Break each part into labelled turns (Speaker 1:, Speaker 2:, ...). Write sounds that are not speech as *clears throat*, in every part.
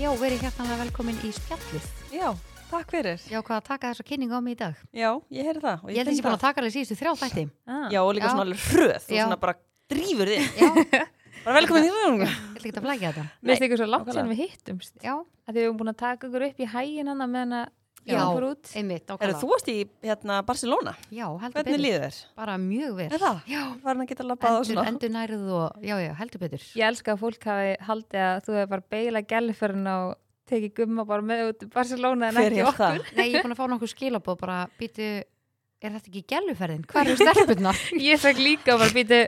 Speaker 1: Já, verið hjartanlega velkomin í spjallið.
Speaker 2: Já, takk fyrir.
Speaker 1: Já, hvað að taka þessa kynninga á mig í dag?
Speaker 2: Já, ég heyrði það. og
Speaker 1: Ég held
Speaker 2: finn
Speaker 1: þessi búin að taka þess í þessu þrjá þætti.
Speaker 3: Ah.
Speaker 2: það. Já, og líka
Speaker 1: Já.
Speaker 2: svona alveg hröð, þú
Speaker 1: Já.
Speaker 2: svona bara
Speaker 1: *laughs*
Speaker 2: drífur þig. Hérna.
Speaker 1: Já, ég
Speaker 2: Bara velkomin í það.
Speaker 1: held ekki að flækja þetta.
Speaker 3: Mér finnst ykkur svo langt
Speaker 2: nákvæmlega.
Speaker 3: sem við hittumst
Speaker 1: Já,
Speaker 3: að því við erum búin að taka ykkur upp í hægin hana meðan að
Speaker 1: Já.
Speaker 3: ég fór út
Speaker 1: einmitt,
Speaker 2: Eru
Speaker 1: okkala.
Speaker 2: þú varst í hérna Barcelona?
Speaker 1: Já, heldur
Speaker 2: Hvernig
Speaker 1: betur.
Speaker 2: líður þér?
Speaker 1: Bara mjög vel.
Speaker 2: Er það?
Speaker 1: Já,
Speaker 2: Var hann að geta labbað og
Speaker 1: endur,
Speaker 2: svona?
Speaker 1: endur nærið og, já, já, heldur betur.
Speaker 3: Ég elska að fólk hafi haldið að þú hefur bara beilað gæliförn og tekið gumma bara með út í Barcelona en
Speaker 2: Hver
Speaker 3: ekki
Speaker 2: er
Speaker 3: okkur
Speaker 2: það?
Speaker 1: Nei, ég er búin að fá nokkuð skilabóð bara, býtu, er þetta ekki gæluferðin? Hvað
Speaker 2: *laughs*
Speaker 1: eru stelpunna?
Speaker 3: Ég sagði líka bara býtu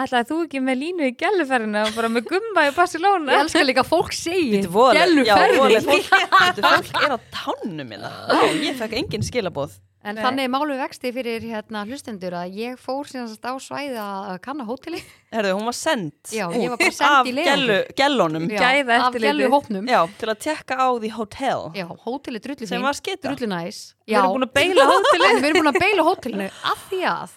Speaker 3: ætlaði þú ekki með línu í gæliförn og bara með gumma í Barcelona
Speaker 1: Ég elska líka að fólk segi.
Speaker 2: Þetta voru, já,
Speaker 1: Gæluferðin.
Speaker 2: voru, fólk,
Speaker 1: *laughs*
Speaker 2: Bíddu, fólk er á tánum minna. Já, ég fekk engin skilaboð.
Speaker 1: En
Speaker 3: Nei.
Speaker 1: þannig málu vexti fyrir hérna hlustendur að ég fór síðan á svæði að kanna hóteli.
Speaker 2: Herðu, hún var send
Speaker 1: Já, ég var
Speaker 2: út
Speaker 1: bara send
Speaker 2: af
Speaker 1: í leiðangur.
Speaker 2: gellu- gellunum.
Speaker 1: Já,
Speaker 3: Gæða
Speaker 1: af
Speaker 3: eftirlitið.
Speaker 1: gælu hópnum.
Speaker 2: Já, til að tekka á því hotel
Speaker 1: Já, hótelið drullu
Speaker 2: sem
Speaker 1: fín,
Speaker 2: var skita.
Speaker 1: drullu næs
Speaker 3: Við erum búin að beila
Speaker 1: hótelinu *laughs* Við erum búin að beila hótelinu af því að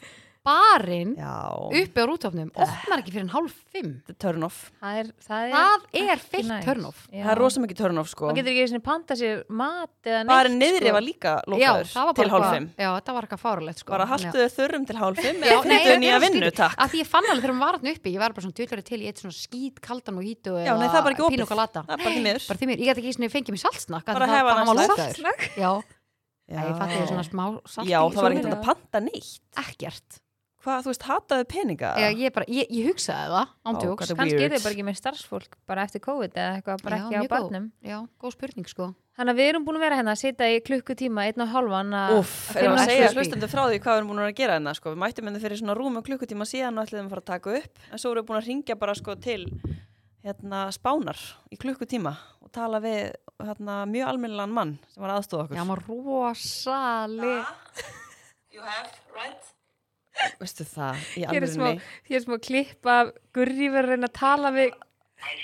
Speaker 1: barinn
Speaker 2: Já,
Speaker 1: uppi á rútofnum opnar ekki fyrir en hálf fimm
Speaker 2: turn off.
Speaker 3: Það er,
Speaker 2: Eh,
Speaker 3: það er,
Speaker 1: Það er
Speaker 3: ekki
Speaker 1: feitt
Speaker 3: næs.
Speaker 1: turn-off
Speaker 3: Já.
Speaker 2: Það er rosa mikið turn off sko.
Speaker 3: Maður getur ekki einu sinni panta sér mat eða neitt
Speaker 2: Bara niðri
Speaker 3: sko.
Speaker 2: var líka
Speaker 1: Já,
Speaker 2: lókaður
Speaker 1: það var
Speaker 2: til
Speaker 1: bara
Speaker 2: hálf
Speaker 1: eitthvað-
Speaker 2: fimm.
Speaker 1: Já, þetta var eitthvað fáralegt sko
Speaker 2: Bara
Speaker 1: Þannig
Speaker 2: haltu
Speaker 1: að-
Speaker 2: þau þurrum til hálf fimm
Speaker 1: Já,
Speaker 2: eða
Speaker 1: nei,
Speaker 2: finnstu
Speaker 1: þetta
Speaker 2: nýja
Speaker 1: var
Speaker 2: vinnu,
Speaker 1: skrítið.
Speaker 2: takk.
Speaker 1: Af því ég fann alveg þegar hún var hann uppi Ég var bara svona djúlari til, ég eitt svona skít kaldan og hítu
Speaker 2: Já, nei, það er bara ekki opið. Það
Speaker 1: Bara
Speaker 2: er bara því miður.
Speaker 1: því mér, ég gæti ekki svona fengið mér saltsnakk af
Speaker 2: Bara
Speaker 1: því það-
Speaker 2: hefa
Speaker 1: hann
Speaker 2: hann
Speaker 1: var
Speaker 2: slætt.
Speaker 1: lokaður. Já, já, ég fatti svona smá salt
Speaker 2: Já,
Speaker 1: í-
Speaker 2: það var
Speaker 1: svona-
Speaker 2: ekkert
Speaker 3: sólina.
Speaker 2: að panta neitt.
Speaker 1: Ekkert
Speaker 2: Hvað, þú veist, hataðu peninga?
Speaker 1: Já, ég bara, ég, ég hugsaði það, ándjóks
Speaker 2: Þetta er
Speaker 3: Kannski
Speaker 2: weird.
Speaker 3: er þið bara ekki með starfsfólk bara eftir COVID eða eitthvað bara
Speaker 1: Já,
Speaker 3: ekki á
Speaker 1: mjög góð.
Speaker 3: barnum
Speaker 1: Já, góð spurning sko
Speaker 3: Þannig að við erum búin að vera hérna að sitja í klukkutíma einn og hálfan að
Speaker 2: Úff,
Speaker 3: að
Speaker 2: erum
Speaker 3: finna
Speaker 2: að
Speaker 1: ekki
Speaker 2: segja
Speaker 1: upp í.
Speaker 2: hlustundu frá því hvað við erum búin að gera hérna, sko. Við mættum henni fyrir svona rúmum klukkutíma síðan og ætliðum að fara að taka upp. En svo erum við búin að ringja bara, sko, til, hérna, spánar í klukkutíma og tala við, hérna, mjög almennilegan mann sem var aðstóð okkur.
Speaker 1: Já, maður rosaleg
Speaker 2: Veistu það, í
Speaker 3: Hér er smá,
Speaker 2: alvörunni.
Speaker 3: hér er smá klipp af Gurri verður að reyna að tala við
Speaker 2: hann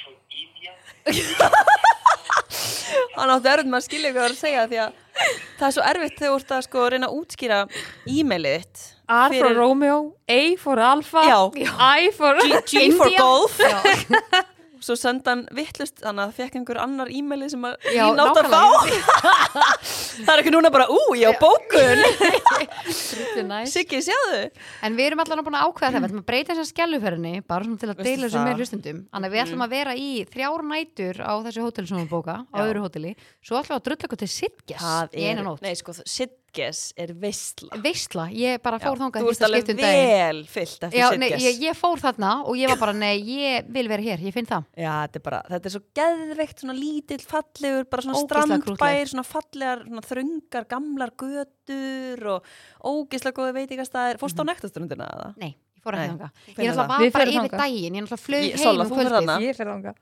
Speaker 2: átti erfitt með að skilja hvað það er að segja því að það er svo erfitt þegar þú ert að sko reyna að útskýra e-mailið þitt
Speaker 3: R for Romeo, A for Alpha
Speaker 2: Já.
Speaker 3: I for
Speaker 2: *laughs* G, G for
Speaker 3: India.
Speaker 2: golf
Speaker 1: Já,
Speaker 2: *laughs* svo senda hann vittlust þannig að fekk einhver annar e-mailið sem að
Speaker 1: Já,
Speaker 2: lína átt að fá
Speaker 1: nákvæmlega.
Speaker 2: *laughs* það er ekki núna bara ú, ég á
Speaker 1: *laughs*
Speaker 2: bókun
Speaker 3: Drullu næs.
Speaker 2: Siggi, sjáðu
Speaker 1: en við erum allan búin að ákveða það Við ætlum að breyta þessa skelluferinni bara svona til að
Speaker 2: Veistu
Speaker 1: deila þessu
Speaker 2: það? Mm.
Speaker 1: með hlustendum Þannig að við ætlum að vera í þrjár nætur á þessu hótel sem við bóka, á
Speaker 2: Já.
Speaker 1: öðru hóteli Svo ætlum við að drulla okkur til Sitges í eina nótt
Speaker 2: nei sko, Sigges er veistla
Speaker 1: Veistla, ég bara fór þangað
Speaker 2: þú ert
Speaker 1: fyrsta
Speaker 2: alveg
Speaker 1: skiptum daginn
Speaker 2: vel fyllt eftir
Speaker 1: Já, nei,
Speaker 2: Sigges
Speaker 1: ég, ég fór þarna og ég var bara, nei, ég vil vera hér, ég finn það
Speaker 2: Já, þetta er bara, þetta er svo geðveikt, svona lítill, fallegur, bara svona
Speaker 1: Ógeðslega krúttlegt.
Speaker 2: strandbær, svona fallegar, svona þröngar, gamlar götur og ógislega góði veitingastæðir. Fórstu á nektastrundina eða?
Speaker 1: Nei, ég fór ekki þangað
Speaker 2: Nei, þú
Speaker 1: Ég
Speaker 2: finnur
Speaker 1: náttúrulega
Speaker 2: það.
Speaker 1: var
Speaker 3: Við
Speaker 1: bara
Speaker 3: förum
Speaker 1: yfir
Speaker 3: þangað.
Speaker 1: daginn, ég náttúrulega flög
Speaker 2: Ég- Solla,
Speaker 1: heim um
Speaker 2: þú ferð
Speaker 1: kvöldið
Speaker 2: þarna.
Speaker 3: Ég fer þanga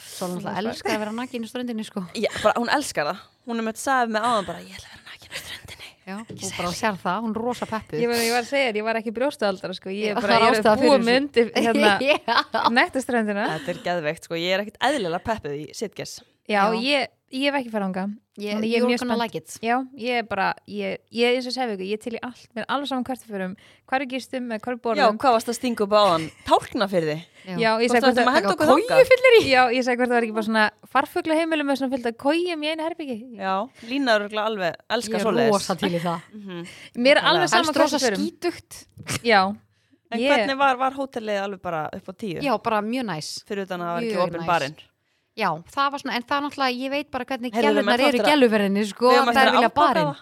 Speaker 1: Sól náttúrulega elskar að vera nakin í ströndinni sko
Speaker 2: Já, bara, hún elskar það. Hún er með sæði með áðan bara, ég ætla að vera nækinn á strundinni.
Speaker 1: Já, hún bara sér það, hún er rosa peppuð
Speaker 3: Ég var, ég var að segja þér, ég var ekki brjóstualdar sko. Ég
Speaker 1: Já,
Speaker 3: er bara,
Speaker 1: það er
Speaker 3: ég er
Speaker 1: ástæða
Speaker 3: að búa
Speaker 1: fyrir
Speaker 3: mig
Speaker 1: *laughs*
Speaker 3: undir *laughs* hérna,
Speaker 1: Já.
Speaker 3: nektaströndina
Speaker 2: Þetta er geðveikt, sko, ég er ekkit eðlilega peppuð í sitges.
Speaker 3: Já,
Speaker 1: Já.
Speaker 3: ég, ég hef ekki fara þanga
Speaker 1: Ég,
Speaker 3: Ég er
Speaker 1: you're
Speaker 3: mjög
Speaker 1: gonna
Speaker 3: spennt.
Speaker 1: like it
Speaker 3: Já, ég er bara, ég, ég eins og segja ykkur, ég er til í allt, mér er alveg saman hvert við förum, hvar við gistum, með hvar við
Speaker 2: Já,
Speaker 3: borðum.
Speaker 2: hvað varst að stinga upp áðan? Tálkna fyrir þið?
Speaker 3: Já, ég
Speaker 2: Hvort
Speaker 3: sagði hvort
Speaker 2: ættum að
Speaker 3: það
Speaker 2: henda okkur
Speaker 3: kóju
Speaker 2: þangað?
Speaker 3: fyllir í. Já, ég sagði hvort það var ekki bara svona farfugla heimilum með svona fyllt að kójum í einu herbyggi.
Speaker 2: Já, Lína er örugglega alveg,
Speaker 1: Ég
Speaker 2: elskar
Speaker 1: er
Speaker 2: svoleiðis. Mhm.
Speaker 1: rosa til í það
Speaker 3: Mér er alveg
Speaker 1: Helst
Speaker 3: saman hvert
Speaker 1: rosa
Speaker 3: við förum.
Speaker 1: skítugt
Speaker 3: um. Já,
Speaker 2: En
Speaker 3: Ég-
Speaker 2: hvernig var, var hótelið alveg bara upp á tíu?
Speaker 1: Já, bara mjög næs
Speaker 2: Fyrir utan að það var ekki
Speaker 1: Mjög
Speaker 2: opinn
Speaker 1: næs.
Speaker 2: barinn.
Speaker 1: Já, það var svona, en það er náttúrulega, ég veit bara hvernig
Speaker 2: Heyrðu, við
Speaker 1: gælunar
Speaker 2: erum
Speaker 1: eru í
Speaker 2: eftir að-
Speaker 1: gæluverðinni sko,
Speaker 2: Við eigum
Speaker 1: það
Speaker 2: eftir
Speaker 1: er
Speaker 2: að
Speaker 1: vilja
Speaker 2: afborga
Speaker 1: barinn
Speaker 2: það.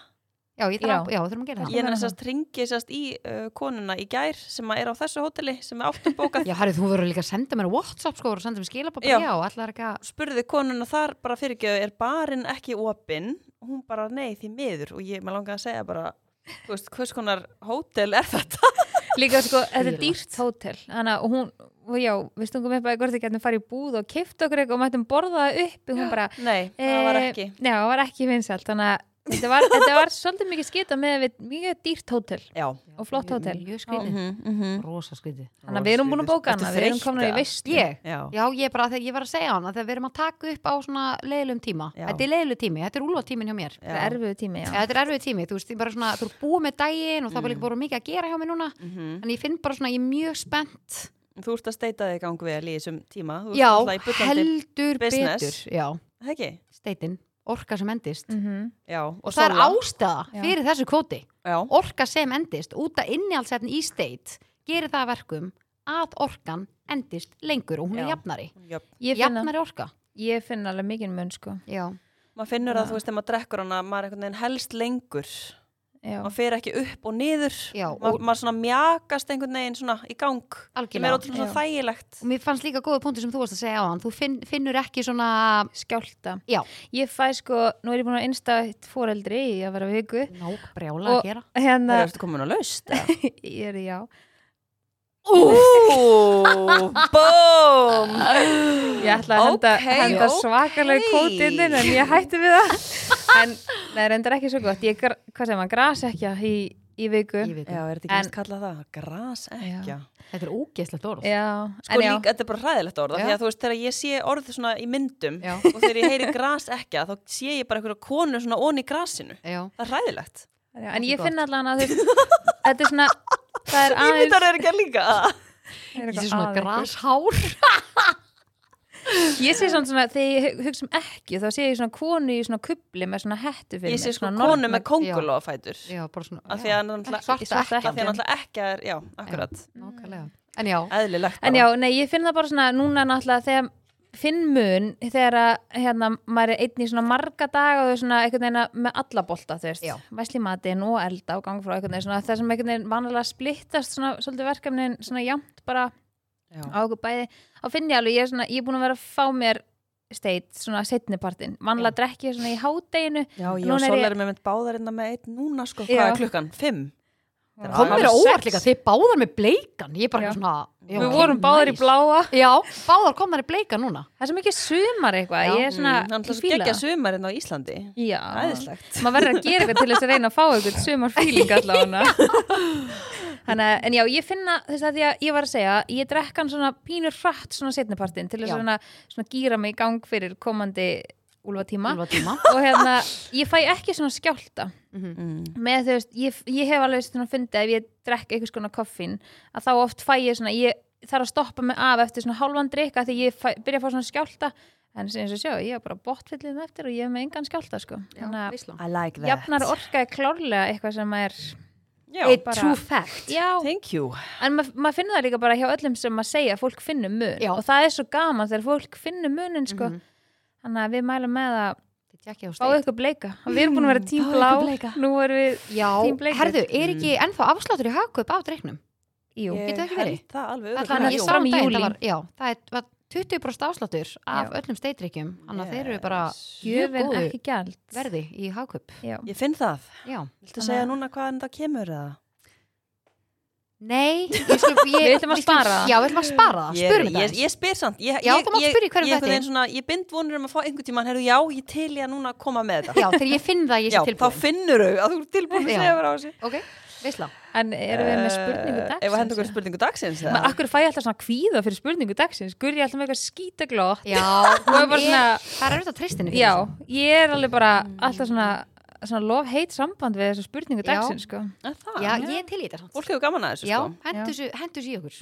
Speaker 1: Já, ég þarf að,
Speaker 3: Já.
Speaker 1: já, þurfum að gera það
Speaker 2: Ég er
Speaker 3: meina
Speaker 2: næstast ringi sérst í uh, konuna í gær sem að er á þessu hóteli sem við áttum *laughs* bókað
Speaker 1: Já, Harry, þú verður líka að senda mér WhatsApp sko, og senda mér skilababbi,
Speaker 2: Já.
Speaker 1: já, allar ekki að
Speaker 2: spurði konuna þar bara fyrirgjöðu er barinn ekki opinn og hún bara nei því miður og ég maður langaði að segja bara þú veist hvers konar hótel er þetta *laughs*
Speaker 3: líka sko, þetta er
Speaker 1: Dýrlegt.
Speaker 3: dýrt hótel, þannig að hún, og já, við stungum upp að hvort við getum farið í búð og kift okkur eitthvað og mættum borða það upp, hún bara,
Speaker 2: nei, það var ekki
Speaker 3: Eh, Já, það var ekki vinsælt, þannig að þetta var, þetta var svolítið mikið skita með við mjög dýrt hótel
Speaker 2: já
Speaker 3: og flott
Speaker 1: Mjög-
Speaker 3: hótel.
Speaker 1: Mjög skrítið,
Speaker 2: -hmm, mm -hmm.
Speaker 1: rosa skrítið
Speaker 3: Þannig að við erum búin að bóka hana, við erum komin í veist.
Speaker 1: Ég?
Speaker 2: já.
Speaker 1: Já, ég bara, þegar ég var að segja hana, þegar við erum að taka upp á svona leiðlum tíma,
Speaker 2: Já.
Speaker 1: þetta er leiðlu tími, þetta er úlvatímin hjá mér
Speaker 2: Já.
Speaker 3: Það er erfiðu tími,
Speaker 1: Já,
Speaker 3: já.
Speaker 1: þetta er erfið tími, þú veist, ég bara svona, þú er búið með daginn og það var líka bara mikið að gera hjá mér núna
Speaker 2: Mhm.
Speaker 1: en ég finn bara svona, ég er mjög spennt
Speaker 2: þú ert að steita þig í gang vel í þessum tíma þú ert
Speaker 1: Já,
Speaker 2: náttúrulega í bullandi-
Speaker 1: heldur
Speaker 2: business.
Speaker 1: betur Já,
Speaker 2: það ekki?
Speaker 1: steitin, orka sem endist
Speaker 3: Mhm.
Speaker 2: Já, og
Speaker 1: það er
Speaker 2: solla.
Speaker 1: ástæða
Speaker 3: Mm. Já.
Speaker 1: fyrir þessu kvóti
Speaker 2: Já,
Speaker 1: orka sem endist, út að innihaldsefni í steit gerir það að verkum að orkan endist lengur og hún er
Speaker 2: Já.
Speaker 1: jafnari
Speaker 2: jöp.
Speaker 3: Ég finna,
Speaker 1: jafnari orka
Speaker 3: ég finna alveg mikið mun sko.
Speaker 1: já,
Speaker 2: Maður finnur
Speaker 3: Já.
Speaker 2: að þú veist, þegar maður drekkur hana, maður einhvern veginn helst lengur.
Speaker 3: Já.
Speaker 2: Maður fer ekki upp og niður.
Speaker 1: Já,
Speaker 2: Ma,
Speaker 1: og-
Speaker 2: maður svona mjakast einhvern veginn svona í gang. Sem er
Speaker 1: algjörlega
Speaker 2: ótrúlega svona
Speaker 3: Já.
Speaker 2: þægilegt.
Speaker 1: og mér fannst líka góða punktu sem þú varst að segja á hann þú finn, finnur ekki svona
Speaker 3: Skjálta.
Speaker 1: já,
Speaker 3: Ég fæ sko, nú er ég búin að einstætt fóreldri í að vera viku.
Speaker 1: nóg brjála að
Speaker 3: Og-
Speaker 1: gera
Speaker 2: Það
Speaker 3: Hérna,
Speaker 2: er eftir komin að laust. eða?
Speaker 3: *laughs* ég er já.
Speaker 2: *laughs* Ú, búm!
Speaker 3: Ég ætla að henda,
Speaker 2: Ok,
Speaker 3: henda
Speaker 2: ok.
Speaker 3: svakalega kótiðin en ég hætti við
Speaker 2: *laughs*
Speaker 3: það. en það er endur ekki svo gott. Ég, gr- hvað segir maður, gras ekki í, í viku.
Speaker 1: Ég veit
Speaker 2: Já,
Speaker 1: það.
Speaker 2: er þetta ekki
Speaker 3: En-
Speaker 2: að kalla það? Gras ekki.
Speaker 1: þetta er ógeðslegt orð
Speaker 3: Já,
Speaker 2: Sko
Speaker 3: en já.
Speaker 2: líka, þetta er bara hræðilegt orð, af
Speaker 1: Já.
Speaker 2: því að þú veist, þegar ég sé orð svona í myndum
Speaker 1: Já.
Speaker 2: og þegar ég heyri gras ekki, þá sé ég bara einhverja konu svona onni í grasinu.
Speaker 1: já,
Speaker 2: Það er hræðilegt.
Speaker 3: Já, en
Speaker 1: Ekki
Speaker 3: ég
Speaker 1: gott.
Speaker 3: finna allan að þú veist, þetta er svona, það er
Speaker 2: *laughs* Ég veit
Speaker 3: aðeins,
Speaker 2: að það er ekki að líka.
Speaker 3: það er
Speaker 1: ég
Speaker 3: eitthvað
Speaker 1: sé svona
Speaker 3: að ykkur.
Speaker 1: grashár
Speaker 3: Ég sé svona, svona þegar ég hu- hugsa um ekki, þá sé ég svona konu í svona kubli með svona hettu fyrir
Speaker 2: Ég sé sko
Speaker 3: svona norn-
Speaker 2: konu með kongulofætur.
Speaker 1: *laughs* já, bara svona
Speaker 2: Af því
Speaker 1: já,
Speaker 2: að náttúrulega
Speaker 1: svarta
Speaker 3: svarta
Speaker 2: af því að
Speaker 1: ekkjan.
Speaker 2: náttúrulega ekki er, já, akkurat,
Speaker 1: nákvæmlega en já,
Speaker 2: eðlilegt.
Speaker 3: En
Speaker 2: bara.
Speaker 3: já, nei, ég finn það bara svona núna náttúrulega þegar finn mun þegar að, hérna, maður er einn í svona marga daga og svona einhvern veginn að- með alla bolta, þú veist,
Speaker 1: Já.
Speaker 3: væsli matinn og elda og gangfrá einhvern veginn svona, það sem einhvern veginn vanalega splittast svona, svolítið verkefnin svona jæmt bara
Speaker 2: Já.
Speaker 3: á okkur bæði, á finn ég alveg, ég er svona, ég er búin að vera að fá mér steit svona setnipartin, vanalega drekki ég svona í hádeginu,
Speaker 2: Já, ég
Speaker 3: Núna
Speaker 2: og
Speaker 3: er
Speaker 2: Sol
Speaker 3: ég-
Speaker 2: erum með báðarinnar með einn núna, sko,
Speaker 3: Já.
Speaker 2: hvað er klukkan? Fimm? Já.
Speaker 1: kom mér á
Speaker 2: Hálf
Speaker 1: óvart
Speaker 2: sex.
Speaker 1: líka, þið báðar með bleikan ég er bara
Speaker 3: Já.
Speaker 1: eitthvað svona já,
Speaker 3: við
Speaker 1: ok,
Speaker 3: vorum báðar í
Speaker 1: nice.
Speaker 3: bláa
Speaker 1: já, báðar komnar í bleika núna
Speaker 3: það er svo mikið sumar eitthvað,
Speaker 1: Já.
Speaker 3: ég er svona
Speaker 2: Mm, hann
Speaker 3: ég
Speaker 2: ætlar svo
Speaker 3: fíla
Speaker 2: geggja
Speaker 3: það.
Speaker 2: sumarinn á Íslandi.
Speaker 3: Já,
Speaker 2: Æðislegt.
Speaker 3: maður verður að gera eitthvað til þess að reyna að fá eitthvað sumar fíling allavega Þannig að, en já, ég finna þess að því að ég var að segja, ég drekk hann svona pínur hratt svona setnipartin til þess
Speaker 1: Já.
Speaker 3: að svona, svona gýra mig í gang fyrir komandi úlfatíma
Speaker 1: Úlfa tíma.
Speaker 3: og hérna, ég fæ ekki svona skjálta
Speaker 1: Mhm.
Speaker 2: Mm.
Speaker 3: með þú veist, ég, ég hef alveg svona fundið ef ég drekk einhvers konar koffín að þá oft fæ ég svona, ég þarf að stoppa mig af eftir svona hálfan drikka því ég fæ, byrja að fá svona skjálta en sem ég sjá, ég er bara botfyllin eftir og ég hef með engan skjálta sko
Speaker 1: Já, veislan.
Speaker 2: I like that.
Speaker 3: jafnar orka er klárlega eitthvað sem er
Speaker 2: Já,
Speaker 1: a
Speaker 3: bara-
Speaker 1: true fact
Speaker 3: já,
Speaker 2: thank you.
Speaker 3: en ma- maður finnur það líka bara hjá öllum sem maður segja að fólk finnur mun
Speaker 1: Já.
Speaker 3: og það er svo gaman þegar fólk finnur munin sko
Speaker 1: Mhm.
Speaker 3: þannig að við mælum með að
Speaker 1: Þið tjekkið á
Speaker 3: fá
Speaker 1: steit.
Speaker 3: ykkur bleika og við erum búin að vera tím
Speaker 1: fáið
Speaker 3: blá
Speaker 1: Mm. ykkur bleika.
Speaker 3: nú erum við,
Speaker 1: Já,
Speaker 3: Team Bleikur.
Speaker 1: herðu, er ekki
Speaker 2: Mm.
Speaker 1: ennþá afsláttur í hagkaup á dreiknum?
Speaker 3: jú,
Speaker 2: Ég
Speaker 1: getur það ekki
Speaker 2: held
Speaker 1: verið?
Speaker 2: Það alveg
Speaker 1: Það
Speaker 2: örugglega,
Speaker 1: er
Speaker 2: jú.
Speaker 1: ég
Speaker 3: jú.
Speaker 1: sá um
Speaker 3: Fram í
Speaker 1: daginn,
Speaker 3: júlí.
Speaker 1: það var, já, það er- var 20% afsláttur af
Speaker 3: Já.
Speaker 1: öllum steitrykkjum, þannig að
Speaker 2: Yes.
Speaker 1: þeir eru bara mjög
Speaker 3: gjöfin
Speaker 1: góðu
Speaker 3: ekki gælt
Speaker 1: verði í hagkaup.
Speaker 3: já,
Speaker 2: Ég finn það.
Speaker 1: Já,
Speaker 2: Viltu
Speaker 3: Þannig
Speaker 2: segja
Speaker 3: að-
Speaker 2: núna hvaðan það kemur eða?
Speaker 1: nei, ég *laughs* skal, ég,
Speaker 3: Við ætlum að
Speaker 1: skulum-
Speaker 3: spara það.
Speaker 1: Já, við ætlum að spara það,
Speaker 2: Ég,
Speaker 1: spurum
Speaker 2: ég,
Speaker 1: það.
Speaker 2: ég spyr samt ég,
Speaker 1: Já,
Speaker 2: ég,
Speaker 1: þú mátt
Speaker 2: ég-
Speaker 1: spyrja í hverju
Speaker 2: ég, einhvern
Speaker 1: þætti.
Speaker 2: veginn svona, ég bind vonur um að fá einhvern tímann heyrðu, Já, ég til ég núna að koma með þetta
Speaker 1: Já, þegar ég finn það, ég
Speaker 2: Já,
Speaker 1: sé
Speaker 2: þá
Speaker 1: tilbúin.
Speaker 2: finnur þau að þú er tilbúin
Speaker 1: Já.
Speaker 2: að segja vera á þessu
Speaker 1: Ok, veisla.
Speaker 3: en erum við með
Speaker 2: Eh,
Speaker 3: spurningu dagsins
Speaker 2: Ef að hendur okkur spurningu dagsins eða?
Speaker 3: Ma, akkur fæ ég alltaf svona kvíða fyrir spurningu dagsins Gurri er alltaf með eitthvað skítaglótt
Speaker 1: Já,
Speaker 3: er
Speaker 1: hún
Speaker 3: bara
Speaker 1: er,
Speaker 3: svona-
Speaker 1: það er auðvitað tristinu.
Speaker 3: já, ég er alveg bara alltaf svona, svona lof heit samband við þessu spurningu
Speaker 1: Já.
Speaker 3: dagsins sko.
Speaker 2: Eh, það,
Speaker 1: Já, ég er til í þetta samt.
Speaker 2: Fólk hefur gaman að þessu
Speaker 1: Já,
Speaker 2: sko
Speaker 1: hendur þessu- hendur þessu í okkur.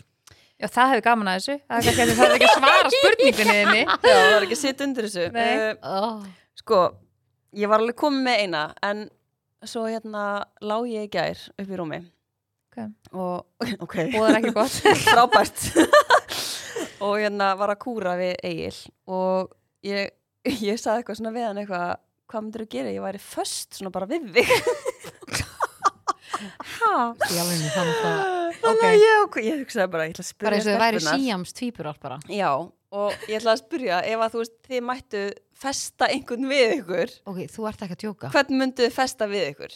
Speaker 3: Já, það hefur gaman að þessu. Það er kannski að það er ekki að svara spurningunni *laughs* þinni.
Speaker 2: Já, það er ekki að sitja undir þessu
Speaker 3: Nei.
Speaker 2: Eh,
Speaker 1: Oh.
Speaker 2: Sko, ég var alveg komin með eina en svo hérna lá ég í gær upp í rúmi
Speaker 3: Ok.
Speaker 2: og, *laughs* ok
Speaker 3: Og það er ekki gott.
Speaker 2: *laughs* frábært *laughs* og hérna var að kúra við Egil og ég, *laughs* ég saði eitthvað svona við hann eitthvað hvað myndir þú gera, ég væri föst svona bara við þig
Speaker 1: Ég alveg með þannig að
Speaker 2: *laughs* þannig að ég, ákvað- ég hugsaði bara, ég ætla
Speaker 1: bara
Speaker 2: að spyrja
Speaker 1: eins og það væri
Speaker 2: stelpurnar.
Speaker 1: síjams tvíburar bara.
Speaker 2: já, og ég ætla að spyrja ef að þú veist, þið mættu festa einhvern við ykkur,
Speaker 1: Ok, þú ert ekki að djóka.
Speaker 2: hvern myndu þið festa við ykkur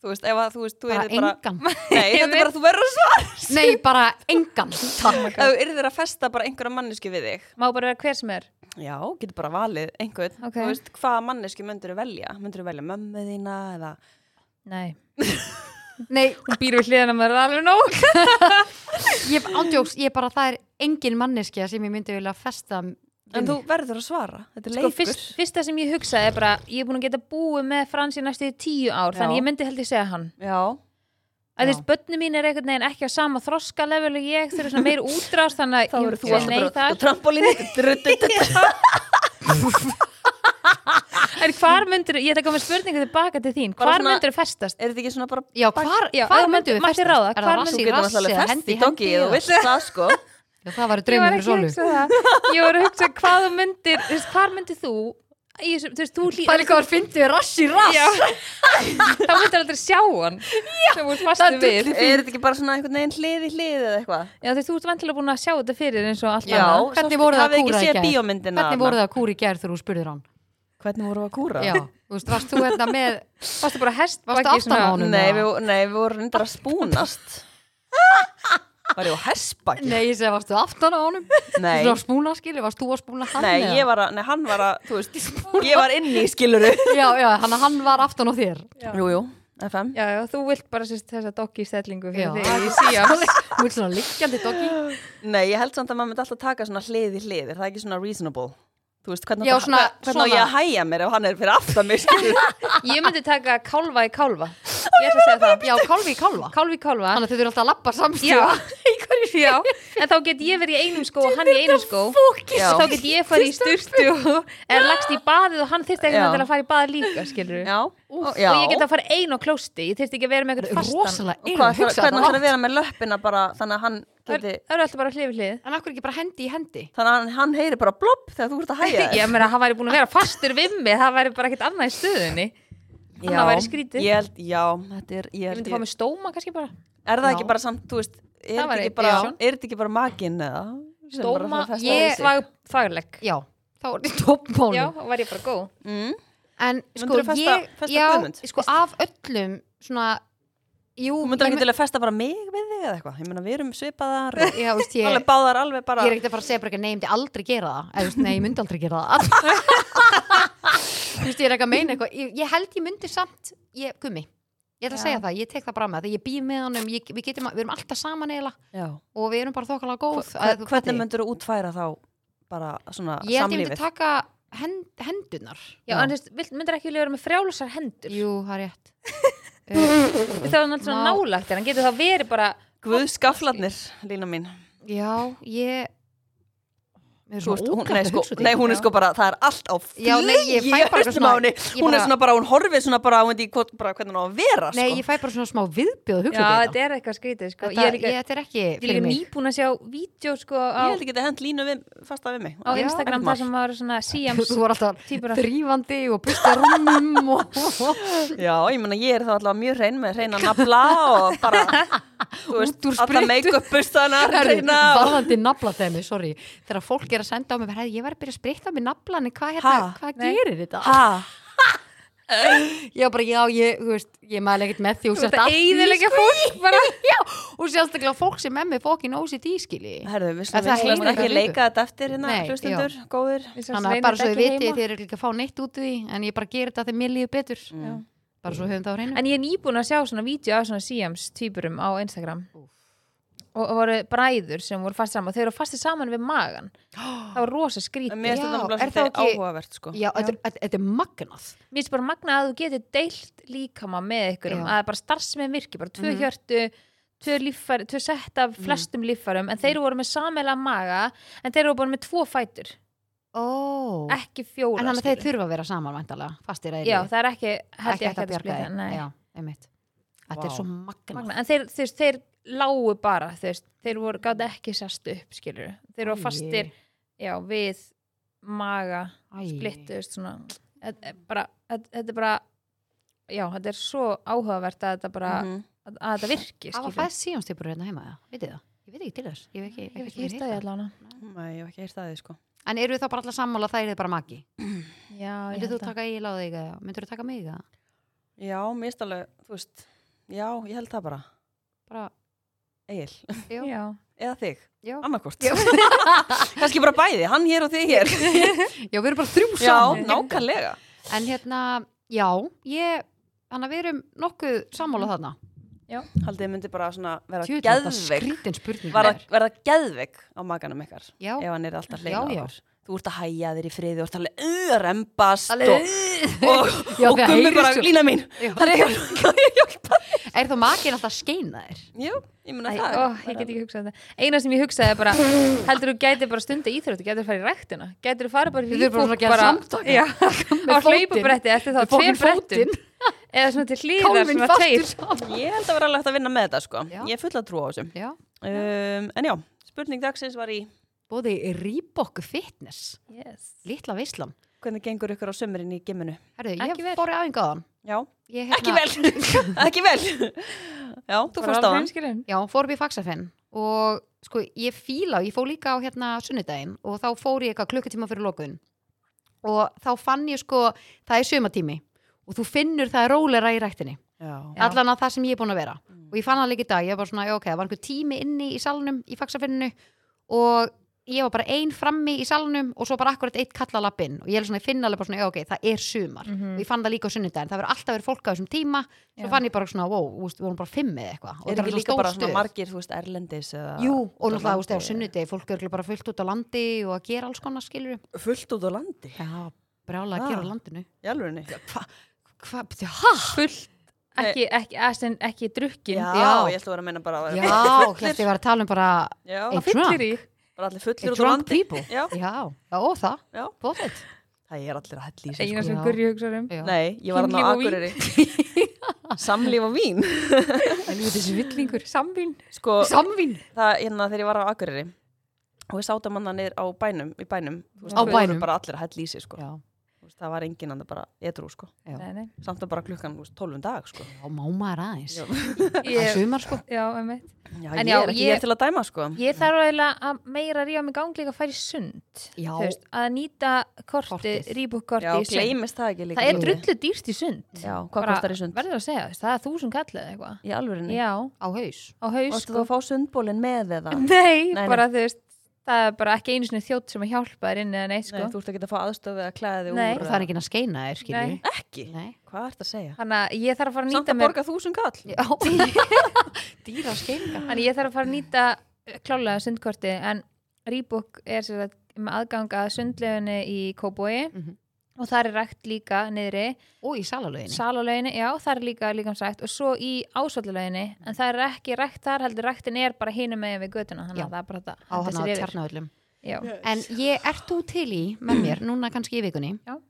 Speaker 2: þú veist, ef að þú veist, þú
Speaker 1: Bara
Speaker 2: eruð bara
Speaker 1: engan.
Speaker 2: *laughs* nei, þetta er bara, þú verður að svara
Speaker 1: Nei, bara engan. Takk.
Speaker 2: ef þú eruð að festa bara einhverja mannesku við þig
Speaker 3: Má bara vera hver sem er.
Speaker 2: Já, getur bara valið einhvern.
Speaker 3: Ok.
Speaker 2: Þú veist, hvaða manneski myndur þú velja? Myndur þú velja mömmu þína eða...
Speaker 3: Nei.
Speaker 1: Nei,
Speaker 3: Hún býr við hliðina maður er alveg nóg.
Speaker 1: ég ándjóks, ég bara, það er engin manneskja sem ég myndi vilja festa
Speaker 2: En þú verður að svara. Þetta er
Speaker 3: Sko,
Speaker 2: leikur.
Speaker 3: fyrst, fyrsta sem ég hugsaði er bara, ég er búin að geta búið með Frans í næstu í tíu ár,
Speaker 2: Já.
Speaker 3: þannig ég myndi held ég segja hann.
Speaker 2: Já.
Speaker 3: Að
Speaker 1: Já.
Speaker 3: þú veist, börnum mín er einhvern veginn ekki á sama þroska level og ég, þau eru svona meir útrás, þannig
Speaker 2: Þá
Speaker 3: að
Speaker 2: verður
Speaker 3: ég
Speaker 2: þú
Speaker 3: segi
Speaker 2: alltaf
Speaker 3: nei
Speaker 2: bara á
Speaker 3: það.
Speaker 2: trampolínu.
Speaker 3: En hvar myndir, ég ætla að koma með spurningu tilbaka til þín,
Speaker 2: Bara
Speaker 3: hvar
Speaker 2: svona-
Speaker 3: myndir festast?
Speaker 2: *laughs* Er þetta ekki svona bara
Speaker 1: Já, hvar,
Speaker 3: Já,
Speaker 1: hvar
Speaker 3: ef þú
Speaker 1: myndum við
Speaker 3: mættir
Speaker 1: festast?
Speaker 3: ráða,
Speaker 1: Er það
Speaker 3: hvar
Speaker 1: rassi
Speaker 2: Þú
Speaker 1: í
Speaker 2: getur
Speaker 1: rassi
Speaker 2: alltaf
Speaker 1: eða
Speaker 2: fest
Speaker 1: hendi
Speaker 2: í
Speaker 1: í
Speaker 2: doggi
Speaker 1: hendi
Speaker 2: eða þú
Speaker 1: eða-
Speaker 2: vilt það sko *laughs*
Speaker 1: Já, það var
Speaker 3: Ég
Speaker 1: draumur
Speaker 3: var
Speaker 1: fyrir
Speaker 3: ekki að
Speaker 1: Sólu
Speaker 3: hugsa það. um *laughs* Ég var að hugsa hvað þú myndir, þú veist, hvar myndir þú, í þessu- þú veist, þú hlýr,
Speaker 1: Pæli hvað var fyndið rass í rass
Speaker 3: Já. þá myndir aldrei sjá hann sem þú ert
Speaker 1: það er
Speaker 3: fastu við.
Speaker 2: Er þetta ekki bara svona einhvern veginn hlið í hlið eða eitthvað?
Speaker 3: Já, þú veist, þú ert vantilega búin að sjá þetta fyrir eins og allt
Speaker 1: Já.
Speaker 3: annað.
Speaker 1: Hvernig voru það að
Speaker 2: Hafið
Speaker 1: kúra í
Speaker 2: ekki séð
Speaker 1: gær?
Speaker 2: bíómyndina?
Speaker 1: Hvernig voru það að kúri gerð þegar þú spurðir hann?
Speaker 2: Hvernig voru að kúra?
Speaker 1: Já, þú veist, varst þú hérna með
Speaker 2: *laughs*
Speaker 3: Varstu bara hest,
Speaker 1: Varstu aftan á honum?
Speaker 2: Nei, við, nei, við vorum reyndar að spúnast *laughs* Var ég á hessbaki?
Speaker 1: Nei, ég segi, varst þú aftan á honum?
Speaker 2: Nei,
Speaker 1: Þú varst að spúna skilur, varst þú að spúna hann?
Speaker 2: nei,
Speaker 1: eða?
Speaker 2: ég var að, nei, hann var að, þú
Speaker 1: *laughs*
Speaker 2: veist, ég var inni í skiluru
Speaker 1: Já, já, hann, hann var aftan á þér
Speaker 2: Jú, jú, FM
Speaker 3: Já, já, þú vilt bara sérst þessa doggi stellingu
Speaker 1: Já,
Speaker 3: fyrir þig.
Speaker 1: ég sé að *laughs* Þú ert svona liggjandi doggi
Speaker 2: Nei, ég held samt að maður myndi alltaf taka svona hlið í hlið Er það ekki svona reasonable? Þú veist, hvernig,
Speaker 1: Já,
Speaker 2: átt að-
Speaker 1: svona-
Speaker 2: hvernig á ég að hæja mér ef hann er fyrir aftan mig skilur
Speaker 1: *laughs*
Speaker 3: Ég myndi taka kálfa í kálfa. Ég ætla að segja það.
Speaker 1: Já, kálfi í kálfa
Speaker 3: Kálfa í kálfa.
Speaker 1: Þannig að þau eru alltaf að labba
Speaker 3: Já,
Speaker 1: samstíða
Speaker 3: í hverju Já, en þá get ég verið í einum skó og hann í einum skó
Speaker 1: Fókis
Speaker 2: Já.
Speaker 3: þá get ég farið í styrtu en lagst í baðið og hann þyrst ekki
Speaker 2: Já.
Speaker 3: til að fara í baðið líka, skilur
Speaker 2: Já, og, já.
Speaker 3: og ég get að fara ein á klósti ég þyrst ekki að vera með eitthvað fastan
Speaker 1: Rosalega
Speaker 2: Og
Speaker 1: erum
Speaker 2: hvað,
Speaker 1: hugsa
Speaker 2: hvernig ætlar
Speaker 1: þetta
Speaker 2: að vera með löppina bara þannig að hann
Speaker 3: það
Speaker 2: geti,
Speaker 3: eru alltaf bara hlið við hlið
Speaker 1: En akkur ekki bara hendi í hendi
Speaker 2: þannig að hann, hann heyri bara blopp þegar þú ert
Speaker 1: *laughs*
Speaker 2: að hæja
Speaker 3: ég meira að hann væri búin að vera fastur við mig það væri bara ekkert annað í stöðunni
Speaker 2: Já,
Speaker 3: annað væri skrítið.
Speaker 2: Ég held, já, þetta er, ég
Speaker 3: ég
Speaker 2: held,
Speaker 3: myndi fá mig stóma kannski bara
Speaker 2: er það
Speaker 1: Já.
Speaker 2: ekki bara samt, þú veist, er
Speaker 3: Það
Speaker 2: þetta
Speaker 3: væri-
Speaker 2: ekki bara,
Speaker 3: já.
Speaker 2: er þetta ekki bara maginn eða? sem bara
Speaker 3: stóma,
Speaker 2: þarf að festa
Speaker 3: ég
Speaker 2: í sig?
Speaker 3: svag þagleg
Speaker 1: Já, þá er þetta
Speaker 3: já,
Speaker 1: toppmálum
Speaker 3: og var ég bara góð
Speaker 2: Mm.
Speaker 1: En sko,
Speaker 2: Myndirðu festa-
Speaker 1: ég,
Speaker 2: festa Guðmund?
Speaker 1: já, sko, af öllum svona, jú,
Speaker 2: Þú myndir ekki til að festa bara mig við þig eða eitthvað, ég meina við erum svipaðar og
Speaker 1: já, veist, ég,
Speaker 2: alveg báðar alveg bara,
Speaker 1: ég er ekkert að fara að segja bara ekki, nei, ég myndi aldrei gera það, eða, þú veist, nei, ég myndi aldrei gera það, *laughs* þú veist, ég er ekki að meina eitthvað, ég, ég held ég myndi samt, ég, gummi, ég ætla að
Speaker 3: Já.
Speaker 1: segja það, ég tek það bara með það, ég býð með honum, ég, við getum, að- við erum alltaf saman eiginlega
Speaker 2: já,
Speaker 1: og við erum bara þokkalega góð, eða
Speaker 2: Hver,
Speaker 1: þú
Speaker 2: hvernig
Speaker 1: fattir.
Speaker 2: myndir þú útfæra þá bara svona
Speaker 1: ég held ég myndi
Speaker 2: samlífið?
Speaker 1: taka hend, hendunar,
Speaker 3: já, en þú veist, vilt- myndir ekki vilja vera með frjálusar hendur
Speaker 1: jú, það er rétt,
Speaker 2: *laughs*
Speaker 1: uh,
Speaker 3: þá er hann alltaf svona
Speaker 1: Ná.
Speaker 3: nálagt en hann getur þá verið bara
Speaker 2: Guð skaflarnir, Lína mín.
Speaker 1: já, ég, Mér er
Speaker 2: Þú
Speaker 1: svona
Speaker 2: veist, hún,
Speaker 1: ókvæmt
Speaker 2: nei,
Speaker 1: að
Speaker 2: sko,
Speaker 1: hugsa út í
Speaker 2: nei,
Speaker 1: þetta.
Speaker 2: hún er sko bara, það er allt á
Speaker 1: Já, nei, ég fæ
Speaker 2: flýi í
Speaker 1: bara eitthvað
Speaker 2: hausnum á
Speaker 1: svona-
Speaker 2: henni.
Speaker 1: ég
Speaker 2: Hún er
Speaker 1: bara-
Speaker 2: svona bara, hún horfið svona bara, hún veit ekki hvort- bara hvernig hún á að vera,
Speaker 1: Nei,
Speaker 2: sko.
Speaker 1: ég fæ bara svona smá viðbjóð að
Speaker 3: já,
Speaker 1: hugsa út í
Speaker 3: þetta er eitthvað skrítið sko.
Speaker 1: Þetta,
Speaker 3: ég er
Speaker 1: ég,
Speaker 3: líka,
Speaker 1: þetta er ekki
Speaker 3: ég er
Speaker 1: fyrir
Speaker 3: líka
Speaker 1: mig
Speaker 3: nýbúin að sjá vídeo sko,
Speaker 2: Ég
Speaker 3: á
Speaker 2: held ekki að hent línu við, fasta við mig.
Speaker 3: á
Speaker 1: Já,
Speaker 3: Instagram
Speaker 2: ekkert
Speaker 3: þar
Speaker 2: mál.
Speaker 3: sem maður er *laughs* svona síams
Speaker 1: Þú var alltaf
Speaker 3: Típur af-
Speaker 1: þrýfandi og busta rúmum og,
Speaker 2: Já, ég meina, ég er þá allavega mjög hrein með hreina nafla og
Speaker 1: *laughs*
Speaker 2: bara, þú veist,
Speaker 1: úr
Speaker 2: alla
Speaker 1: sprittu.
Speaker 2: make-up bustana,
Speaker 1: Herðu,
Speaker 2: hreina og...
Speaker 1: varðandi nafla þeimi, sorry þegar fólk er að senda á mig, herðu, ég var að byrja að spritta á mig naflan, en hvað hérna,
Speaker 2: Ha?
Speaker 1: hvað
Speaker 3: Nei.
Speaker 1: gerir þetta?
Speaker 2: Ha?
Speaker 1: Já, bara, já, ég, þú veist, ég mæla ekkert með því og
Speaker 3: Þú
Speaker 1: sérst
Speaker 3: ert að
Speaker 1: allt í,
Speaker 3: eyðilegja fólk bara
Speaker 1: já, og sérstaklega fólk sem með mig fókin ósitt í, skilji
Speaker 2: Herðu, við
Speaker 1: En það
Speaker 2: slum við
Speaker 1: heyrir
Speaker 2: slum ekki
Speaker 1: eitthvað
Speaker 2: leika þetta eftir hérna,
Speaker 1: Nei, já.
Speaker 2: hlustundur, góðir.
Speaker 1: þannig að bara svo ég viti, þið eru ekki að fá neitt út úr því en ég bara gerir þetta þegar mér líður betur
Speaker 2: Mm.
Speaker 1: bara svo höfum það á hreinu
Speaker 3: En ég er nýbúin að sjá svona vídeo af svona síams týpurum á Instagram og og voru bræður sem voru fastið saman og þeir eru fastið saman við
Speaker 1: *gasps*
Speaker 3: magan það var rosa skrítið
Speaker 2: Mér finnst
Speaker 1: Já,
Speaker 2: þetta
Speaker 1: er
Speaker 2: náttúrulega
Speaker 1: það
Speaker 2: svolítið
Speaker 1: ekki-
Speaker 2: áhugavert, sko.
Speaker 1: Já, þetta er- þetta þetta er magnað
Speaker 3: Mér finnst bara magna að þú getur deilt líkama með ykkur
Speaker 1: Já.
Speaker 3: að það er bara starfsmenn virki, bara tvö
Speaker 1: Mhm.
Speaker 3: hjörtu tvö, líffæri, tvö sett af flestum líffarum en
Speaker 1: Mhm.
Speaker 3: þeir voru með sameila maga en þeir voru bara með tvo fætur
Speaker 1: oh.
Speaker 3: ekki fjóra
Speaker 1: En þannig að þeir
Speaker 3: skilur.
Speaker 1: þurfa að vera saman væntalega, fastir eða
Speaker 3: Já, það er ekki, held
Speaker 1: ekki
Speaker 3: ég
Speaker 1: hægt
Speaker 3: ekki
Speaker 1: að
Speaker 3: að
Speaker 1: bjarga
Speaker 3: spila
Speaker 1: þeim.
Speaker 3: það
Speaker 1: Já, einmitt. Þetta er
Speaker 2: Vá.
Speaker 1: svo magna.
Speaker 3: Magna. En þeir, þeir, þeir lágu bara þeir, þeir voru gátt ekki sest upp skilur. þeir voru
Speaker 1: Æi.
Speaker 3: fastir já, við maga
Speaker 1: Æi.
Speaker 3: splittuðust svona Þetta er bara, e, þetta þetta er bara já, þetta er svo áhugavert að þetta bara
Speaker 2: Mhm.
Speaker 3: að, að þetta virki
Speaker 1: Það var
Speaker 3: skilur.
Speaker 1: fæðið síjónstipur hérna heima, eða? Vitið það? Ég veit ekki til þess. Ég veit ekki,
Speaker 3: ég hef
Speaker 1: sem
Speaker 3: ekki hýrt að ég
Speaker 1: heyrt það.
Speaker 3: allavega
Speaker 2: Nei, Mm-hmm. ég hef ekki heyrt það, sko.
Speaker 1: En eru þá bara alltaf sammála að það er bara magi?
Speaker 3: já, ég
Speaker 1: Myndir þú
Speaker 3: held að
Speaker 1: taka ég láðið þig eða? Myndir þú taka mig eða?
Speaker 2: Já, mér finnst alveg, þú veist, já, ég held það bara.
Speaker 1: Bara,
Speaker 2: Egil, *laughs*
Speaker 1: já,
Speaker 3: já,
Speaker 2: eða þig,
Speaker 1: já.
Speaker 2: annarkort.
Speaker 1: *laughs*
Speaker 2: *laughs*
Speaker 1: Já.
Speaker 2: Kanski bara bæði, hann hér og þig hér.
Speaker 1: *laughs* Já, við erum bara þrjú
Speaker 2: Já,
Speaker 1: saman.
Speaker 2: nákvæmlega.
Speaker 1: En hérna, já, ég, þannig að við erum nokkuð sammála þarna.
Speaker 2: Haldið þið myndi bara svona vera
Speaker 1: Tjöfull, þetta
Speaker 2: geðveik,
Speaker 1: skrítin spurning.
Speaker 2: verða,
Speaker 1: maður.
Speaker 2: verða geðveik á maganum ykkar,
Speaker 1: Já,
Speaker 2: ef hann er alltaf
Speaker 1: Já,
Speaker 2: hleina
Speaker 1: já.
Speaker 2: okkur. Þú ert að hæja þér í friði, þú ert alveg uh, að rembast
Speaker 1: Alveg,
Speaker 2: og, og,
Speaker 1: *laughs* Já, það
Speaker 2: og gummi
Speaker 1: heyrir
Speaker 2: bara,
Speaker 1: svo-
Speaker 2: lína mín,
Speaker 1: Já. *laughs*
Speaker 2: það er hjálpa, hjálpa.
Speaker 1: Er þá makin alltaf skeina þér?
Speaker 2: Jú, ég meina
Speaker 3: Æ,
Speaker 2: það
Speaker 3: ó, ég get ekki hugsað þetta eina sem ég hugsaði er bara heldur þú gæti bara stunda íþróttu, gætir þú farið í ræktina gætir þú farið bara
Speaker 1: Þið
Speaker 3: í
Speaker 1: eru bara svona að gera samtök.
Speaker 3: já, á
Speaker 1: Með fótinn.
Speaker 3: hlaupabretti eftir þá
Speaker 1: Með fótinn,
Speaker 3: tveir brettum
Speaker 1: fótinn.
Speaker 3: eða svona til hlýðar
Speaker 1: Kálfinn
Speaker 3: svona tveir
Speaker 1: fastur.
Speaker 2: Ég held að vera alveg hægt að vinna með þetta sko
Speaker 1: Já.
Speaker 2: Ég er full að trúa á þessu
Speaker 1: Já,
Speaker 2: um, En já, spurning dagsins var í
Speaker 1: bóði Reebok Fitness,
Speaker 3: yes.
Speaker 1: litla veislan.
Speaker 2: Hvernig gengur ykkur á sömurinn í geminu?
Speaker 1: Herðu,
Speaker 3: Ekki
Speaker 1: ég
Speaker 3: vel.
Speaker 1: fór í æfingu á hann.
Speaker 2: Já,
Speaker 1: *laughs* Ég, hérna,
Speaker 2: ekki vel Ekki vel Já, þú fórst á hann
Speaker 3: hann
Speaker 1: Já, fór upp í Faxafinn og sko ég fíla, ég fór líka á hérna sunnudaginn og þá fór ég eitthvað klukkutíma fyrir lokun og þá fann ég sko, það er sömatími og þú finnur það er rólera í ræktinni
Speaker 2: Já,
Speaker 3: Já.
Speaker 1: allan að það sem ég er búin að vera og ég fann það líka í dag, ég var bara svona, já ok, það var einhver tími inni í salnum í Faxafinninu og ég var bara ein frammi í salnum og svo bara akkurat eitt kalla lappinn og ég er svona, ég finn alveg bara svona, já ok, það er sumar
Speaker 3: Mhm.
Speaker 1: og ég fann það líka á sunnudaginn, það verður alltaf verið fólk á þessum tíma svo
Speaker 3: Já.
Speaker 1: fann ég bara svona, wow, þú veist, við vorum bara fimm eða eitthvað og
Speaker 2: Er
Speaker 1: þetta
Speaker 2: ekki
Speaker 1: var
Speaker 2: líka
Speaker 1: stór
Speaker 2: bara svona
Speaker 1: stöð.
Speaker 2: margir, þú veist, erlendis eða
Speaker 1: Jú, og náttúrulega, þú veist, á
Speaker 2: landi?
Speaker 1: sunnudegi, fólk er bara fullt út á landi og að gera alls konar skilur.
Speaker 2: Fullt út á landi
Speaker 1: Já, brjálega að gera
Speaker 2: Ah.
Speaker 1: á landinu.
Speaker 2: Jálfurinni Já,
Speaker 1: Hvað, þú, hæ?
Speaker 3: fullt ekki, ekki, ekki, ekki drukkin
Speaker 1: Já.
Speaker 2: ég ætla að vera að meina bara að
Speaker 1: Já,
Speaker 2: vera
Speaker 1: hérna ég var að tala um bara
Speaker 2: Já,
Speaker 1: Ein-
Speaker 3: fyllir í
Speaker 2: bara allir
Speaker 1: a
Speaker 2: fullir út á
Speaker 1: drunk
Speaker 2: landi
Speaker 1: people.
Speaker 2: Já,
Speaker 1: Já, já, og það,
Speaker 2: já
Speaker 1: bóðið.
Speaker 2: Það er allir að hella í sig
Speaker 3: eina
Speaker 1: sko.
Speaker 3: sem
Speaker 1: Já.
Speaker 3: gurri hugsaður um
Speaker 1: Já,
Speaker 2: Nei, ég var hann á
Speaker 3: Kynlíf og vín.
Speaker 2: Akureyri
Speaker 3: *laughs*
Speaker 2: Samlíf og vín
Speaker 1: en ég þessi villingur.
Speaker 3: samvín
Speaker 2: Sko,
Speaker 1: Samvín
Speaker 2: það hérna þegar ég var á Akureyri og við sátum hann niður á bænum í bænum, þú
Speaker 3: Á
Speaker 2: við
Speaker 1: bænum.
Speaker 2: vorum bara allir að hella í sig sko.
Speaker 1: Já,
Speaker 2: Þú veist, það var enginn annar bara edru sko.
Speaker 1: Já.
Speaker 3: Nei, nei.
Speaker 2: samt að bara klukkan þú veist, 12 um dag sko.
Speaker 1: já máma er aðeins.
Speaker 2: Já.
Speaker 1: Það er
Speaker 3: ég,
Speaker 1: sumar, sko.
Speaker 3: já, einmitt.
Speaker 2: já,
Speaker 3: En
Speaker 2: ég
Speaker 3: já,
Speaker 2: er ekki
Speaker 3: ég-
Speaker 2: ég... til að dæma sko.
Speaker 3: ég þarf eiginlega að meira ríða mig gangi líka að fara í sund
Speaker 1: Já,
Speaker 3: Þú veist, að nýta korti,
Speaker 1: Kortið.
Speaker 2: já,
Speaker 3: rýbukkorti í sund
Speaker 2: gleymist það ekki líka
Speaker 3: það er
Speaker 2: Jú.
Speaker 3: drullu dýrst í sund
Speaker 2: já, hvað kostar í sund?
Speaker 3: verður að segja, þú veist, það er þúsund kallið eitthvað
Speaker 2: í alvörinni,
Speaker 3: já,
Speaker 1: á haus.
Speaker 3: á haus
Speaker 2: varstu þú
Speaker 3: sko.
Speaker 2: að fá sundbólin með eða?
Speaker 3: *laughs* nei,
Speaker 2: Nei,
Speaker 3: bara þú veist það er bara ekki einu sinni þjótt sem að hjálpa þér inn eða
Speaker 2: Nei,
Speaker 3: neitt sko.
Speaker 2: þú ert ekki að fá aðstöðu eða klæði þig
Speaker 3: Nei.
Speaker 2: úr
Speaker 1: Og það er enginn að skeina þér, skiljið.
Speaker 3: Nei.
Speaker 2: ekki,
Speaker 1: Nei.
Speaker 2: hvað ert að segja?
Speaker 3: þannig að ég þarf að fara að
Speaker 2: samt
Speaker 3: nýta
Speaker 2: að
Speaker 3: mér
Speaker 2: borga þúsund kall
Speaker 1: Já, dýra skeininga.
Speaker 3: *laughs* þannig að ég þarf að fara að nýta eh, klálega sundkorti en rýbuk er sér að með aðganga sundlegunni í Kóboi
Speaker 1: Mhm.
Speaker 3: og þar er rækt líka niðri
Speaker 1: Og í salalöginni.
Speaker 3: salalöginni, já, það er líka líkamsrækt og svo í ásvallulöginni en það er ekki rækt þar, heldur ræktin er bara hinum megin við götuna, þannig
Speaker 1: Já.
Speaker 3: að það er bara þetta
Speaker 1: Á hann að
Speaker 3: yfir.
Speaker 1: tjarnavöllum.
Speaker 3: Já.
Speaker 1: En ég ert þú til í með
Speaker 3: *clears throat*
Speaker 1: mér, núna kannski í vikunni,
Speaker 3: Já.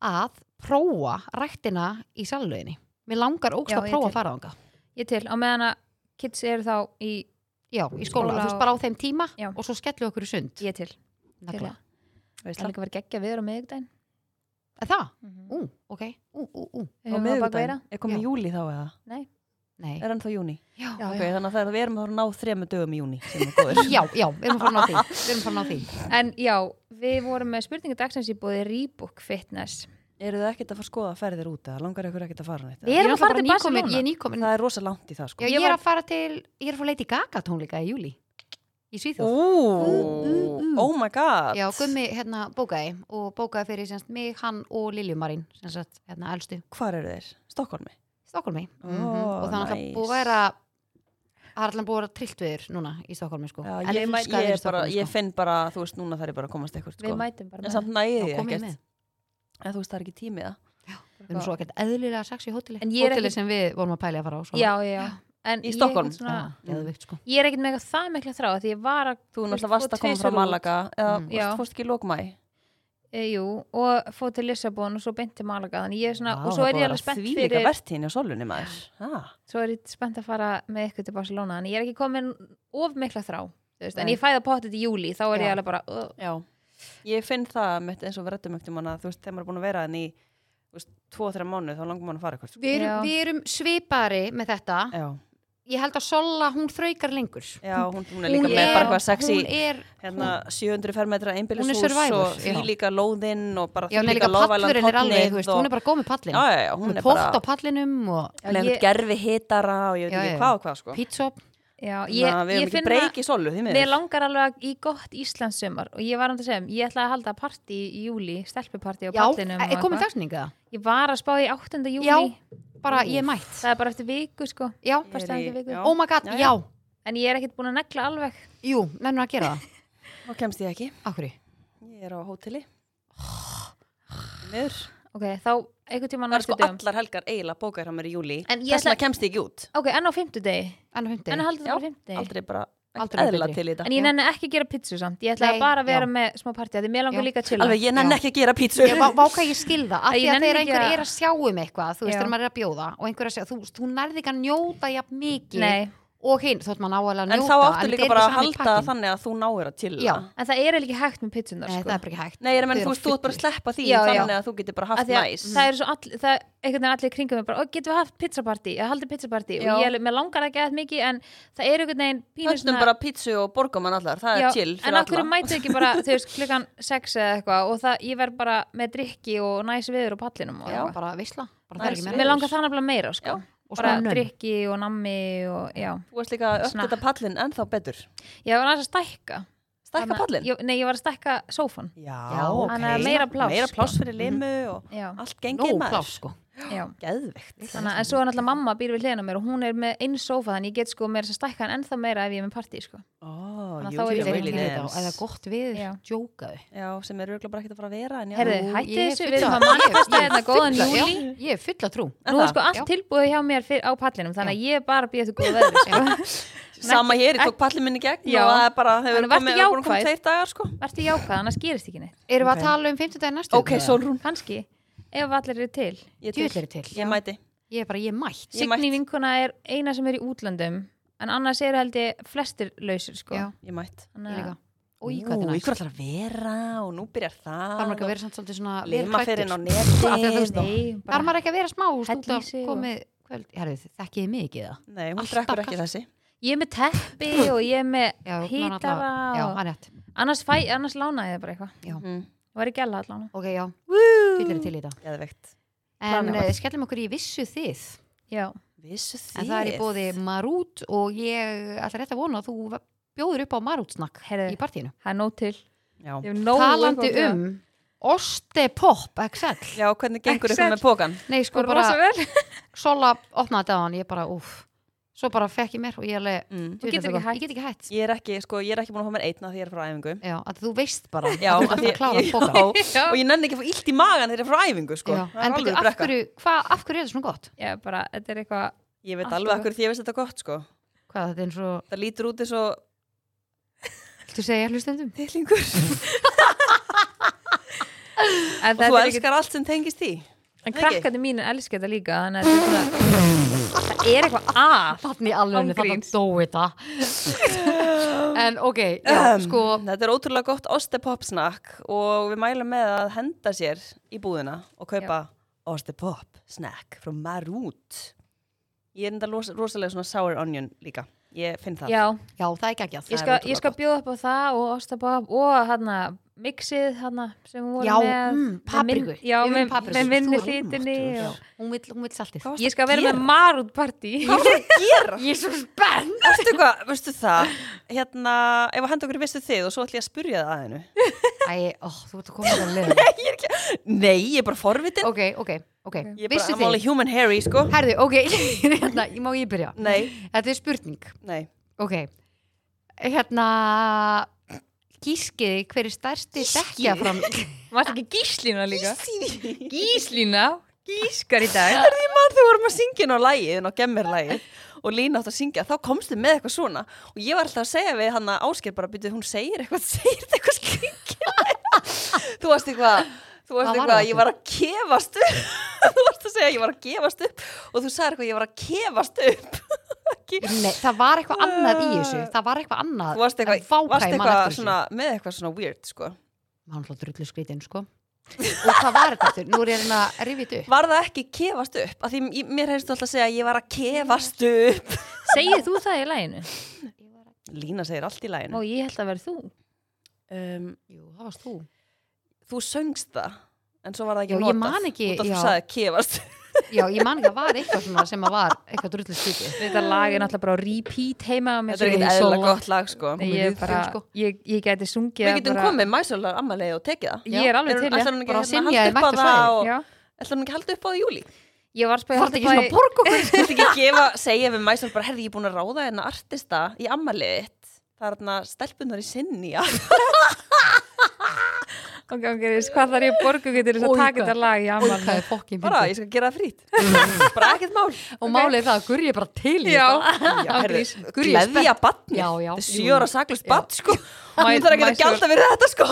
Speaker 1: að prófa rættina í salluðinni. Mér langar ógst
Speaker 3: Já,
Speaker 1: að
Speaker 3: ég
Speaker 1: prófa
Speaker 3: til.
Speaker 1: að fara þanga.
Speaker 3: Ég til, á meðan að kids eru þá í
Speaker 1: Já, í skóla,
Speaker 3: Skóla
Speaker 1: þú veist
Speaker 3: og-
Speaker 1: bara á þeim tíma
Speaker 3: Já.
Speaker 1: og svo skellum við okkur í sund.
Speaker 3: ég til, til
Speaker 1: Nagla.
Speaker 3: að- það er líka verið geggja viður á miðugdæn
Speaker 1: Er Það?
Speaker 3: mm -hmm.
Speaker 1: Ú, ok. Ú, ú, ú.
Speaker 3: og miðugdæn
Speaker 2: er komið
Speaker 1: Já.
Speaker 2: júli þá eða?
Speaker 1: Nei.
Speaker 2: er hann þá júni?
Speaker 1: Já,
Speaker 3: Já,
Speaker 2: Ok,
Speaker 3: já.
Speaker 2: þannig að það- við erum að fara að ná þremu dögum í júni sem er góður.
Speaker 1: já, já, við erum farin á því. Við erum farin á því.
Speaker 3: en já, við vorum með spurningu dagsins í bóði Rebook Fitness
Speaker 2: Eru þið ekkert að fara að skoða ferðir út eða langar ykkur ekkert að fara neitt?
Speaker 3: við
Speaker 1: Ég
Speaker 3: erum að fara
Speaker 1: náttúrulega
Speaker 3: til
Speaker 1: bara nýkomin-
Speaker 3: Barcelona
Speaker 1: Ég er nýkomin.
Speaker 2: Það er rosa langt í það
Speaker 1: Já,
Speaker 2: sko.
Speaker 1: ég,
Speaker 3: Ég
Speaker 1: er
Speaker 3: var-
Speaker 1: að fara til, ég er að fara að leita í Gaga tónleika í júli. Í Svíþjóð.
Speaker 2: Ú, oh my god.
Speaker 1: Já, Gummi hérna bókaði og bókaði fyrir semst, mig, hann og Liljumarín, sem sagt, hérna elstu.
Speaker 2: Hvar eru þeir? Stokkólmi?
Speaker 1: Stokkólmi
Speaker 2: Ó,
Speaker 1: og það er alltaf
Speaker 2: Oh, nice.
Speaker 1: búið að vera það er alltaf búið að vera trillt við þér núna í Stokkólmi sko.
Speaker 2: Já,
Speaker 1: En
Speaker 2: ég,
Speaker 1: elska
Speaker 2: ég,
Speaker 1: að vera
Speaker 2: ég,
Speaker 1: í
Speaker 2: bara,
Speaker 1: Stokkhólmi, sko.
Speaker 2: ég finn bara, þú veist, núna þarf ég bara að komast eitthvað
Speaker 3: við
Speaker 2: sko.
Speaker 3: mætum bara
Speaker 2: En
Speaker 3: með
Speaker 2: samt næði
Speaker 1: Já,
Speaker 2: ég
Speaker 1: komið
Speaker 2: ekkert.
Speaker 1: með.
Speaker 2: En þú veist, það er ekki tími það.
Speaker 1: Við erum svo ekkert eðlilega sex í hóteli
Speaker 3: En ég er
Speaker 1: Hóteli
Speaker 3: ekki-
Speaker 1: sem við vorum að pæli að fara á svona.
Speaker 3: já, já, já. En
Speaker 2: Í
Speaker 3: ég er
Speaker 2: Stockholm.
Speaker 3: ekkert svona-
Speaker 2: Mm.
Speaker 1: geðveikt, sko.
Speaker 3: ég er ekkert með eitthvað það mikla þrá því ég var að,
Speaker 2: Þú
Speaker 3: veist,
Speaker 2: náttúrulega
Speaker 3: fór
Speaker 2: varst að koma
Speaker 3: tvisvar
Speaker 2: frá
Speaker 3: út.
Speaker 2: Malaga eða
Speaker 1: Mm.
Speaker 2: mm.
Speaker 3: Já.
Speaker 2: fórst ekki í lókmæ.
Speaker 3: e, jú, og fóð til Lissabon og svo beint til Malaga þannig ég er svona, og svo er ég alveg spennt
Speaker 2: Því líka
Speaker 3: fyrir
Speaker 2: vertíðin á solunni maður. Ah.
Speaker 3: svo er ég spennt að fara með ykkur til Barcelona þannig ég er ekki komin of mikla þrá þú veist, en
Speaker 2: Nei.
Speaker 3: ég fæða pottet í júli, þá er
Speaker 2: Já.
Speaker 3: ég alveg bara uh,
Speaker 2: Já, ég finn það mitt eins og við rættum ekkert um hana, þú veist, þegar maður er búin að vera hann í, þú veist, tvo-þrjá mánu, þá langar maður að fara eitthvað. sko.
Speaker 1: Við erum,
Speaker 3: Já.
Speaker 1: við erum svipari með þetta
Speaker 2: Já,
Speaker 1: Ég held að Sola, hún þraukar lengur
Speaker 2: já, hún, hún er líka
Speaker 1: Hún
Speaker 2: með
Speaker 1: er-
Speaker 2: bara eitthvað sexy,
Speaker 1: Hún er,
Speaker 2: hérna, 700 fermetra
Speaker 1: Hún er
Speaker 2: einbýlishús
Speaker 1: survivor,
Speaker 2: og því
Speaker 1: já.
Speaker 2: líka lóðinn og bara
Speaker 1: já,
Speaker 2: því
Speaker 1: hún er líka
Speaker 2: Love Island
Speaker 1: pallurinn er alveg
Speaker 2: hotnið
Speaker 1: þú veist, Hún er bara góð með pallin
Speaker 2: Já, já, já,
Speaker 1: Hún er
Speaker 2: bara,
Speaker 1: pott á pallinum og
Speaker 2: hún er
Speaker 3: Ég-
Speaker 2: eitthvað gerfi hitara og ég veit
Speaker 1: Já,
Speaker 2: ekki
Speaker 1: já.
Speaker 2: hvað og hvað, sko.
Speaker 1: pizza
Speaker 3: já,
Speaker 2: Þannig
Speaker 3: ég,
Speaker 2: að við erum
Speaker 3: ég
Speaker 2: ekki
Speaker 3: finn að
Speaker 2: breyk í solu, því
Speaker 3: mér
Speaker 2: miður.
Speaker 3: langar alveg í gott Íslands sumar og ég var um að segja, ég ætlaði að halda partí í júli, stelpupartí á
Speaker 1: Já, eh,
Speaker 3: pallinum og
Speaker 1: er komin
Speaker 3: eitthvað.
Speaker 1: dagsninga
Speaker 3: ég var að spá í 8. júli
Speaker 1: Já, bara ég er mætt
Speaker 3: það er bara eftir viku sko
Speaker 1: Já,
Speaker 2: Ég er
Speaker 3: Fyrsta
Speaker 2: í-
Speaker 3: helgi viku.
Speaker 2: já.
Speaker 1: oh my god,
Speaker 2: Já, já.
Speaker 1: já,
Speaker 3: en ég er ekkert búin að negla alveg
Speaker 1: jú, nennur að gera það
Speaker 2: Þá kemst ég ekki.
Speaker 3: *sighs*
Speaker 1: Akkurri
Speaker 2: Ég er á hóteli. Miður.
Speaker 3: ok, þá einhvern tíma
Speaker 2: Það er
Speaker 3: næstu
Speaker 2: sko
Speaker 3: dögum
Speaker 2: allar helgar eiginlega bókar hjá mér í júli
Speaker 3: En ég
Speaker 2: Þess vegna
Speaker 3: ætla-
Speaker 2: kemst ég ekki út
Speaker 3: ok, enn á fimmtudegi,
Speaker 1: en á fimmtudegi.
Speaker 3: enn að halda
Speaker 2: Já,
Speaker 3: þetta á fimmtudegi
Speaker 2: Aldrei bara
Speaker 1: Aldrei
Speaker 2: eðla
Speaker 1: betri.
Speaker 2: til í þetta
Speaker 3: en ég nenni ekki að gera pizzu samt ég ætla
Speaker 1: Nei,
Speaker 3: bara að vera
Speaker 1: já.
Speaker 3: með smá partí af því mér
Speaker 1: Já.
Speaker 3: langar líka að chilla
Speaker 2: Alveg, ég nenni
Speaker 1: Já.
Speaker 2: ekki að gera pítsu
Speaker 1: Ég vá- vá hvað ég skil það, af
Speaker 3: Æ,
Speaker 1: því að
Speaker 3: ég nenni
Speaker 1: þegar
Speaker 3: ekki
Speaker 1: einhver
Speaker 3: að-
Speaker 1: er að sjá um eitthvað, þú veist,
Speaker 3: Já.
Speaker 1: þegar maður er að bjóða og einhver er að segja, þú, þú nærði ekki að njóta jafn mikið
Speaker 3: Nei,
Speaker 1: og hinn, þótt maður náðalega að
Speaker 2: En
Speaker 1: njóta
Speaker 2: þá áttu
Speaker 1: þetta
Speaker 2: líka
Speaker 1: er
Speaker 2: bara
Speaker 1: ekki
Speaker 2: að
Speaker 1: sami
Speaker 2: halda
Speaker 1: pakkinn.
Speaker 2: þannig að þú náir að til
Speaker 1: Já.
Speaker 3: en það er ekki hægt með pizzunar
Speaker 1: Nei,
Speaker 3: sko.
Speaker 1: það er bara ekki hægt
Speaker 2: Nei, ég
Speaker 1: Þau
Speaker 2: menn, þú
Speaker 1: eru
Speaker 2: veist, þú ert bara
Speaker 1: fullir.
Speaker 2: að sleppa því
Speaker 3: Já, já.
Speaker 2: Þannig að þú getur bara
Speaker 3: Af
Speaker 2: haft
Speaker 3: því að
Speaker 2: næs
Speaker 3: það er svo all, það er einhvern veginn allir í kringum mig bara, og getum við haft pizzapartí, ég haldi pizzapartí og
Speaker 2: Já.
Speaker 3: ég, mér langar ekki að mikið en það er einhvern veginn pínu
Speaker 2: Höndum bara pítsu og borgum hann allar Það
Speaker 3: Já,
Speaker 2: er chill
Speaker 3: en
Speaker 2: fyrir
Speaker 3: okkur
Speaker 2: alla
Speaker 3: mætu ekki
Speaker 2: *laughs*
Speaker 3: bara, þú veist, klukkan 6 eða eitthvað og það, ég verð bara með drikki og næs viður og pallinum og
Speaker 1: Já,
Speaker 3: eitthvað.
Speaker 1: bara veisla, bara það er
Speaker 2: Næs
Speaker 1: ekki
Speaker 2: veður.
Speaker 1: meira
Speaker 3: mér langar það nefnilega meira sko.
Speaker 2: Já.
Speaker 1: Og
Speaker 3: bara
Speaker 1: svona nönn.
Speaker 3: drikki og nammi og já,
Speaker 2: Þú veist líka að
Speaker 3: Snakk.
Speaker 2: uppgöta pallin ennþá betur
Speaker 3: ég var aðeins að stækka
Speaker 2: Stækka
Speaker 3: Þannig að-
Speaker 2: pallin
Speaker 3: ég- nei, ég var að stækka sófan
Speaker 1: Já, ok.
Speaker 3: Þannig að meira pláss,
Speaker 2: Meira
Speaker 3: sko.
Speaker 2: pláss fyrir limu og
Speaker 3: já,
Speaker 2: allt gengið
Speaker 1: Nóg
Speaker 2: maður
Speaker 1: pláss, sko
Speaker 2: Ah.
Speaker 3: já
Speaker 2: Geðveikt
Speaker 3: Þannig, að- en svo er náttúrulega mamma býr við hliðina á mér og hún er með einn sófa þannig ég get sko meira að stækka hann ennþá meira ef ég er með partí sko.
Speaker 2: Ó, jú,
Speaker 3: Þannig að þá er
Speaker 1: Ég
Speaker 3: ég
Speaker 1: veit
Speaker 3: Really
Speaker 1: ekki
Speaker 2: really
Speaker 1: þetta og
Speaker 2: nice.
Speaker 1: eða gott við,
Speaker 3: Já.
Speaker 1: jókaðu
Speaker 2: Já, sem er örgulega bara ekkert að fara að vera en já.
Speaker 1: Ú,
Speaker 3: Herðu, hætti
Speaker 1: ég er
Speaker 3: þessu,
Speaker 1: full
Speaker 3: við erum
Speaker 1: af-
Speaker 3: að mannfesta hérna góðan
Speaker 1: Fulla- já,
Speaker 3: júli
Speaker 1: Ég er full að trú
Speaker 2: Er
Speaker 3: Nú er
Speaker 2: það?
Speaker 3: sko allt
Speaker 1: Já.
Speaker 3: tilbúið hjá mér fyr, á pallinum þannig að ég er bara að býja þetta góða veðri sko. *laughs*
Speaker 2: Sama hér, ég
Speaker 3: ekki-
Speaker 2: tók pallin minni gegn
Speaker 3: Já.
Speaker 2: og það er bara, þau
Speaker 3: Þannig
Speaker 2: eru
Speaker 3: vertu
Speaker 2: komið, voru komið
Speaker 3: jákvæð.
Speaker 2: tveir dagar sko
Speaker 3: Vertu jákvæð, annars gerist ekki neitt
Speaker 1: Erum við
Speaker 2: Ok.
Speaker 1: að tala um 50 daginn næstu?
Speaker 2: Ok, Sólrún,
Speaker 3: Kanski, ef allir eru til
Speaker 2: ég
Speaker 1: Djöfull
Speaker 2: til,
Speaker 1: eru til.
Speaker 2: ég mæti
Speaker 1: Ég er bara, ég er mætt
Speaker 2: Ég
Speaker 3: Signý
Speaker 2: mætt.
Speaker 3: vinkuna er eina sem er í útlöndum en annars eru held ég flestir lausir sko.
Speaker 1: Já,
Speaker 2: Ég mætt
Speaker 1: ég
Speaker 3: Þannig
Speaker 1: líka
Speaker 3: að-
Speaker 1: Új, hvað þetta er
Speaker 2: Ú, í
Speaker 1: næst
Speaker 2: hverju ætlar að vera og nú byrjar
Speaker 1: Þarf
Speaker 2: það
Speaker 1: maður ekki að vera samt svolítið svona vel
Speaker 2: Lima
Speaker 1: klæddur?
Speaker 2: fyrir inn á
Speaker 1: Af því að þú veist
Speaker 2: neti
Speaker 1: það.
Speaker 3: Nei,
Speaker 1: Þarf
Speaker 3: bara,
Speaker 1: maður ekki að vera smá stúta
Speaker 3: Hella í sig og-
Speaker 1: komið kvöld, herrið, þekkið þið mikið það
Speaker 2: Nei, hún
Speaker 1: Alltaf
Speaker 2: drekkur
Speaker 1: kalt.
Speaker 2: ekki þessi
Speaker 3: ég er með teppi og ég er með
Speaker 1: Já, hún var
Speaker 3: hítara
Speaker 1: náttúrulega- Já,
Speaker 3: og,
Speaker 1: hann rétt
Speaker 3: annars, fæ, annars lánaði ég það bara eitthvað
Speaker 1: Já.
Speaker 2: Mm,
Speaker 3: og er ekki alla að lána
Speaker 1: Ok, já, fyllir til í þetta
Speaker 2: Geðveikt
Speaker 1: En
Speaker 3: Planið.
Speaker 1: uh, skellum okkur í vissu þið
Speaker 3: Já,
Speaker 2: Vissu þið
Speaker 1: En það er í bóði Marút og ég ætla rétt að vona að þú bjóður upp á Marútsnakk
Speaker 3: Herðu.
Speaker 1: í partíinu
Speaker 3: það er nóg til
Speaker 2: Já.
Speaker 3: Ég hef nóg
Speaker 1: Talandi
Speaker 3: eitthvað að
Speaker 1: um Ostepop XL
Speaker 2: Já, hvernig gengur
Speaker 3: Excel.
Speaker 2: ykkur með pókan?
Speaker 1: Nei, sko
Speaker 3: gera. Rosa
Speaker 1: bara,
Speaker 3: vel. *laughs*
Speaker 1: Sola opnaði þetta á hann Ég bara, úff Svo bara fekk ég mér og ég alveg
Speaker 2: Mm.
Speaker 1: djöfull
Speaker 3: getur
Speaker 1: er
Speaker 3: ekki
Speaker 1: gott.
Speaker 3: hætt.
Speaker 1: Ég get ekki hætt
Speaker 2: Ég er ekki, sko, ég er ekki búin að fá mér einna því ég er frá æfingu
Speaker 1: Já, að þú veist bara
Speaker 2: Já,
Speaker 1: að þú ert
Speaker 2: af því-
Speaker 1: að klára
Speaker 2: já,
Speaker 1: póka
Speaker 3: Já.
Speaker 2: og ég nenni ekki að fá illt í magan þegar ég er frá æfingu, sko
Speaker 1: Já,
Speaker 2: Það
Speaker 1: en
Speaker 2: er alveg
Speaker 1: byrju, af
Speaker 2: brekka.
Speaker 1: hverju, hva, af hverju er þetta svona gott?
Speaker 3: Ég er bara, þetta er eitthvað
Speaker 2: Ég veit
Speaker 3: Allt
Speaker 2: alveg
Speaker 3: og-
Speaker 2: akkur því ég veist þetta gott, sko
Speaker 1: Hvað, þetta er eins og,
Speaker 2: Það lítur út eins og
Speaker 1: viltu segja hlustendum? *laughs*
Speaker 2: tillingur
Speaker 3: En,
Speaker 2: Og þú
Speaker 3: þetta er ekki,
Speaker 2: elskar allt sem tengist því
Speaker 3: en
Speaker 2: ekki?
Speaker 3: krakkandi mínu elskar þetta líka Þannig að þetta er svona Það er eitthvað að
Speaker 1: Þannig alveg, þannig
Speaker 3: Ángríns.
Speaker 1: dó þetta En ok, já,
Speaker 2: Um,
Speaker 1: sko
Speaker 2: Þetta er ótrúlega gott ostepop snakk og við mælum með að henda sér í búðina og kaupa ostepop snakk frá Marút Ég er enda los, rosalega svona sour onion líka Ég finn það
Speaker 3: Já,
Speaker 1: Já, það er geggjað
Speaker 3: ég
Speaker 2: er
Speaker 3: skal,
Speaker 2: ótrúlega
Speaker 3: ég skal
Speaker 2: gott.
Speaker 3: bjóða upp á það og ostabab og hana mixið hana sem hún
Speaker 1: Já,
Speaker 3: voru með
Speaker 1: mm,
Speaker 3: með
Speaker 1: papriku
Speaker 3: minn- Já,
Speaker 1: Við viljum
Speaker 3: með,
Speaker 1: papriku.
Speaker 3: með minni
Speaker 1: Þú
Speaker 3: hlýtinni
Speaker 1: almáttugur.
Speaker 3: og...
Speaker 1: Hún vill, hún vill saltið
Speaker 2: Hvað varstu
Speaker 3: Ég skal vera
Speaker 2: gera?
Speaker 3: með marút partí
Speaker 2: Hvað varstu að *laughs* gera?
Speaker 1: Ég er svo spennt
Speaker 2: Ertu hvað, veistu það Hérna, ef að henda okkur í vissu þið og svo ætlum ég að spurja það að
Speaker 1: *laughs*
Speaker 2: hennu
Speaker 1: Æ, ó, þú ert að koma það
Speaker 2: *laughs*
Speaker 1: leið
Speaker 2: Nei, ég er bara forvitin
Speaker 1: Ok, ok, ok
Speaker 2: Ég er bara
Speaker 1: Vissu
Speaker 2: I'm only
Speaker 1: þið?
Speaker 2: human hairy, sko
Speaker 1: Herðu, ok, *laughs* hérna, má ég byrja?
Speaker 2: Nei,
Speaker 1: Þetta er spurning,
Speaker 2: nei
Speaker 1: ok Hérna Gískið, hver er stærsti dekja fram
Speaker 3: Varst ekki gíslína líka? Gíslína, gískar í dag
Speaker 2: Því maður þegar vorum að syngja inn á lægið, á gemmerlægið og Lína átt að syngja, þá komstu með eitthvað svona og ég var alltaf að segja við hann að Ásker bara byrjuð, hún segir eitthvað, *laughs* segir þetta eitthvað skringja Þú varst eitthvað Þú
Speaker 1: Hvað
Speaker 2: varst
Speaker 1: var
Speaker 2: eitthvað,
Speaker 1: það
Speaker 2: ég var að kefast upp *laughs* Þú varst að segja, ég var að gefast upp og þú sagði eitthvað, ég var að kefast upp *laughs* Ekki-
Speaker 1: Nei, það var eitthvað annað í þessu
Speaker 2: Ah.
Speaker 1: Það var eitthvað annað
Speaker 2: Þú varst
Speaker 1: en
Speaker 2: eitthvað,
Speaker 1: vákæði mann eftir
Speaker 2: varst eitthvað
Speaker 1: þessu.
Speaker 2: svona, með eitthvað svona weird sko.
Speaker 1: hann hlótt rullu skrítin sko og hvað var þetta aftur? Nú er ég að reyna að rifja þetta upp
Speaker 2: Var það ekki kefast upp? Af því í- mér heyrstu alltaf að segja, ég var að kefast upp
Speaker 3: Segir þú það í læginu?
Speaker 2: Lína segir allt í
Speaker 3: Ó,
Speaker 2: læginu
Speaker 3: ég held að vera þú
Speaker 2: um,
Speaker 1: Jú, það varst þú
Speaker 2: þú söngst það en svo var það ekki
Speaker 1: Já, ég
Speaker 2: notað
Speaker 1: man ekki-
Speaker 2: út af
Speaker 1: já.
Speaker 2: þú sagði kefast
Speaker 1: Já, ég man ekki að var eitthvað svona sem að var eitthvað drullu skrítin
Speaker 3: Þetta lag er náttúrulega bara á repeat heima á mér,
Speaker 2: þetta er
Speaker 3: sko.
Speaker 2: ekkert
Speaker 1: Sóla.
Speaker 2: eðla gott lag sko
Speaker 3: Nei, ég,
Speaker 1: við
Speaker 3: bara,
Speaker 1: þeim, sko.
Speaker 3: ég, ég gæti sungið
Speaker 2: við getum
Speaker 3: bara,
Speaker 2: komið mæsólar ammalegi og tekið það
Speaker 3: Ég er alveg til,
Speaker 2: ætlar hún ekki
Speaker 1: Bara
Speaker 2: að
Speaker 1: synja
Speaker 2: halda
Speaker 1: þér
Speaker 2: upp á
Speaker 1: mætt og
Speaker 2: það
Speaker 1: svæðið,
Speaker 2: og
Speaker 3: Já.
Speaker 2: ætlar hún ekki að halda upp á það í júli
Speaker 3: Ég var spæðið
Speaker 1: Var þetta ekki svona borg okkur? *laughs*
Speaker 2: þú veist ekki að gefa, segja við mæsólar bara herði ég er búin að ráða hérna artista í ammaliðitt það er hérna stelpunar í sinni
Speaker 3: ok, ok, veist, hvað þarf ég að borga ykkur til þess að
Speaker 1: Oj,
Speaker 3: taka
Speaker 1: hvað-
Speaker 3: þetta lag í
Speaker 1: Oj,
Speaker 3: amal
Speaker 1: hvað er fokkin
Speaker 2: bara
Speaker 1: fyndið.
Speaker 2: ég skal gera það frýtt bara ekkert mál
Speaker 1: og málið er það að Guri er bara til í
Speaker 3: *laughs* Já.
Speaker 2: Já, herri,
Speaker 1: Guri er
Speaker 2: gleðja batni
Speaker 1: Já, já.
Speaker 2: sjóra saklust batn sko
Speaker 3: Mæ-
Speaker 2: hún þarf ekki að
Speaker 3: mæsól.
Speaker 2: gælda fyrir þetta sko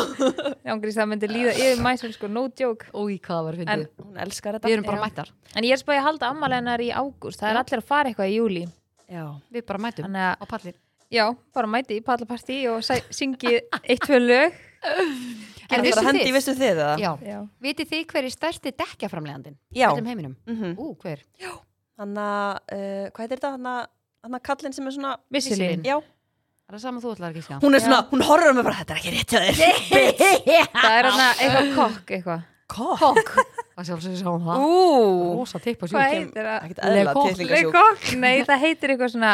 Speaker 3: Ángrís, það myndi líða yfir mæsum sko, no joke
Speaker 1: Ói, hvað það var fyndið.
Speaker 3: En-
Speaker 2: hún
Speaker 1: Við
Speaker 2: elskar þetta
Speaker 1: erum bara
Speaker 3: Já.
Speaker 1: mættar.
Speaker 3: En ég er spáði að halda ammaleginar í ágúst Það er allir að fara eitthvað í júli
Speaker 2: já,
Speaker 1: Við bara mætum
Speaker 3: Þannig að,
Speaker 1: á pallin.
Speaker 3: já, bara mæti í pallapartí og sæ- syngi eitt, tvö lög
Speaker 1: En
Speaker 2: það er að
Speaker 1: vissu
Speaker 2: hendi í
Speaker 1: þið,
Speaker 2: vissu þið eða
Speaker 1: já,
Speaker 3: Já,
Speaker 1: vitið þið hver er stærsti dekkjaframlegandin?
Speaker 2: já.
Speaker 1: Öllum heiminum.
Speaker 2: mhm.
Speaker 1: Ú, hver?
Speaker 2: hann að, uh, hvað heitir þetta hann að, hann að kallinn sem er svona
Speaker 3: missilinn
Speaker 2: já,
Speaker 1: Er það sama þú ætlar ekki að skjá?
Speaker 2: hún er svona, hún horfur á mig bara, þetta er ekki rétt *laughs* hjá þér
Speaker 3: Það er hana eitthvað kokk eitthvað
Speaker 2: kokk,
Speaker 1: Kokk. Það sjálfsögur sá hún það.
Speaker 3: Ú,
Speaker 1: Rósa tipp og
Speaker 3: hvað
Speaker 1: sjúk.
Speaker 3: heitir það?
Speaker 2: ekkert
Speaker 1: Le
Speaker 2: eðla
Speaker 1: kokk.
Speaker 3: Le
Speaker 2: tilningasjúk
Speaker 3: kokk? Nei, það heitir eitthvað svona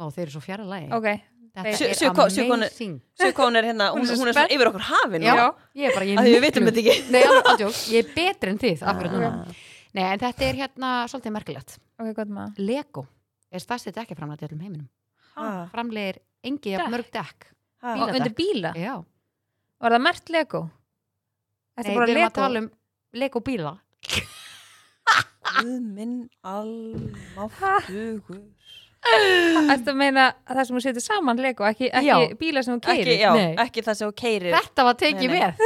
Speaker 1: Má, þeir eru svo fjara lagi.
Speaker 3: Ok,
Speaker 1: Þetta
Speaker 2: Sjö-
Speaker 1: er
Speaker 2: sjö ko- sjö konu-
Speaker 1: amazing.
Speaker 2: svo hvað hún er hérna, hún,
Speaker 3: Hún er svo
Speaker 2: hún er svona yfir okkur hafin
Speaker 1: Já,
Speaker 2: já,
Speaker 1: ég er bara, ég
Speaker 2: að því við vitum þetta *laughs* ekki
Speaker 1: Nei, alveg, aldjók, ég er betri en þið, akkurat núna. Nei, en þetta er hérna svolítið merkilegt.
Speaker 3: ok, gott maður
Speaker 1: Lego er stærsti dekkjaframlegandi öllum heiminum.
Speaker 2: Ah,
Speaker 1: Framlegir engi af
Speaker 3: Dekk?
Speaker 1: mörg dekk.
Speaker 2: ah.
Speaker 3: Og undir bíla,
Speaker 1: Já.
Speaker 3: var það mert Lego? Þetta
Speaker 1: Nei, við
Speaker 3: er bara
Speaker 1: erum að
Speaker 3: Lego
Speaker 1: tala um Lego bíla.
Speaker 2: Guð minn almáttugur
Speaker 3: Þetta meina að það sem þú setur saman Lego ekki,
Speaker 1: Já.
Speaker 3: ekki bíla sem þú
Speaker 2: ekki,
Speaker 3: keirir
Speaker 2: já,
Speaker 1: Nei.
Speaker 2: ekki það sem hún keirir
Speaker 1: Þetta var tekið
Speaker 2: Nei,
Speaker 1: *laughs*
Speaker 2: nei.
Speaker 1: með.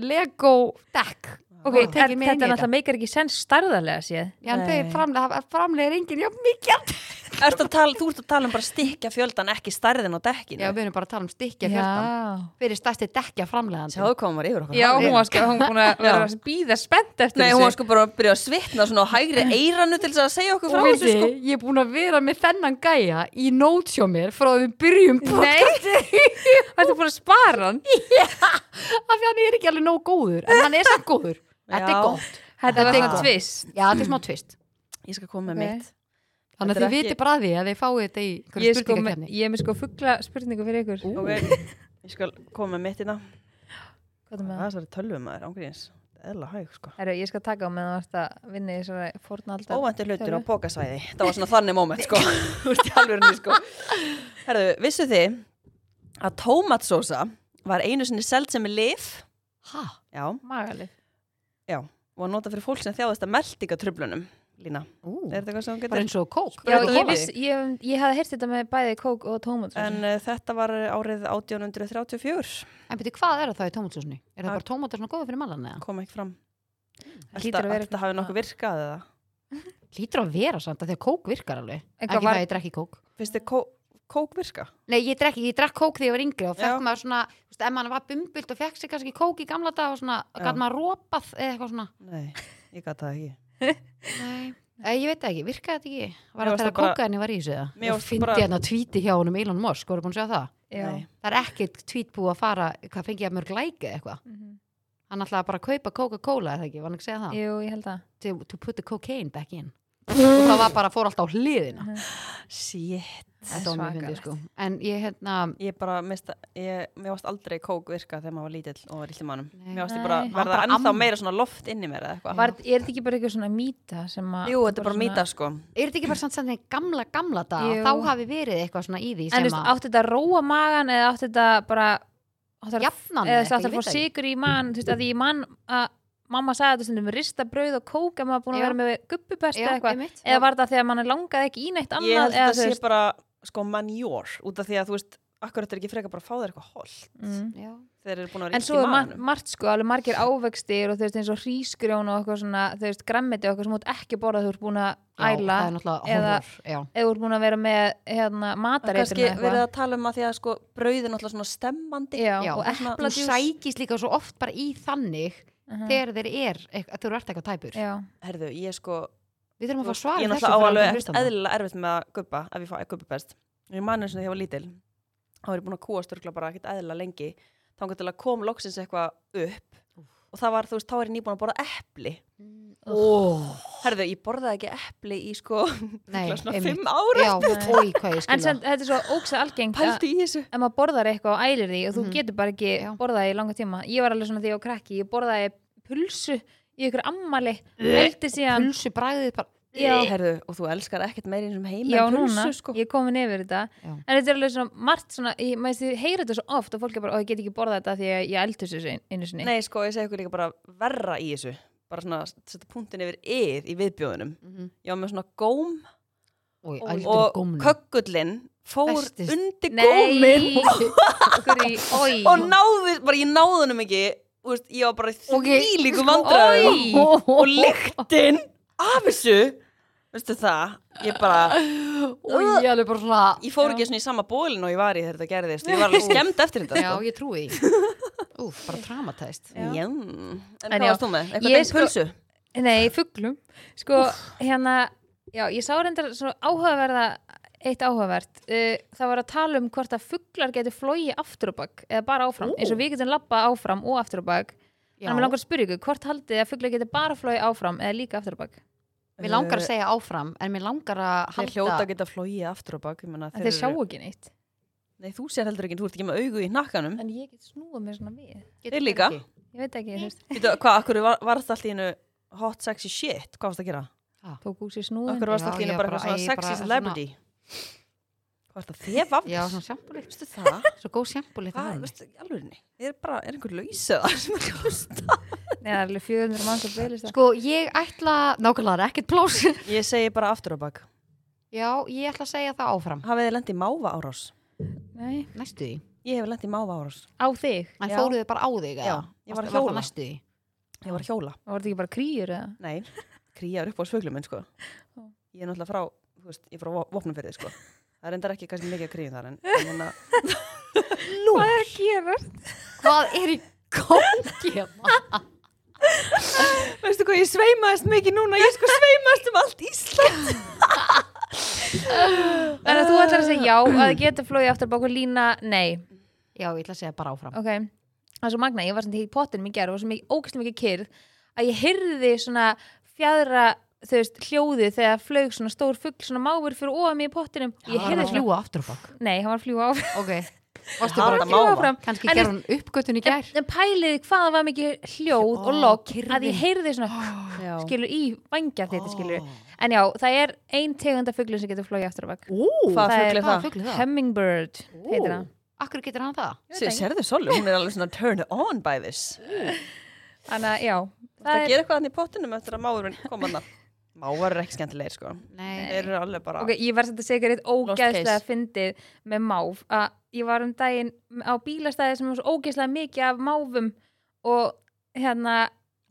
Speaker 1: Lego dekk.
Speaker 3: Ok,
Speaker 1: Voru
Speaker 3: en
Speaker 1: tekin með inn í
Speaker 3: þetta náttúrulega
Speaker 1: þetta?
Speaker 3: meikar ekki sens starðarlega séð
Speaker 1: Já, en þeir
Speaker 2: Nei.
Speaker 1: framlega, framlega enginn, já, mikið.
Speaker 2: Ertu að tala, þú ert að tala um bara stikja fjöldan ekki stærðin á
Speaker 1: Já,
Speaker 2: dekkinu
Speaker 1: við erum bara að tala um stikkja fjöldan. Fyrir stærsti dekkja
Speaker 2: Sjáðu hvað hún var yfir okkur
Speaker 3: Já,
Speaker 2: hafin.
Speaker 3: hún var sko, hún búin að vera að býða spennt eftir
Speaker 2: Nei, hún var
Speaker 3: þessu
Speaker 2: sko bara að byrja að svitna svona á hægri eiranu til þess að segja okkur frá
Speaker 1: Og veitir,
Speaker 2: þessu sko
Speaker 1: ég er búin að vera með þennan gæja í notes hjá mér frá því við byrjum
Speaker 3: Nei, þetta er búin að spara hann
Speaker 1: af því hann er ekki alveg nóg góður en hann er samt góður, þetta er
Speaker 2: Já.
Speaker 1: gott
Speaker 3: Þetta
Speaker 1: Þetta
Speaker 3: var
Speaker 1: er
Speaker 3: svona
Speaker 1: gott.
Speaker 3: tvist
Speaker 1: já, þetta er smá tvist
Speaker 2: Ég skal koma með
Speaker 3: Ok.
Speaker 2: mitt
Speaker 1: þannig að
Speaker 2: Þetta er
Speaker 1: þið
Speaker 2: ekki-
Speaker 1: viti bara að því að þið fáið þetta í
Speaker 3: Ég
Speaker 1: einhverju
Speaker 3: er sko með-
Speaker 1: spurningakefni
Speaker 3: ég er með sko fuggla spurningu fyrir ykkur
Speaker 2: Ok, ég skal koma með mitt hérna
Speaker 3: Hvað er með það?
Speaker 2: Þessari tölvum maður, ángríðins Eðla hæg sko
Speaker 3: Herru, ég skal taka á með þú ert að vinna í þessari fornaldar
Speaker 2: Óvænti hlutur á
Speaker 3: Tölvu.
Speaker 2: bókasvæði Það var svona þannig moment sko Þú ert í alvörunni sko Herðu, vissu þið að tómatsósa var einu sinni seld sem er lif
Speaker 1: ha,
Speaker 2: Já,
Speaker 3: Magalif
Speaker 2: já Og að nota fyrir fólk sem þjáðast að meltingatröflunum Lína,
Speaker 1: ú,
Speaker 2: er þetta eitthvað sem þú
Speaker 1: bara
Speaker 2: getur?
Speaker 1: eins og kók
Speaker 3: Já,
Speaker 2: Brauð og
Speaker 3: ég,
Speaker 2: kók.
Speaker 3: viss, ég, ég hafði heyrt þetta með bæði kók og sko. tómat
Speaker 2: En uh, þetta var árið 1834
Speaker 1: en byrju, hvað er það í tómatsósni? er það
Speaker 2: Það-
Speaker 1: bara tómatar svona góða fyrir malan eða?
Speaker 2: Kom ekki fram
Speaker 3: hlýtur
Speaker 2: Þetta,
Speaker 3: að vera
Speaker 2: þetta hafi nokkuð virkað eða
Speaker 1: lítur að vera samt að því að kók virkar alveg
Speaker 3: En
Speaker 1: ekki
Speaker 3: hvað
Speaker 1: það
Speaker 3: var-
Speaker 1: að ég drekki kók
Speaker 2: Finnst þið kó, kók virka?
Speaker 1: nei, ég drekki, ég drekk kók þegar ég var yngri og
Speaker 2: Já.
Speaker 1: fekk maður svona, þú veist, ef maður var bumbult og fekk sér kannski kók í gamla dag og svona,
Speaker 2: Já.
Speaker 1: gæt maður rópað eða eitthvað svona
Speaker 2: Nei, ég gata það ekki
Speaker 1: Nei, eh, ég veit það ekki, virkaði þetta ekki? Var það þegar
Speaker 2: Mér varst það bara-
Speaker 1: kókaðinni var í þessu
Speaker 2: Mér
Speaker 1: eða? Og
Speaker 2: varst
Speaker 1: fyndi
Speaker 2: bara-
Speaker 1: hérna tvíti hjá honum Elon Musk, voru búin að sjá það?
Speaker 2: Nei.
Speaker 1: Það er ekkit tvít búið að fara, hvað fengi ég að mörg læka eitthvað?
Speaker 3: Mhm.
Speaker 1: Hann ætlaði bara að kaupa Coca-Cola, eða ekki, var hann ekki að segja það?
Speaker 3: Jú, ég held það
Speaker 1: To, to put the cocaine back in. Og það var bara, fór alltaf á hliðina.
Speaker 3: Mhm.
Speaker 2: Shit
Speaker 1: Þetta var mjög fyndið,
Speaker 3: svakalegt.
Speaker 1: sko. En ég, hérna,
Speaker 2: Ég bara mista, ég, mér varst aldrei kók virka þegar maður var lítill og var illt í mannum.
Speaker 1: Nei.
Speaker 2: Mér varst ég
Speaker 3: Nei.
Speaker 2: bara
Speaker 3: Maður
Speaker 2: verða
Speaker 1: bara
Speaker 2: ennþá
Speaker 1: amma.
Speaker 2: meira svona loft inn í mér eða eitthvað.
Speaker 3: Var, er þetta ekki bara eitthvað svona mýta sem að
Speaker 2: Jú, þetta er bara
Speaker 3: svona-
Speaker 2: mýta sko.
Speaker 1: er þetta ekki bara samt samt þegar gamla, gamla dag?
Speaker 3: Jú.
Speaker 1: Þá hafi verið eitthvað svona í því
Speaker 3: En þú
Speaker 1: sem
Speaker 3: veist,
Speaker 1: að
Speaker 3: átti þetta að róa magan eða átti þetta bara átti að-
Speaker 1: jafnan
Speaker 3: eða þú veist, átti
Speaker 1: ég
Speaker 3: að
Speaker 1: veit
Speaker 3: fá
Speaker 1: það ekki.
Speaker 3: sigur í magan þú veist, að því mann að mamma sagði þetta stundum rista brauð og kók að maður búin að
Speaker 1: Já.
Speaker 3: vera með gubbupest
Speaker 1: Já,
Speaker 3: eða eitthvað
Speaker 1: einmitt.
Speaker 3: eða var þetta þegar mann langaði ekki í
Speaker 2: Ég held
Speaker 3: neitt annað
Speaker 2: að
Speaker 3: eða
Speaker 2: þetta sé bara sko manjór út af því að þú veist, akkur þetta er ekki frekar bara að fá þér eitthvað holt.
Speaker 3: mm.
Speaker 1: Já.
Speaker 2: Þeir eru búin að vera
Speaker 3: En
Speaker 2: illt í
Speaker 3: svo er mar
Speaker 2: mannum.
Speaker 3: margt sko, alveg margir ávegstir og þau veist eins og hrísgrjón og eitthvað svona, þau veist grammiti og eitthvað sem þú ert ekki borðað, þú ert búin að
Speaker 1: Já,
Speaker 3: æla
Speaker 1: það er náttúrulega
Speaker 3: eða-
Speaker 1: horror, já.
Speaker 3: eða þú ert búin að vera með hérna,
Speaker 2: Og kannski
Speaker 3: matareitrun eða
Speaker 2: verið
Speaker 3: eitthvað.
Speaker 2: að tala um að því að sko brauðin er náttúrulega svona stemmandi.
Speaker 3: Já,
Speaker 1: Já,
Speaker 3: og
Speaker 1: hún
Speaker 2: svona-
Speaker 3: epladjús.
Speaker 1: sækist líka svo oft bara í þannig
Speaker 3: Mhm.
Speaker 1: þegar þeir er, eitthvað- þegar þú ert eitthvað tæpur
Speaker 3: Já,
Speaker 2: Herðu, ég sko,
Speaker 1: við þurfum að fá
Speaker 2: ég
Speaker 1: svara
Speaker 2: er náttúrulega áalveg eðlilega erfitt með að guppa, ef ég fá guppupest. Ég mannum sem þegar ég var lítil, þá var ég búin að kúast örgla bara ekkert eðlilega lengi. Þá til að kom loksins eitthvað upp og það var, þú veist, þá er ég nýbúin að borða epli.
Speaker 1: oh,
Speaker 2: Herðu, ég borðaði ekki epli í sko, *laughs*
Speaker 1: Nei,
Speaker 2: örugglega svona
Speaker 1: einmitt.
Speaker 2: fimm ára.
Speaker 1: já,
Speaker 3: Nei.
Speaker 1: oi, hvað ég skilja
Speaker 3: en sem, þetta er svo ógsa algengt að
Speaker 2: Pældi í þessu.
Speaker 3: ef maður borðar eitthvað og ælir því og þú
Speaker 1: Mhm.
Speaker 3: getur bara ekki
Speaker 1: Já.
Speaker 3: borðað í langa tíma ég var alveg svona því á krakki, ég borðaði pulsu í ykkur ammali, eldi síðan
Speaker 1: pulsu bræðið bara
Speaker 3: Já.
Speaker 2: Herðu, og þú elskar ekkert meira eins og heima
Speaker 3: Já,
Speaker 2: en pulsu,
Speaker 3: núna,
Speaker 2: sko.
Speaker 3: ég er komin yfir þetta
Speaker 1: Já.
Speaker 3: en þetta er alveg svona margt svona, ég, maður þið heyra þetta svo oft og fólk er bara, ó, ég get ekki borðað þetta því að ég eldur þessu einu sinni
Speaker 2: Nei, sko, ég segi ykkur líka bara verra í þessu bara svona, setja punktin yfir yð í viðbjóðunum
Speaker 3: Mhm.
Speaker 2: ég var með svona góm
Speaker 1: Új,
Speaker 2: og-
Speaker 1: aldrei
Speaker 2: og
Speaker 1: gómnum.
Speaker 2: kökkullin fór
Speaker 1: Festist.
Speaker 2: undir gómin
Speaker 3: Nei,
Speaker 1: *laughs*
Speaker 3: okkur í, oi
Speaker 2: og náði, bara ég náði hennum ekki þú veist, ég var bara í
Speaker 1: Ok,
Speaker 2: þvílíkum vandræðum
Speaker 3: oj.
Speaker 2: og lyktin af þessu veistu það, ég bara
Speaker 1: og ég alveg bara svona
Speaker 2: ég fór ekki svona í sama bólin og ég var í þegar þetta gerðist ég var alveg skemmt eftir þetta
Speaker 1: já,
Speaker 2: sko.
Speaker 1: ég trúi því Úf, bara traumatæst
Speaker 2: já. en
Speaker 3: En
Speaker 2: hvað
Speaker 3: já,
Speaker 2: varst þú með? eitthvað
Speaker 3: ég
Speaker 2: tengt
Speaker 3: sko-
Speaker 2: pulsu?
Speaker 3: Nei, fuglum Sko, hérna, já, ég sá reyndar svona áhugaverða, eitt áhugavert uh, Það var að tala um hvort að fuglar getur flóið aftur og bak eða bara áfram,
Speaker 1: Ú.
Speaker 3: eins og við getum labbað áfram og aftur og bak
Speaker 1: Já.
Speaker 3: Þannig að mér langar að spyrja ykkur, hvort haldið þið að fuglar getur bara flóið áfram eða líka aftur og bak
Speaker 1: mér langar að segja áfram en mér langar að
Speaker 2: Þeir hljóta að
Speaker 1: halda
Speaker 2: geta flóið aftur og bak ég meina,
Speaker 3: En þeir
Speaker 2: eru-
Speaker 3: sjáu ekki neitt
Speaker 2: Nei, þú sér heldur ekki, þú ert ekki með augu í nakkanum.
Speaker 3: En ég get snúið mér svona við
Speaker 1: Getur
Speaker 2: Þeir líka.
Speaker 1: ekki.
Speaker 3: Ég veit ekki, þú veist,
Speaker 2: Veitu, hvað, akkur var, varst allt í hennu hot sexy shit, hvað varst að gera?
Speaker 3: tók úr sér snúðin
Speaker 2: Akkur varst
Speaker 1: Já,
Speaker 2: allt í hennu
Speaker 1: ég
Speaker 2: bara
Speaker 1: bara-
Speaker 2: eitthvað svona
Speaker 1: æ,
Speaker 2: sexy
Speaker 1: bara svona-
Speaker 2: celebrity? Hvað varst að þefa af
Speaker 1: já,
Speaker 2: þess?
Speaker 1: svona sjampulegt
Speaker 2: Veistu það?
Speaker 1: svo góð sjampulegt
Speaker 2: Hvað, veistu, í alvörinni? Er bara, er einhver lausið það sem er að hlusta?
Speaker 3: Nei, það er alveg 400 manns að byrja
Speaker 1: sko, ég ætla nákvæmlega það er ekkert plás
Speaker 2: Ég segi bara aftur á bak.
Speaker 1: já, ég ætla að segja það áfram
Speaker 2: Hafið þið lendið máva árás?
Speaker 3: Nei,
Speaker 1: næstu því
Speaker 2: Ég hef lendið máva árás.
Speaker 3: á þig
Speaker 1: en
Speaker 2: Já.
Speaker 1: fóruðu bara á þig eða?
Speaker 2: Já, ég var að
Speaker 1: Varstu- það
Speaker 2: hjóla.
Speaker 1: næstu því
Speaker 2: Ég var að hjóla.
Speaker 3: Það voru þetta ekki bara krýjur eða?
Speaker 2: Nei, kríjar upp á svöglum minn, sko. Ég er náttúrulega frá, þú veist, ég er frá vopnum fyrir sko. Það er endar ekki kannski mikið að kríða þar, en, en hérna,
Speaker 1: Nú,
Speaker 3: Hvað er að gera?
Speaker 1: hvað er í gangi hérna?
Speaker 2: Veistu hvað, ég sveimaðist mikið núna, ég sko sveimaðist um allt Ísland.
Speaker 3: Þannig að þú ætlar að segja já að það geta flóið aftur bak og lína nei
Speaker 1: já, ég ætla að segja bara áfram
Speaker 3: Ok, það er svo magna, ég var svona í pottinum í gerð og var svo mikið ógæstum mikið kyrð að ég hyrði svona fjadra þú veist, hljóðið þegar flög svona stór fugl svona máfur fyrir ofan mig í pottinum ég
Speaker 1: Hann var
Speaker 3: hyrði
Speaker 1: að
Speaker 3: svona,
Speaker 1: fljúga aftur á bak
Speaker 3: nei, hann var að fljúa *laughs* áfram
Speaker 1: ok,
Speaker 2: Varstu
Speaker 1: bara
Speaker 3: að fljúga áfram
Speaker 1: kannski
Speaker 3: En
Speaker 1: gerði hún uppgötun í gær
Speaker 3: en pæliði hvað það var mikið
Speaker 1: Ó,
Speaker 3: hljóð og lokk
Speaker 1: kyrrðin.
Speaker 3: að ég heyrði svona
Speaker 2: Já.
Speaker 3: skilur í vangja þetta skilur en já, það er ein tegunda fuglum sem getur flóið aftur á bak
Speaker 1: Ú,
Speaker 2: Hvað
Speaker 3: það
Speaker 2: fugl er
Speaker 1: hvaða
Speaker 2: það?
Speaker 1: fugl er það?
Speaker 3: Hummingbird heitir það
Speaker 1: Akkur getur hann það?
Speaker 3: Ég veit
Speaker 2: Sér,
Speaker 3: ekki.
Speaker 2: sérðu Sollu, hún er alveg svona turn on by this.
Speaker 3: Þannig að já,
Speaker 2: Það
Speaker 3: það er
Speaker 2: gerir eitthvað hann í pottinum eftir að máurinn kom *laughs* hann. Mávar er ekki skemmtilegir sko.
Speaker 1: Nei,
Speaker 2: Þeir eru alveg bara,
Speaker 3: Ok, ég var þetta segir eitt ógeðslega
Speaker 2: case.
Speaker 3: fyndið með máf að ég var um daginn á bílastæði sem var svo ógeðslega mikið af máfum og hérna,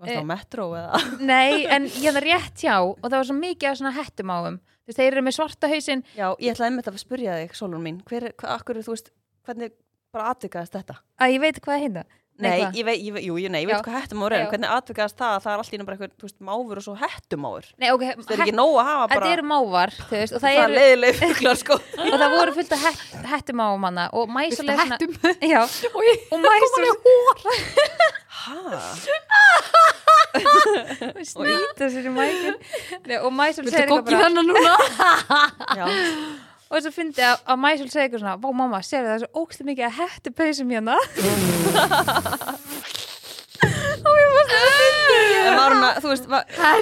Speaker 2: varst það á metro eða?
Speaker 3: nei, en ég hérna rétt hjá og það var svo mikið af svona hettumáfum þú veist, þeir eru með svarta hausinn
Speaker 2: *laughs* Já, ég ætlaði einmitt að spurja þig, Solun mín, hver, hva, akkur, þú veist, hvernig bara atvikaðist þetta?
Speaker 3: að ég veit hvað hérna. það heita
Speaker 2: Nei,
Speaker 3: hvað?
Speaker 2: ég veit, ég veit, jú, ég, nei, ég veit
Speaker 3: Já.
Speaker 2: hvað hettumáður er,
Speaker 3: Já.
Speaker 2: hvernig atvikaðist það að það er allt í einu bara eitthvað, þú veist, máfur og svo hettumáður.
Speaker 3: Nei, ok,
Speaker 2: Það er
Speaker 3: het-
Speaker 2: ekki nóg að hafa
Speaker 3: þetta
Speaker 2: bara,
Speaker 3: eru mávar, þú veist og það,
Speaker 2: það er
Speaker 3: eru,
Speaker 2: leiðileg fuglar sko. *laughs*
Speaker 3: og það voru fullt af het, hettumáfum hana og
Speaker 1: Fullt af
Speaker 3: mæsulega
Speaker 1: hettum.
Speaker 3: Já, og mæsulega
Speaker 2: Hæ?
Speaker 3: *laughs* snýta sér í mækin Nei, og mæsulega
Speaker 1: viltu kokki þennan
Speaker 3: *laughs*
Speaker 1: núna?
Speaker 2: Já, *laughs*
Speaker 3: og þess að fyndi að, að Mæsul segi eitthvað svona Vá mamma, sér það er svo ógstu mikið að hættu pausum hérna *laughs*
Speaker 2: en var hún að, þú veist,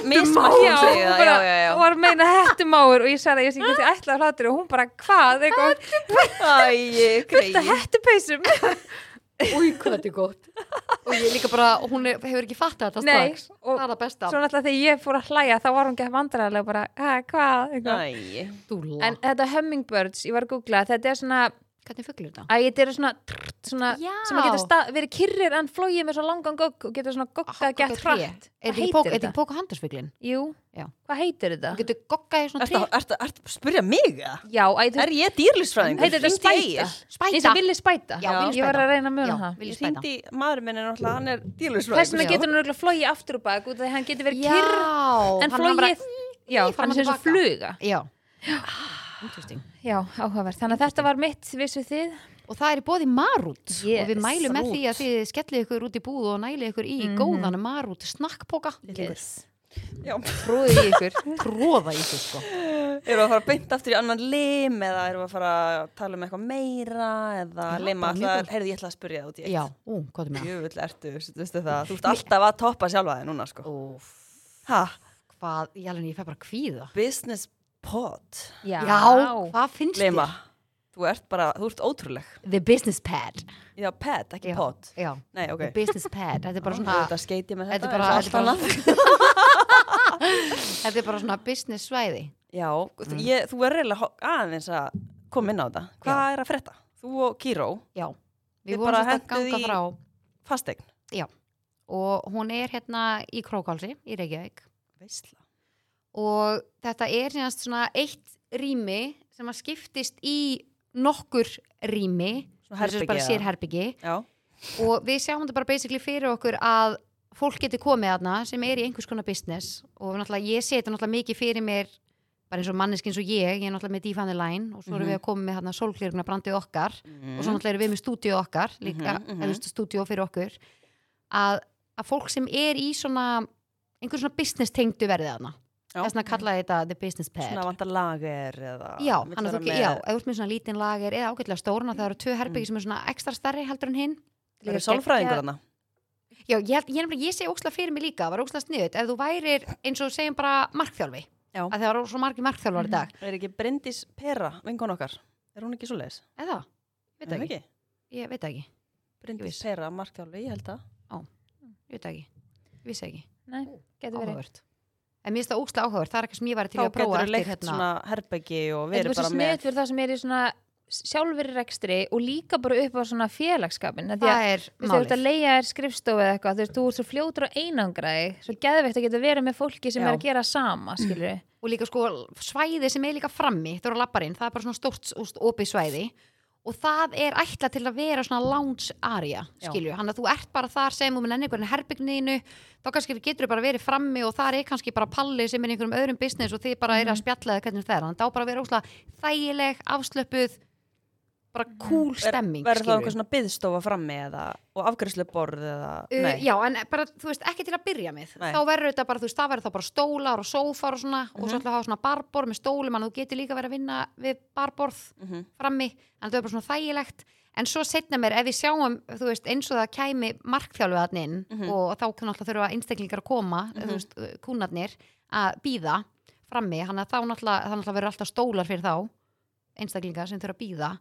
Speaker 2: mismætt
Speaker 3: Já,
Speaker 2: hún segið
Speaker 3: hún
Speaker 2: það, já,
Speaker 3: bara
Speaker 2: já, Ah. já.
Speaker 3: var að meina hættu máur og ég sagði að ég sé ekki ætla að hlátur og hún bara hvað eitthvað,
Speaker 2: Æ,
Speaker 3: þetta
Speaker 2: greið.
Speaker 3: hættu pausum
Speaker 1: Új, *laughs* hvað þetta er gott Og ég líka bara, hún er, hefur ekki fattað þetta
Speaker 3: Nei,
Speaker 1: strax
Speaker 3: og-
Speaker 1: Það er það besta
Speaker 3: Svo náttúrulega þegar ég fór að hlæja þá var hún ekki vandræðilega bara, "Ha, hvað eitthvað.
Speaker 2: Æ,
Speaker 1: Dúlla
Speaker 3: En þetta hummingbirds, ég var að googla þetta er svona,
Speaker 1: Hvernig fugl er þetta?
Speaker 3: að þetta eru svona, svona
Speaker 1: Já.
Speaker 3: sem að geta sta- verið kyrrir en flóið með svo langan gogg og geta svona goggað gett hrætt
Speaker 1: Er þetta ekki pók- er þetta ekki póka handurfuglin?
Speaker 3: Jú,
Speaker 1: Já.
Speaker 3: hvað heitir þetta?
Speaker 1: Þú getur goggað í svona
Speaker 2: ertu
Speaker 1: trí
Speaker 2: að- ertu- ertu að spyrja mig eða?
Speaker 3: Já, að ég þú
Speaker 2: Er ég dýrlýsfræðingur?
Speaker 3: heitir þetta spæta eins
Speaker 1: Spæta
Speaker 3: og villi spæta,
Speaker 1: Já, Villi
Speaker 3: ég var
Speaker 1: spæta.
Speaker 3: að reyna að muna
Speaker 1: Já,
Speaker 3: það
Speaker 1: Villi
Speaker 2: Ég
Speaker 1: spæta
Speaker 2: hringdi í- maðurinn minn er náttúrulega, hann er
Speaker 3: þess
Speaker 2: dýrlýsfræðingur.
Speaker 3: vegna
Speaker 1: Já.
Speaker 3: getur hann örugglega flogið aftur og bak út af því að hann getur verið kyrr
Speaker 1: hann
Speaker 3: en
Speaker 1: var bara-
Speaker 3: flogið, já,
Speaker 1: fram
Speaker 3: hann
Speaker 1: og
Speaker 3: sé svo
Speaker 1: tilbaka.
Speaker 3: fluga
Speaker 1: Já
Speaker 3: *gasps*
Speaker 1: Interesting
Speaker 3: já, áhugavert, þannig að þetta var mitt vissu þið,
Speaker 1: Og það er í bóði marút
Speaker 3: Yes. Mhm.
Speaker 1: og við mælum með
Speaker 2: Marút.
Speaker 1: því að þið skellið ykkur út í búð og nælið ykkur í góðan marút snakkpoka
Speaker 3: yes.
Speaker 2: Já.
Speaker 3: tróðið í ykkur
Speaker 1: *laughs* tróða í þessu sko
Speaker 2: Erum við að fara beint aftur í annan lim eða erum við að fara að tala um eitthvað meira eða
Speaker 1: Já,
Speaker 2: lima
Speaker 1: bara mjög
Speaker 2: alltaf,
Speaker 1: góð.
Speaker 2: heyrðu ég ætla að spyrja það út í
Speaker 1: Já, ú, hvað er með það?
Speaker 2: Jöfull ertu, veistu það, þú ert alltaf að toppa sjálfa þig núna sko.
Speaker 1: Úf,
Speaker 2: Ha,
Speaker 1: hvað, ég alveg, ég fæ bara að kvíða.
Speaker 2: Business pod
Speaker 3: Já,
Speaker 1: hvað finnst
Speaker 2: Leima, þú ert bara, þú ert ótrúleg
Speaker 1: þér? The business pad.
Speaker 2: Já, pad, ekki
Speaker 1: Já.
Speaker 2: pod
Speaker 1: Já,
Speaker 2: Nei, ok
Speaker 1: the business pad. Þetta er bara svona,
Speaker 2: Þetta skeiti með
Speaker 1: þetta
Speaker 2: þetta
Speaker 1: er bara,
Speaker 2: eins og
Speaker 1: þetta er
Speaker 2: allt
Speaker 1: *laughs*
Speaker 2: annað.
Speaker 1: bara, þetta er bara svona business svæði.
Speaker 2: Já, þú, ég, þú er reyla aðeins að koma inn á þetta Hvað er að frétta? Þú og Kíró,
Speaker 1: Já,
Speaker 2: Þið
Speaker 1: við vorum
Speaker 2: bara
Speaker 1: svolítið að
Speaker 2: hentuð
Speaker 1: ganga
Speaker 2: í-
Speaker 1: frá
Speaker 2: fasteign
Speaker 1: og hún er hérna í Krókálsi í Reykjavík
Speaker 2: Veisla
Speaker 1: og þetta er sérnast svona eitt rými sem að skiptist í nokkur rými
Speaker 2: Svona
Speaker 1: þessu er
Speaker 2: herbergi
Speaker 1: bara sér
Speaker 2: eða?
Speaker 1: herbyggi
Speaker 2: Já,
Speaker 1: og við sjáum þetta bara basically fyrir okkur að fólk getur komið aðna sem er í einhvers konar business og náttúrulega ég seti náttúrulega mikið fyrir mér bara eins og manneski eins og ég, ég er náttúrulega með Define Line og svo erum
Speaker 2: Mhm.
Speaker 1: við að koma með hérna sólglirugna brandið okkar og svo
Speaker 2: Mm.
Speaker 1: náttúrulega erum við með stúdíu okkar líka,
Speaker 2: Mhm, mhm.
Speaker 1: eða þú veist, stúdíu fyrir okkur að, að fólk sem er í svona einhver svona business tengdu verðið aðna
Speaker 2: Já.
Speaker 1: þess að kalla þetta the business pad
Speaker 2: Svona vantar lager eða
Speaker 1: Já,
Speaker 2: vill
Speaker 1: þannig að
Speaker 2: vera
Speaker 1: þú,
Speaker 2: með- Mhm.
Speaker 1: já, ef þú ert með svona lítinn lager eða ágætlega stórna, það eru tvö herbyggi sem er svona ekstra starri heldur en hinn.
Speaker 2: Það
Speaker 1: Líka
Speaker 2: eru sálfræðingur
Speaker 1: geggjað-
Speaker 2: hana
Speaker 1: Já, ég, held- ég, ég, ég segi ókslega fyrir mig líka, það var ókslega sniðut, ef þú værir eins og segjum bara markþjálfi,
Speaker 2: Já.
Speaker 1: að það var svo margir markþjálfar í dag,
Speaker 2: Er ekki Bryndís Pera, vinkon okkar? Er hún ekki svo leiðis?
Speaker 1: eða, veit það ekki,
Speaker 2: ekki?
Speaker 1: ég veit það ekki, Ég
Speaker 2: Bryndís
Speaker 1: vissi.
Speaker 2: Pera, markþjálfi, ég held það
Speaker 1: ég veit það ekki, ég vissi það ekki,
Speaker 3: Nei, getur verið
Speaker 1: áhugavert. En mér finnst það ókslega áhugavert, það er eitthvað sem ég var til
Speaker 2: Þá
Speaker 1: í að prófa
Speaker 2: getur þú
Speaker 1: eftir
Speaker 2: leikt
Speaker 1: hérna.
Speaker 2: svona herbeggi og
Speaker 3: Þetta
Speaker 2: verið
Speaker 3: var svo
Speaker 2: bara með
Speaker 3: sniðt fyrir það sem er í svona sjálfur rekstri og líka bara upp á svona félagskapin Það
Speaker 1: það er
Speaker 3: Þú veist, þú ert að
Speaker 1: málið.
Speaker 3: leiða þér skrifstofu eða eitthvað, þú veist, þú ert svo fljótur að einangra þig, svo geðveikt að geta verið með fólki sem
Speaker 2: Já.
Speaker 3: er að gera sama, skilur við.
Speaker 1: Og líka sko svæði sem er líka frammi, þú eru að labbarinn, það er bara svona stórt úst, opið svæði og það er ætla til að vera svona lounge area,
Speaker 2: Já.
Speaker 1: skilju, hann að þú ert bara þar sem um enn einhvern herbyggninu, þá kannski getur þú bara verið frammi og þar er kannski bara palli sem er í einhverjum öðrum business og þið bara mm. er
Speaker 2: Mhm.
Speaker 1: að spjalla eða hvernig það er, þannig að þá bara að vera óslega þægileg, afslöpuð, bara cool stemming,
Speaker 2: Mhm. Verður það
Speaker 1: skilju.
Speaker 2: einhver svona byðstofa frammi eða og afgjörsluborð eða
Speaker 1: Uh,
Speaker 2: Nei,
Speaker 1: já, en bara, þú veist, ekki til að byrja með
Speaker 2: Nei.
Speaker 1: þá verður þetta bara, þú veist, það verður þá bara stólar og sófar og svona,
Speaker 2: Mhm.
Speaker 1: og svo ætla að hafa svona barborð með stólum, en þú getur líka verið að vinna við barborð
Speaker 2: Mhm.
Speaker 1: frammi en það er bara svona þægilegt, en svo setna mér ef við sjáum, þú veist, eins og það kæmi markþjálfiðarn inn
Speaker 2: Mhm.
Speaker 1: og þá kunna alltaf þurfa einstaklingar að koma þú veist, kúnarnir að býða frammi, hann að þá náttúrulega, það náttúrulega verður alltaf stólar fyrir þá einstaklinga sem þurfa að býða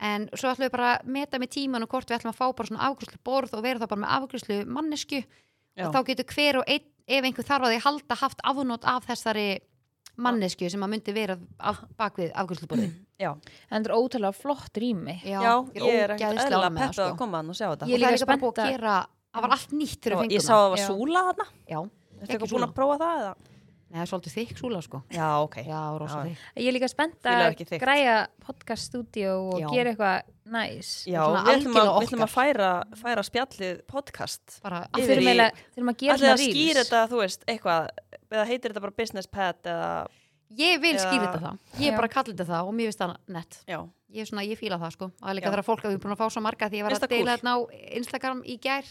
Speaker 1: en svo ætlum við bara að meta með tíman og hvort við ætlum að fá bara svona afgjörslu borð og vera þá bara með afgjörslu mannesku
Speaker 2: Já.
Speaker 1: og þá getur hver og einn, ef einhver þarf að því halda haft afnót af þessari mannesku sem að myndi vera af, bak við afgjörslu borði
Speaker 2: *clears throat* já,
Speaker 3: En þetta er ótrúlega flott rými.
Speaker 1: Já,
Speaker 2: ég er ekkert
Speaker 1: ógeðslega
Speaker 2: eðla
Speaker 1: ánægð með
Speaker 2: peppað
Speaker 1: það, sko.
Speaker 2: að koma hann og sjá þetta
Speaker 1: Ég
Speaker 3: Ég
Speaker 1: er
Speaker 3: er
Speaker 1: líka,
Speaker 3: líka
Speaker 1: líka bara búið að
Speaker 3: spennt að-
Speaker 1: gera það var allt nýtt fyrir
Speaker 2: og
Speaker 1: fenguna
Speaker 2: Ég sá að það var
Speaker 3: Já.
Speaker 2: súla þarna
Speaker 1: Já,
Speaker 2: Ertu
Speaker 1: Ekki
Speaker 2: eitthvað búin
Speaker 1: súla.
Speaker 2: að prófa það eða?
Speaker 1: Nei, það er svolítið þykk súla sko
Speaker 2: Já, ok
Speaker 1: Já, rosa
Speaker 2: Já.
Speaker 1: þykk
Speaker 3: Ég er líka spennt
Speaker 2: Fílar
Speaker 3: að
Speaker 2: ekki þykkt.
Speaker 3: græja podcaststudió og
Speaker 1: Já.
Speaker 3: gera eitthvað næs.
Speaker 2: Já,
Speaker 1: Svona
Speaker 2: við ætlum að,
Speaker 1: algjörlega
Speaker 2: við ætlum að færa, færa spjallið podcast
Speaker 1: Bara,
Speaker 3: Að
Speaker 2: Yfir
Speaker 3: Þurfum
Speaker 2: í-
Speaker 3: eiginlega- þurfum að gera
Speaker 2: Ætlið
Speaker 3: svona
Speaker 2: að skýra
Speaker 3: rýls.
Speaker 2: þetta, þú veist, eitthvað eða heitir þetta bara business pad eða
Speaker 1: Ég vil
Speaker 2: Já.
Speaker 1: skýra þetta það Ég
Speaker 3: Já.
Speaker 1: bara kalli þetta það og mér finnst það nett
Speaker 2: Já,
Speaker 1: ég, er svona, ég fíla það sko og það er líka
Speaker 2: Já.
Speaker 1: þegar fólk að við erum búin að fá svo marga því ég var
Speaker 2: Finnst
Speaker 1: að
Speaker 2: það cool?
Speaker 1: deila þetta á Instagram í gær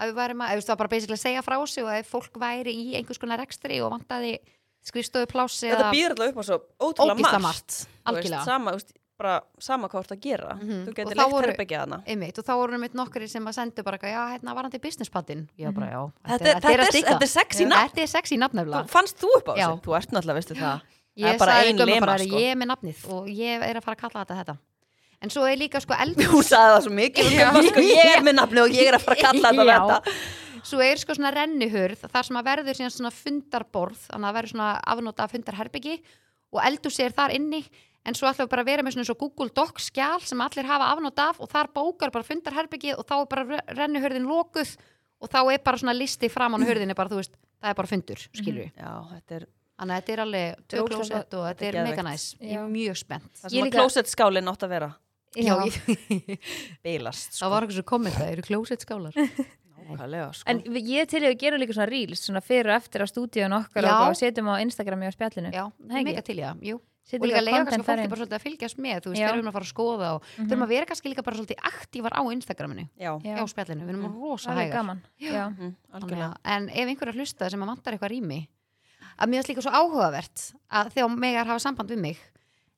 Speaker 1: að við værum að, eða þú veist, það var bara basically að segja frá sig og ef fólk væri í einhvers konar rekstri og vantaði skrifstofu plási
Speaker 2: þetta býður alltaf upp á svo ótrúlega
Speaker 1: Ógeðslega
Speaker 2: margt Þú veist,
Speaker 1: algjörlega.
Speaker 2: Sama, þú veist, bara sama hvað þú ert að gera
Speaker 1: Mhm.
Speaker 2: Þú
Speaker 1: Og
Speaker 2: getur
Speaker 1: þá
Speaker 2: leikt
Speaker 1: voru-
Speaker 2: herbyggja þarna
Speaker 1: einmitt og þá voru einmitt nokkri sem að sendu bara eitthvað, já, hérna var hann til businesspaddin ég var bara, já,
Speaker 2: Mhm. Þetta er- þetta
Speaker 1: að
Speaker 2: er-
Speaker 1: stikka.
Speaker 2: þetta er sexy
Speaker 1: Já.
Speaker 2: nafn.
Speaker 1: Þetta er sexy nafn
Speaker 2: Þú,
Speaker 1: nefnilega
Speaker 2: fannst þú upp á
Speaker 1: Já.
Speaker 2: þessu? Þú ert náttúrulega, veistu það það
Speaker 1: ég
Speaker 2: er bara
Speaker 1: sagði
Speaker 2: ein
Speaker 1: gömlu
Speaker 2: lema,
Speaker 1: bara, "Herri,
Speaker 2: sko."
Speaker 1: ég er með nafnið og ég er að fara að kalla þetta þetta en svo er líka sko
Speaker 2: Þú
Speaker 1: eldhús
Speaker 2: sagði það svo mikið og gumma, sko, ég er með nafni og ég er að fara að kalla þetta
Speaker 3: Já.
Speaker 2: þetta
Speaker 1: svo er sko svona rennihurð þar sem að verður síðan svona fundarborð þannig að það verður svona afnóta af fundarherbyggi og eldhúsi er þar inni en svo ætlum við bara að vera með svona eins og Google Docs skjál sem allir hafa afnóta af og þar bókar bara fundarherbyggið og þá er bara re- rennihurðin lokuð og þá er bara svona listi framan á hurðinni bara þú veist, það er bara fundur, skilju
Speaker 2: Já, þetta er
Speaker 1: þannig að þetta er alveg
Speaker 3: Þetta er ógeðslega
Speaker 1: töklósett og þetta
Speaker 2: þetta er
Speaker 1: er mega
Speaker 2: geðveikt.
Speaker 1: næs ég
Speaker 3: Já.
Speaker 1: er mjög spennt
Speaker 2: það
Speaker 3: Ég
Speaker 2: sem að
Speaker 3: líka-
Speaker 2: klósettskálinn átt að vera
Speaker 1: Já, ég, *laughs*
Speaker 2: Bilast, sko.
Speaker 1: það var eitthvað svo kommenta, eru klósett skálar
Speaker 2: Nákvæmlega, sko
Speaker 3: En við- ég er til í að gera líka svona reels, svona fyrir og eftir á stúdíun okkar
Speaker 1: Já.
Speaker 3: og og setjum á Instagrami og spjallinu.
Speaker 1: Já,
Speaker 3: Nei,
Speaker 1: mega
Speaker 3: ekki.
Speaker 1: til í það, jú
Speaker 3: Setjum
Speaker 1: og líka leiða kannski fólki
Speaker 3: content þar inn.
Speaker 1: bara svolítið að fylgjast með þú veist,
Speaker 3: Já. Mhm.
Speaker 1: þeir eru að fara að skoða og mm þurfum að vera kannski líka bara svolítið aktívar á Instagraminu
Speaker 2: Já,
Speaker 3: Já.
Speaker 1: á spjallinu, við erum mm. rosa
Speaker 3: Það er
Speaker 1: hægar
Speaker 3: gaman. Já.
Speaker 2: mhm,
Speaker 1: Þannig
Speaker 2: algjörlega
Speaker 1: að- en ef einhverja hlusta sem að vantar eitthvað rými að mér finnst líka svo áhugavert að þegar megar hafa samband við mig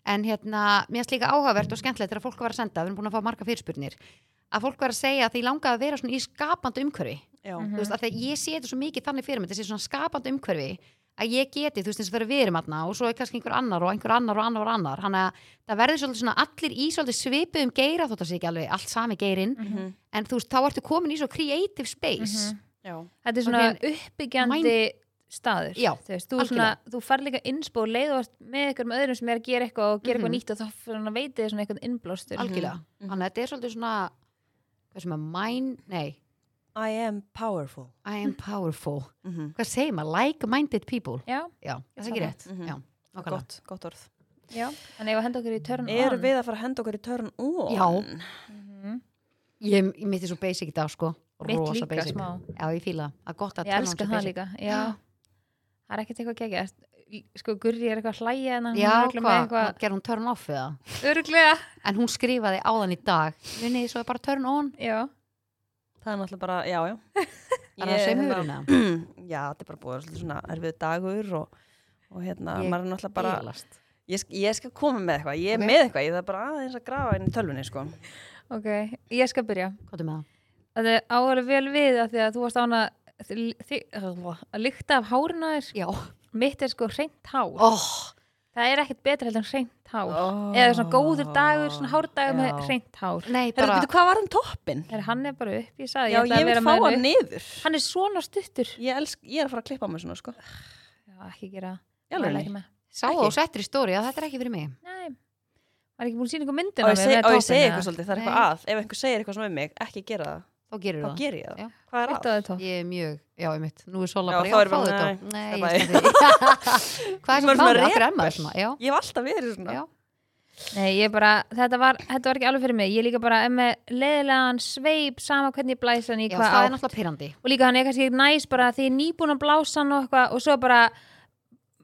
Speaker 1: en hérna, mér finnst líka áhugavert og skemmtilegt þegar fólk var að senda, við erum búin að fá marga fyrirspurnir að fólk var að segja að því langaði að vera svona í skapandi umhverfi
Speaker 2: Já,
Speaker 1: Mhm. þú veist, af því að ég sé þetta svo mikið þannig fyrir mig, þetta sé svona skapandi umhverfi að að ég geti, þú veist, eins og þegar við erum aðna og svo er kannski einhver annar og einhver annar og annar og annar þannig að það verður svolítið svona allir í svolítið svipuðum geira þótt að sé ekki alveg allt sami geirinn
Speaker 2: Mhm.
Speaker 1: en þú veist, þá ertu komin í svo creative space
Speaker 3: Mhm.
Speaker 2: Já.
Speaker 3: Þetta er svona
Speaker 1: Og
Speaker 3: uppbyggjandi staður
Speaker 1: Já,
Speaker 3: þú, veist, þú, svona, þú fær líka innspó og leið og ert með ykkur með öðrum sem er að gera eitthvað og gera
Speaker 1: Mhm.
Speaker 3: eitthvað nýtt og þá svona, veit þið svona eitthvað innblástur
Speaker 1: algjörlega,
Speaker 2: Mhm.
Speaker 1: þannig að þetta er svolítið svona hvað sem að mind, nei
Speaker 2: I am powerful.
Speaker 1: I am powerful,
Speaker 2: Mm
Speaker 3: Mhm.
Speaker 2: -hmm.
Speaker 1: hvað segir maður like-minded people,
Speaker 3: Já,
Speaker 1: já, það er
Speaker 3: Ég
Speaker 1: ekki
Speaker 3: sammála.
Speaker 1: rétt
Speaker 2: Mhm.
Speaker 1: já, nákvæmlega. Mm.
Speaker 2: Gott, gott orð.
Speaker 3: já, en ef að henda okkur í törn
Speaker 2: Erum við að fara að henda okkur í törn on?
Speaker 1: Já.
Speaker 3: -hmm.
Speaker 1: ég, ég mitt er svo basic í dag sko
Speaker 3: Mitt
Speaker 1: rosa
Speaker 3: líka
Speaker 1: basic,
Speaker 3: smá
Speaker 1: já, ég fíla það. það er gott að
Speaker 3: Ég
Speaker 1: tala um
Speaker 3: elska
Speaker 1: svo
Speaker 3: það
Speaker 1: basic.
Speaker 3: líka Já, það er ekkert eitthvað gegja Sko, Gurri er eitthvað að hlæja en hann
Speaker 1: já,
Speaker 3: er örugglega með
Speaker 1: hvað,
Speaker 3: eitthvað
Speaker 1: gerði hún turn off eða
Speaker 3: Örglega
Speaker 1: en hún skrifaði á þann í dag munið þið svo er bara turn on
Speaker 3: Já,
Speaker 2: Það er náttúrulega bara, já, já.
Speaker 3: *laughs*
Speaker 1: það er að
Speaker 2: Ég,
Speaker 1: segja
Speaker 2: hérna, *clears throat*
Speaker 1: mjögurina
Speaker 2: Já, þetta er bara búið að vera svolítið svona erfið dagur og, og hérna,
Speaker 1: Ég
Speaker 2: maður er náttúrulega bara,
Speaker 1: Bilast.
Speaker 2: ég, sk- ég skal koma með eitthvað, ég er
Speaker 1: Ok.
Speaker 2: með eitthvað, ég þarf bara aðeins að grafa inn í tölvunni, sko.
Speaker 3: ok, ég skal byrja
Speaker 1: hvað er með það?
Speaker 3: Það er áhverju vel við að því að þú varst án að þi- þi- að lykta af hárinu á þér
Speaker 1: já,
Speaker 3: Mitt er sko hreint hár
Speaker 1: oh,
Speaker 3: Það er ekkert betra heldur en hreint hár Eða svona góður dagur, svona hárdagur
Speaker 2: Já.
Speaker 3: með hreint hár
Speaker 1: nei,
Speaker 2: Herra,
Speaker 1: bara
Speaker 2: betur, hvað var um toppin?
Speaker 3: Er hann er bara upp, ég sagði
Speaker 2: Já, ég
Speaker 3: ætlaði
Speaker 2: vil
Speaker 3: að vera
Speaker 2: fá
Speaker 3: með
Speaker 2: hann
Speaker 3: upp.
Speaker 2: niður.
Speaker 3: Hann er svona stuttur
Speaker 2: Ég, elsk, ég er að fara að klippa mig svona, sko.
Speaker 3: Já, ekki gera
Speaker 2: Í
Speaker 3: það
Speaker 2: alvörunni?
Speaker 3: Mæla ekki með.
Speaker 1: sá það og settir í stóri að þetta er ekki fyrir mig
Speaker 3: Nei, var ekki búin að sína einhver myndin
Speaker 2: Og ég, seg, og ég segi eitthvað svolítið,
Speaker 3: svolítið
Speaker 2: það er
Speaker 1: Nei.
Speaker 2: eitthvað að. Ef einhver segir eitthvað svona um mig, ekki gera það,
Speaker 1: þá gerir
Speaker 2: þá
Speaker 1: það
Speaker 2: ger ég það.
Speaker 1: Já.
Speaker 2: Hvað er að?
Speaker 1: ég er mjög, já, ég mitt, nú er Sola
Speaker 2: Já,
Speaker 1: bara
Speaker 2: þá
Speaker 1: já,
Speaker 2: erum
Speaker 1: fáðu
Speaker 2: við-
Speaker 1: þetta
Speaker 2: nei,
Speaker 1: nei,
Speaker 2: það
Speaker 1: ég sleppi því. *laughs* hvað er svo
Speaker 2: Maður er svona
Speaker 1: máli, akkur er
Speaker 2: rebel.
Speaker 1: maður svona já,
Speaker 2: Ég hef alltaf verið svona.
Speaker 1: já,
Speaker 3: Nei, ég bara, þetta var, þetta var ekki alveg fyrir mig Ég líka bara er með leiðilegan sveip sama hvernig ég blæs hann í
Speaker 1: já
Speaker 3: hvað
Speaker 1: það er
Speaker 3: átt
Speaker 1: náttúrulega pyrrandi
Speaker 3: og líka hann er kannski næs bara því ég er nýbúin að blása hann og eitthvað og svo bara,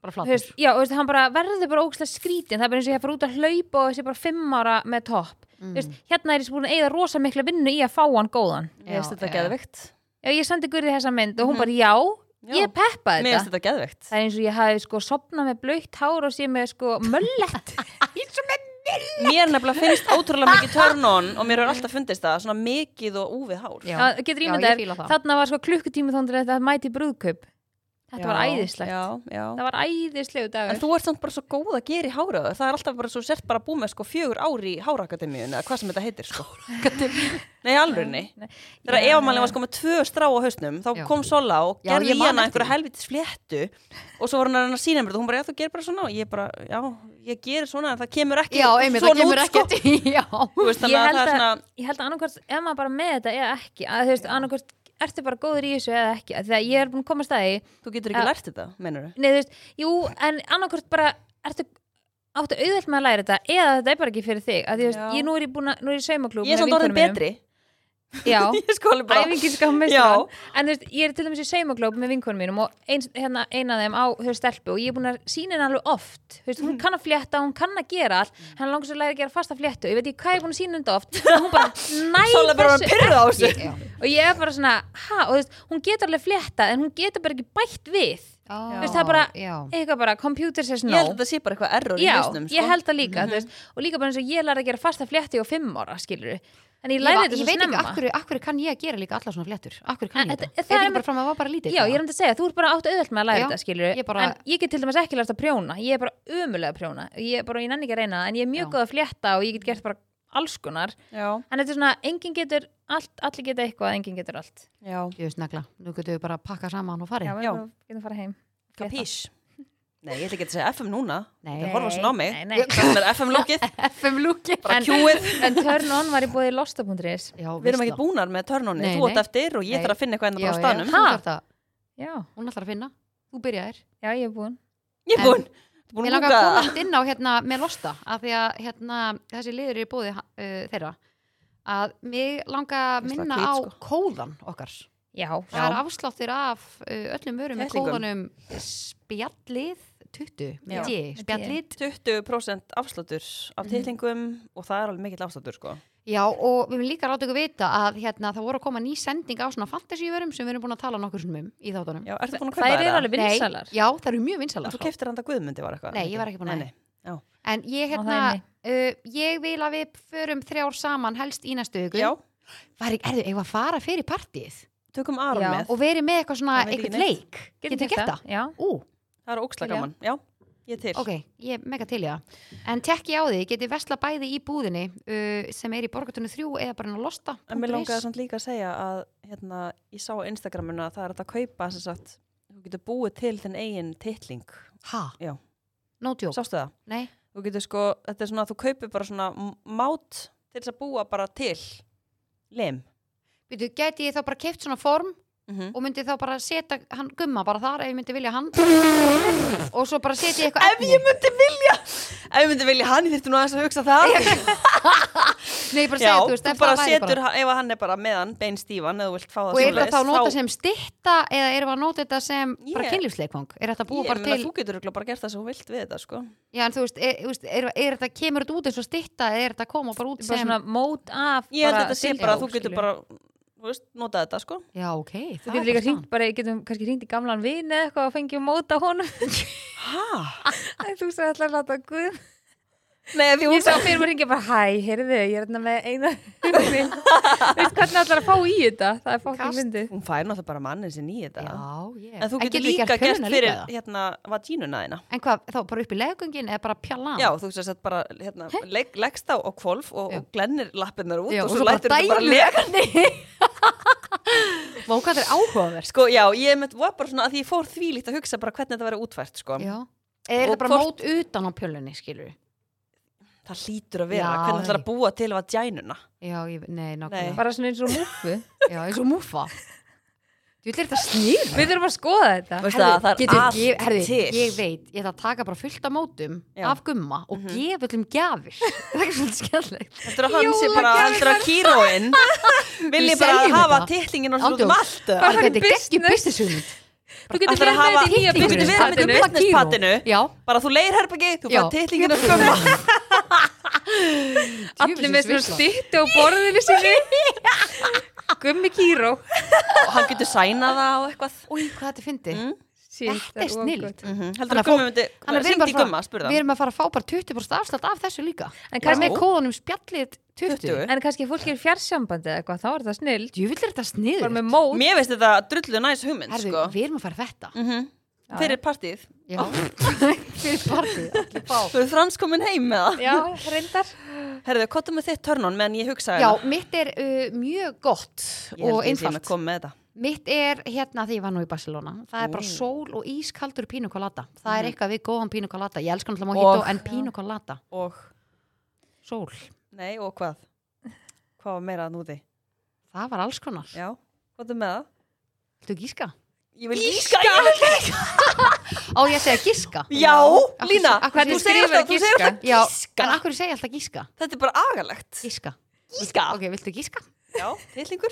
Speaker 1: bara
Speaker 3: þú
Speaker 1: flatur
Speaker 3: veist, já, þú veist, hann bara verður bara ógæslega skrítin, það er bara eins og ég fara út að hlaupa og þessi bara fimm ára með topp
Speaker 1: Mm.
Speaker 3: þú veist, hérna er ég búin að eigða rosa mikla vinnu í að fá hann góðan
Speaker 2: Ég veist þetta
Speaker 1: Já, já.
Speaker 2: geðveikt.
Speaker 3: já, ég sendi Gurði þessa mynd og hún
Speaker 2: Mhm.
Speaker 3: bara, já,
Speaker 2: Já.
Speaker 3: ég peppa
Speaker 2: Mér veist
Speaker 3: þetta
Speaker 2: þetta geðveikt.
Speaker 3: það er eins og ég hafi sko sopnað með blautt hár og sé með sko möllett
Speaker 2: Mér nefnilega finnst ótrúlega mikið turn on og mér hefur alltaf fundist það, svona mikið og úfið hár.
Speaker 1: Já.
Speaker 3: Já, getur
Speaker 1: Já, ég
Speaker 3: ímyndað,
Speaker 1: fíla
Speaker 3: þér,
Speaker 1: það.
Speaker 3: þarna var sko klukkutími þóndir þetta mæti í brúðkaup þetta var
Speaker 2: Já,
Speaker 3: æðislegt,
Speaker 2: Já, já.
Speaker 3: það var æðislegu
Speaker 2: En
Speaker 3: dagur
Speaker 2: þú ert samt bara svo góð að gera í háraðu. Það er alltaf bara svo sért bara búið með sko fjögur ári í hárakademíun eða hvað sem þetta heitir sko. Nei, alvörni.
Speaker 3: Nei.
Speaker 2: Þegar
Speaker 3: Já,
Speaker 2: Eva-Malin
Speaker 3: já.
Speaker 2: var sko með tvö strá á hausnum, þá
Speaker 1: Já.
Speaker 2: kom Sola og
Speaker 1: Já,
Speaker 2: gerði
Speaker 1: ég
Speaker 2: í
Speaker 1: man
Speaker 2: hana
Speaker 1: eftir
Speaker 2: einhverja
Speaker 1: því.
Speaker 2: helvitis fléttu og svo var hann að reyna að sína mér þetta. Hún bara, já, þú gerir bara svona og ég bara, já, ég gerir svona en það kemur
Speaker 1: *laughs*
Speaker 2: ekki
Speaker 1: já, einmitt, það
Speaker 2: svona
Speaker 1: kemur
Speaker 2: út sko.
Speaker 1: ekkert *laughs* já,
Speaker 2: Þú veist,
Speaker 3: ég
Speaker 2: þannig að
Speaker 3: held
Speaker 2: það
Speaker 3: að,
Speaker 2: er svona,
Speaker 3: ég held að annarkvært ef maður bara með þetta eða ekki að þú veist, annarkvært ertu bara góður í þessu eða ekki að því að ég er búin að koma að staði
Speaker 2: þú getur ekki
Speaker 3: Já.
Speaker 2: lært þetta, meinur
Speaker 3: nei, þú veist, jú, en annarkvært bara ertu áttu auðvelt með að læra þetta eða þetta er bara ekki fyrir þig að því, þú veist,
Speaker 2: Já.
Speaker 3: ég, nú er ég búin að, nú er ég í saumaklúb
Speaker 2: Ég er samt orðin betri.
Speaker 3: já,
Speaker 2: *laughs* Ég er sko alveg bara,
Speaker 3: æfingin skal
Speaker 2: Já.
Speaker 3: meistran en þú veist, ég er til dæmis í saumaglóp með vinkonum mínum og ein, hérna, eina af þeim á þau stelpu og ég er búin að sína henni alveg oft þú veist,
Speaker 2: Mm.
Speaker 3: hún kann að flétta, hún kann að gera allt henni langar svo að læra að gera fasta fléttu ég veit ekki hvað ég er búin að sína henni þetta oft og hún
Speaker 2: *laughs*
Speaker 3: bara
Speaker 2: Sola bara
Speaker 3: næ
Speaker 2: að pyrra á þessu.
Speaker 1: já,
Speaker 3: og ég er bara svona, ha, og þú veist hún getur alveg flétta en hún getur bara ekki bætt við
Speaker 1: já,
Speaker 3: Þú veist, það er bara-
Speaker 1: já,
Speaker 3: eitthvað bara, computer says
Speaker 2: Ég
Speaker 3: no
Speaker 2: held að þetta sé bara eitthvað error í
Speaker 3: já,
Speaker 2: hausnum
Speaker 3: ég
Speaker 2: sko.
Speaker 3: held það líka, þú veist og líka bara eins og ég lærði að gera fasta fléttu á fimm ára, skilur en ég
Speaker 1: Ég,
Speaker 3: lærði
Speaker 1: var-
Speaker 3: þetta
Speaker 1: ég
Speaker 3: svo
Speaker 1: veit ekki,
Speaker 3: snemma
Speaker 1: akkur, akkur kann ég að gera líka alla svona flettur Akkur kann ég
Speaker 3: En
Speaker 1: þetta?
Speaker 3: þetta-
Speaker 1: Er
Speaker 3: það
Speaker 1: þetta
Speaker 3: er
Speaker 1: ekki bara
Speaker 3: með-
Speaker 1: frá að maður var bara lítill?
Speaker 3: Já,
Speaker 1: eða?
Speaker 3: ég er um að segja, þú ert bara átt auðvelt með að læra
Speaker 1: Já,
Speaker 3: þetta, skilur
Speaker 1: ég bara-
Speaker 3: En ég get til dæmis ekki lært að prjóna, ég er bara umulega að prjóna Ég er bara, ég nenni ekki að reyna það, en ég er
Speaker 1: Já.
Speaker 3: mjög góð að flétta og ég get gert bara alls konar
Speaker 2: Já,
Speaker 3: En þetta er svona, enginn getur allt, allir geta eitthvað, enginn getur allt
Speaker 2: já.
Speaker 1: Ég veist negla, nú getum við bara að pakka saman og farið
Speaker 3: Já, við
Speaker 2: Já.
Speaker 3: bara getum fara heim
Speaker 2: Kapís? Nei, ég ætla ekki að segja FM núna.
Speaker 1: Nei.
Speaker 2: Það horfa svona á mig.
Speaker 3: Nei, nei.
Speaker 2: Þannig er FM lókið,
Speaker 1: FM lúki
Speaker 2: bara
Speaker 3: En-
Speaker 2: kjúið.
Speaker 3: En turn on var ég búið í losta.is
Speaker 1: Já,
Speaker 2: Við erum ekki búnar með törnunni.
Speaker 1: Nei,
Speaker 2: Þú átt
Speaker 1: nei.
Speaker 2: eftir og ég
Speaker 1: Nei.
Speaker 2: þarf að finna eitthvað enda bara á
Speaker 1: Já,
Speaker 2: staðnum.
Speaker 1: þú
Speaker 3: Ha?
Speaker 1: þarft að-
Speaker 3: Já,
Speaker 1: hún ætlar að finna Þú byrjaðir
Speaker 3: já, ég er búin
Speaker 2: Ég er búin. Þú er
Speaker 1: Ég
Speaker 2: búin að
Speaker 1: langar að koma
Speaker 2: lúka.
Speaker 1: þetta inn á hérna með losta af því að hérna, þessi liður er búið uh, þeirra að mig langar að
Speaker 2: Ég ætla að
Speaker 1: minna
Speaker 2: hvít,
Speaker 1: á
Speaker 2: sko.
Speaker 1: kóðan okkar
Speaker 3: Já,
Speaker 1: Það er afsláttir af uh, öllum vörum með kóðanum
Speaker 2: Kettlingum.
Speaker 1: spjallið 20
Speaker 2: Já.
Speaker 1: með D,
Speaker 3: Með D.
Speaker 1: spjallið
Speaker 2: 20% afsláttur af
Speaker 3: Mhm.
Speaker 2: titlingum og það er alveg mikill afsláttur sko.
Speaker 1: Já og við viljum líka láta ykkur vita að hérna, það voru að koma ný sending á svona fantasíverum sem við erum búin að tala nokkur sinnum um í þáttunum.
Speaker 2: Já, ertu búin að kaupa
Speaker 3: Þær eru
Speaker 2: þetta?
Speaker 3: alveg vinsalar
Speaker 1: Nei, já, það eru mjög
Speaker 2: En
Speaker 1: vinsalar.
Speaker 2: Þú keftir handa Guðmundi var eitthvað.
Speaker 1: Nei, ég var ekki búin að-
Speaker 2: Nei, nei.
Speaker 1: En ég,
Speaker 3: Á, það
Speaker 1: hérna,
Speaker 3: er nei.
Speaker 1: uh, ég vil að við förum þrjár saman helst í næstu hugun.
Speaker 2: Já,
Speaker 1: Var ekki, erðu, eigum við að fara fyrir partíið
Speaker 2: tökum Aron
Speaker 3: Já.
Speaker 2: með.
Speaker 1: og verið með eitthvað svona,
Speaker 2: Það veit ég
Speaker 1: eitthvað
Speaker 2: neitt.
Speaker 1: leik. Getur við gert það?
Speaker 3: Já,
Speaker 1: Ú,
Speaker 2: það er óksla
Speaker 1: Til, já.
Speaker 2: gaman, já, ég er til
Speaker 1: Ok, ég er mega til í það. En tekki á því, getið vesla bæði í búðinni uh, sem er í borgatunni 3 eða bara hann að losta.
Speaker 2: En mér langaði samt líka að segja að hérna, ég sá á Instagraminu að það er hægt að kaupa sem sagt, þú getur búið til þinn eigin titling,
Speaker 1: Ha?
Speaker 2: Já.
Speaker 1: No joke.
Speaker 2: sástu það?
Speaker 1: Nei,
Speaker 2: Þú getur sko, þetta er svona að þú kaupir bara svona m- mát til þess að búa bara til lem.
Speaker 1: veitu, geti ég þá bara keipt svona form
Speaker 2: Mm -hmm.
Speaker 1: og myndi þá bara setja hann gumma bara þar ef ég myndi vilja hann og svo bara setja ég eitthvað
Speaker 2: Ef ég myndi vilja, ef ég myndi vilja hann, ég þyrfti nú aðeins að hugsa það.
Speaker 1: Nei, ég bara segja, þú veist,
Speaker 2: þú
Speaker 1: ef
Speaker 2: bara
Speaker 1: það væri
Speaker 2: setur, bara. ef hann er bara meðan, beinstífan, eða þú vilt fá
Speaker 1: Og
Speaker 2: það
Speaker 1: er
Speaker 2: svoleiðis,
Speaker 1: þetta þá nota sem stitta eða erum við að nota þetta sem bara
Speaker 2: Ég-
Speaker 1: kynlífsleikvang? Er þetta búið
Speaker 2: Ég
Speaker 1: bara
Speaker 2: meina,
Speaker 1: til,
Speaker 2: Þú getur örugglega bara gert það sem þú vilt við þetta, sko.
Speaker 1: já en þú veist, er, þú veist, er, er þetta, kemur þetta út eins og stitta eða er þetta að koma bara út
Speaker 3: bara
Speaker 1: sem,
Speaker 3: svona mót af
Speaker 2: Ég held að
Speaker 3: bara
Speaker 2: þetta sé
Speaker 3: dildo,
Speaker 2: bara að þú
Speaker 3: skilur.
Speaker 2: getur bara, þú veist, notað þetta, sko.
Speaker 1: já ok,
Speaker 3: Þú
Speaker 1: það
Speaker 3: getur
Speaker 1: er
Speaker 3: líka
Speaker 1: bara
Speaker 3: hringt bara, getum kannski hringt í gamlan vin eða eitthvað og fengið mót á honum
Speaker 2: Hæ?
Speaker 3: *laughs* Æ, Þú sagði alltaf að láta guð
Speaker 2: Nei, því
Speaker 3: Ég
Speaker 2: hún
Speaker 3: sá fyrir mér hringja bara, hæ, heyrðu, ég er hérna með eina Veist hvernig allar að fá í þetta? Það er fólk í
Speaker 1: Kast.
Speaker 3: myndi
Speaker 2: Hún fær náttúrulega bara mannin sinn í þetta.
Speaker 1: Já, ég.
Speaker 2: En þú getur
Speaker 1: við
Speaker 2: líka gert,
Speaker 1: tölvuna
Speaker 2: fyrir
Speaker 1: það?
Speaker 2: hérna vagínuna þína.
Speaker 1: En hvað, þá bara upp í legungin eða bara pjallan?
Speaker 2: Já, þú sérst bara hérna, legg, leggst á og kvolf og, og glennir lappirnar út
Speaker 1: Já,
Speaker 2: og svo lætur þetta bara lega.
Speaker 1: lega. *laughs* Vá, hvað það er áhugaverð.
Speaker 2: Sko, já, ég mitt var bara svona að því ég fór þvílíkt að hugsa bara hvernig þetta verið útfært, sko.
Speaker 1: Já. Eða er
Speaker 2: Og
Speaker 1: þetta bara
Speaker 2: hvort-
Speaker 1: mót utan á pjölunni, skilur
Speaker 2: Það hlýtur að vera,
Speaker 1: Já,
Speaker 2: hvernig það er
Speaker 1: nei.
Speaker 2: að búa til vagínuna.
Speaker 1: Já, ég, nei, nákvæmlega.
Speaker 3: Bara svona eins og múfu
Speaker 1: Já, eins og múfa. Þú vil er þetta snýð?
Speaker 3: Við þurfum að skoða þetta
Speaker 2: Veistu það, það er allt
Speaker 1: ég, herði,
Speaker 2: til.
Speaker 1: Ég veit, ég ætla að taka bara fullt af mótum
Speaker 2: Já.
Speaker 1: af gumma og gefa öllum gjafir. *laughs* það er svolítið skemmtilegt.
Speaker 2: Þetta er að hann sé bara, þetta er
Speaker 1: *laughs*
Speaker 2: að kýróin vilji
Speaker 1: Við
Speaker 2: bara
Speaker 1: seljum
Speaker 2: hafa
Speaker 1: þetta.
Speaker 2: titlingin og
Speaker 1: Ándjóks.
Speaker 2: svona um allt.
Speaker 3: Bara
Speaker 1: Þetta er
Speaker 3: business.
Speaker 1: geggjum business hugmynd.
Speaker 3: Þú getur
Speaker 2: Ætlar að
Speaker 3: verið með
Speaker 2: hafa-
Speaker 3: þetta í nýja
Speaker 2: Þú getur verið með þetta í business
Speaker 3: business
Speaker 1: Gumma
Speaker 2: partinu.
Speaker 1: Kíró. Já,
Speaker 2: Bara þú leir herbyggi, þú
Speaker 1: Já.
Speaker 2: fær
Speaker 1: *laughs*
Speaker 2: titlingin um og svona.
Speaker 3: Allir með svona
Speaker 1: Djöfulsins veisla.
Speaker 3: stýttu á borðinu sinni Gummi kýró
Speaker 2: og hann getur sænað það og eitthvað.
Speaker 1: Új, hvað þetta fyndi?
Speaker 2: Mm.
Speaker 1: Þetta Mm-hmm. er snillt.
Speaker 2: -hmm.
Speaker 1: Þannig
Speaker 2: Heldur
Speaker 1: að
Speaker 2: að gummi
Speaker 1: fólk-
Speaker 2: myndi,
Speaker 1: Þannig að við erum
Speaker 2: ringdi
Speaker 1: bara
Speaker 2: gumma,
Speaker 1: að fara-
Speaker 2: spurði
Speaker 1: við
Speaker 2: hann.
Speaker 1: erum að fara að fá bara 20% afslátt af þessu líka.
Speaker 3: En
Speaker 1: Bara
Speaker 3: kannski,
Speaker 1: með kóðanum spjallið 20.
Speaker 2: 20.
Speaker 3: en kannski fólk er fjarsambandi eða eitthvað, þá er það snill
Speaker 1: Jú, vill þetta
Speaker 3: Bara
Speaker 1: sniður.
Speaker 3: með mót
Speaker 2: Mér veist þetta drullu næs hugmynd,
Speaker 1: Herðu,
Speaker 2: sko.
Speaker 1: við erum að fara þetta.
Speaker 2: Mm
Speaker 3: Já,
Speaker 2: Fyrir partíð.
Speaker 1: Já, fyrir partið, allir fá.
Speaker 2: Þú eru franskomin heim með það.
Speaker 3: Já, reyndar
Speaker 2: Herðu, kottu með þitt törnun meðan ég hugsa
Speaker 1: Já, mitt er uh, mjög gott og einfalt.
Speaker 2: kom með þetta.
Speaker 1: Mitt er hérna því ég var nú í Barcelona. Það er bara
Speaker 2: Ú.
Speaker 1: sól og ískaldur pínu colada. Það er eitthvað við góðan pínu colada. Ég elskar náttúrulega
Speaker 2: Mhm. Og-
Speaker 1: mojito en pínu colada.
Speaker 2: Og,
Speaker 1: Sól.
Speaker 2: nei, og hvað? Hvað var meira að núti?
Speaker 1: Það var alls konar.
Speaker 2: Já, kottu með það.
Speaker 1: Viltu gíska?
Speaker 2: Ég vil gíska, ég vil gíska.
Speaker 1: Á ég að segja gíska?
Speaker 2: Já,
Speaker 1: Akkur-
Speaker 2: Lína,
Speaker 1: akkur-
Speaker 2: þú
Speaker 1: þú
Speaker 2: segir
Speaker 3: skrifar
Speaker 2: alltaf, þú segir alltaf
Speaker 1: Já,
Speaker 2: gíska.
Speaker 1: en akkur segja ég alltaf gíska?
Speaker 2: Þetta er bara agalegt.
Speaker 1: Gíska.
Speaker 2: Gíska.
Speaker 1: Ok, viltu gíska?
Speaker 2: Já, titlingur.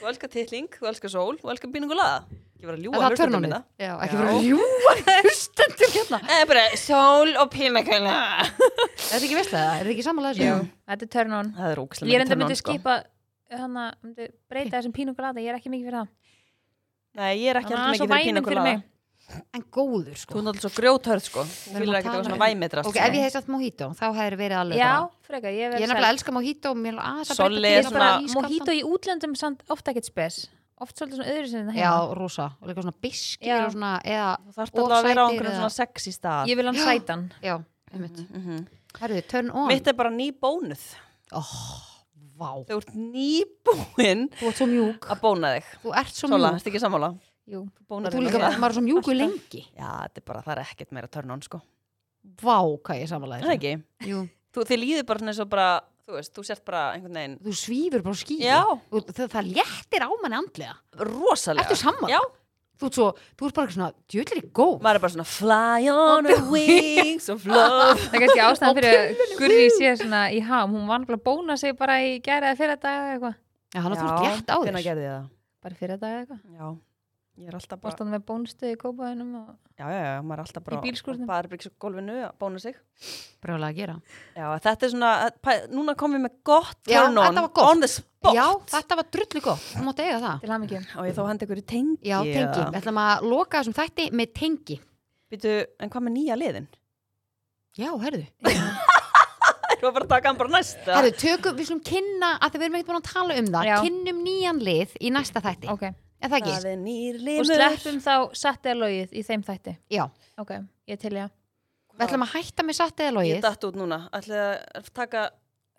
Speaker 2: Þú elskar titling, þú elskar sól, þú elskar bíningulaða. Ég var að
Speaker 1: En
Speaker 2: ljúga
Speaker 1: það
Speaker 2: að
Speaker 1: er
Speaker 2: hlusta
Speaker 1: törnum
Speaker 2: minna.
Speaker 1: Já, ekki
Speaker 2: Já.
Speaker 1: fyrir að ljúa *laughs* hlustendur hérna.
Speaker 2: Það er bara sól og pínakæla.
Speaker 1: Er þetta ekki veist það? Er þetta ekki samanlega þessu?
Speaker 3: Þetta er turn on
Speaker 2: Það er ógæslega
Speaker 3: Ég er enda myndi
Speaker 2: sko.
Speaker 3: skipa hana, myndi breyta þessum pínu glada, ég er ekki mikið fyrir það
Speaker 2: Nei, ég er ekki
Speaker 3: Hann er
Speaker 2: alltaf
Speaker 3: svo
Speaker 2: mikið fyrir
Speaker 3: væminn fyrir
Speaker 2: pínakæla.
Speaker 3: mig
Speaker 1: En góður,
Speaker 2: Þú
Speaker 1: sko.
Speaker 2: er alltaf svo grjóthörð, sko. Þú
Speaker 1: Við erum
Speaker 2: vilir
Speaker 1: að
Speaker 2: ekki
Speaker 1: tala
Speaker 2: vera svona sko.
Speaker 1: um-
Speaker 2: væmitrast.
Speaker 1: Ok, ef ég hef satt mojito, þá hefur verið alveg
Speaker 3: Já,
Speaker 1: bara-
Speaker 3: frekar, ég
Speaker 1: Ég
Speaker 3: verði
Speaker 1: er nefnilega elska mojito og mér er aðeins að breyta
Speaker 2: Solli
Speaker 1: til
Speaker 2: er
Speaker 1: í
Speaker 2: svona-
Speaker 1: bara ískaldan.
Speaker 3: Mojito í útlöndum samt ofta ekkert spes Oft svolítið svona öðru sinni
Speaker 1: Já, rosa. Og líka svona biskir
Speaker 3: Já.
Speaker 1: og svona, eða,
Speaker 2: Þú þarf
Speaker 1: Of
Speaker 2: alltaf að vera á
Speaker 1: sætir
Speaker 2: einhverjum
Speaker 1: eða-
Speaker 2: svona sexy stað.
Speaker 3: hérna. Ég vil hann sætan
Speaker 1: já, einmitt.
Speaker 2: Mhm.
Speaker 1: Herðu, turn on. Oh,
Speaker 2: Mitt er bara nýbónuð.
Speaker 1: Vá,
Speaker 2: Þú ert nýbúinn
Speaker 1: þú ert svo mjúk.
Speaker 2: að bóna þig.
Speaker 1: Þú ert svo
Speaker 2: Sola,
Speaker 1: mjúk.
Speaker 2: ertu ekki sammála?
Speaker 3: Jú,
Speaker 2: Þú bónar
Speaker 1: Þú
Speaker 2: þig
Speaker 1: líka,
Speaker 2: náttúrulega.
Speaker 1: maður er svo mjúku lengi.
Speaker 2: Já, þetta er bara, það er ekkert meira törn on, sko.
Speaker 1: Vá, hvað ég samanlega
Speaker 2: Það er ekki.
Speaker 1: Jú,
Speaker 2: Þú, þið líður bara svona eins og bara, þú veist, þú sért bara einhvern veginn.
Speaker 1: þú svífur bara skýr.
Speaker 2: Já,
Speaker 1: Það, það léttir á manni andlega.
Speaker 2: rosalega.
Speaker 1: Ertu sammála?
Speaker 2: Já,
Speaker 1: Þú ert svo, þú ert bara eitthvað svona, djöðlir er góð.
Speaker 2: maður er bara svona fly on the wings of love.
Speaker 3: það er kannski ástæðan fyrir að Gurri sé svona í ham Hún var náttúrulega að bóna sig bara í gæra eða fyrir dag eða eitthvað
Speaker 1: Já, hann að þú ert létt á
Speaker 2: Hvenær
Speaker 1: þér.
Speaker 2: gerði ég það?
Speaker 3: Bara fyrir dag eða eitthvað
Speaker 2: Já, ég er alltaf bara,
Speaker 3: Bóstan með bónstuði í kópaðinum og...
Speaker 2: já, já, já, maður er alltaf bara
Speaker 3: Í bílskúrnum.
Speaker 2: Barbyggsgólfinu að bóna sig.
Speaker 1: Brjóðlega að gera.
Speaker 2: Já, þetta er svona, eh, pæ- núna komum við með gott
Speaker 1: Já,
Speaker 2: turn on,
Speaker 1: þetta var gott.
Speaker 2: on the spot.
Speaker 1: Já, þetta var drullu gott. Þú mátt eiga það.
Speaker 3: Til ham *laughs* ekki
Speaker 2: Og ég þá hendi ykkur í tengi.
Speaker 1: Já, tengi. Við ætlum að loka þessum þætti með tengi.
Speaker 2: Býtu, en hvað með nýja liðin? *laughs*
Speaker 1: Já, herðu.
Speaker 2: Þú var bara að taka hann bara næst. eða?
Speaker 1: Herðu, tökum, við slum kynna, að því við erum ekkert búin að tala um það,
Speaker 3: Já.
Speaker 1: kynnum nýjan lið í næsta þætti.
Speaker 3: Ok,
Speaker 1: en það ekki,
Speaker 2: er nýr
Speaker 3: og
Speaker 2: limur
Speaker 3: sleppum þá satt eða logið í þeim þætti
Speaker 1: já,
Speaker 3: ok, ég til ég
Speaker 1: við ætlum að hætta með satt eða
Speaker 2: Ég
Speaker 1: logið
Speaker 2: datt út núna, ætlið að taka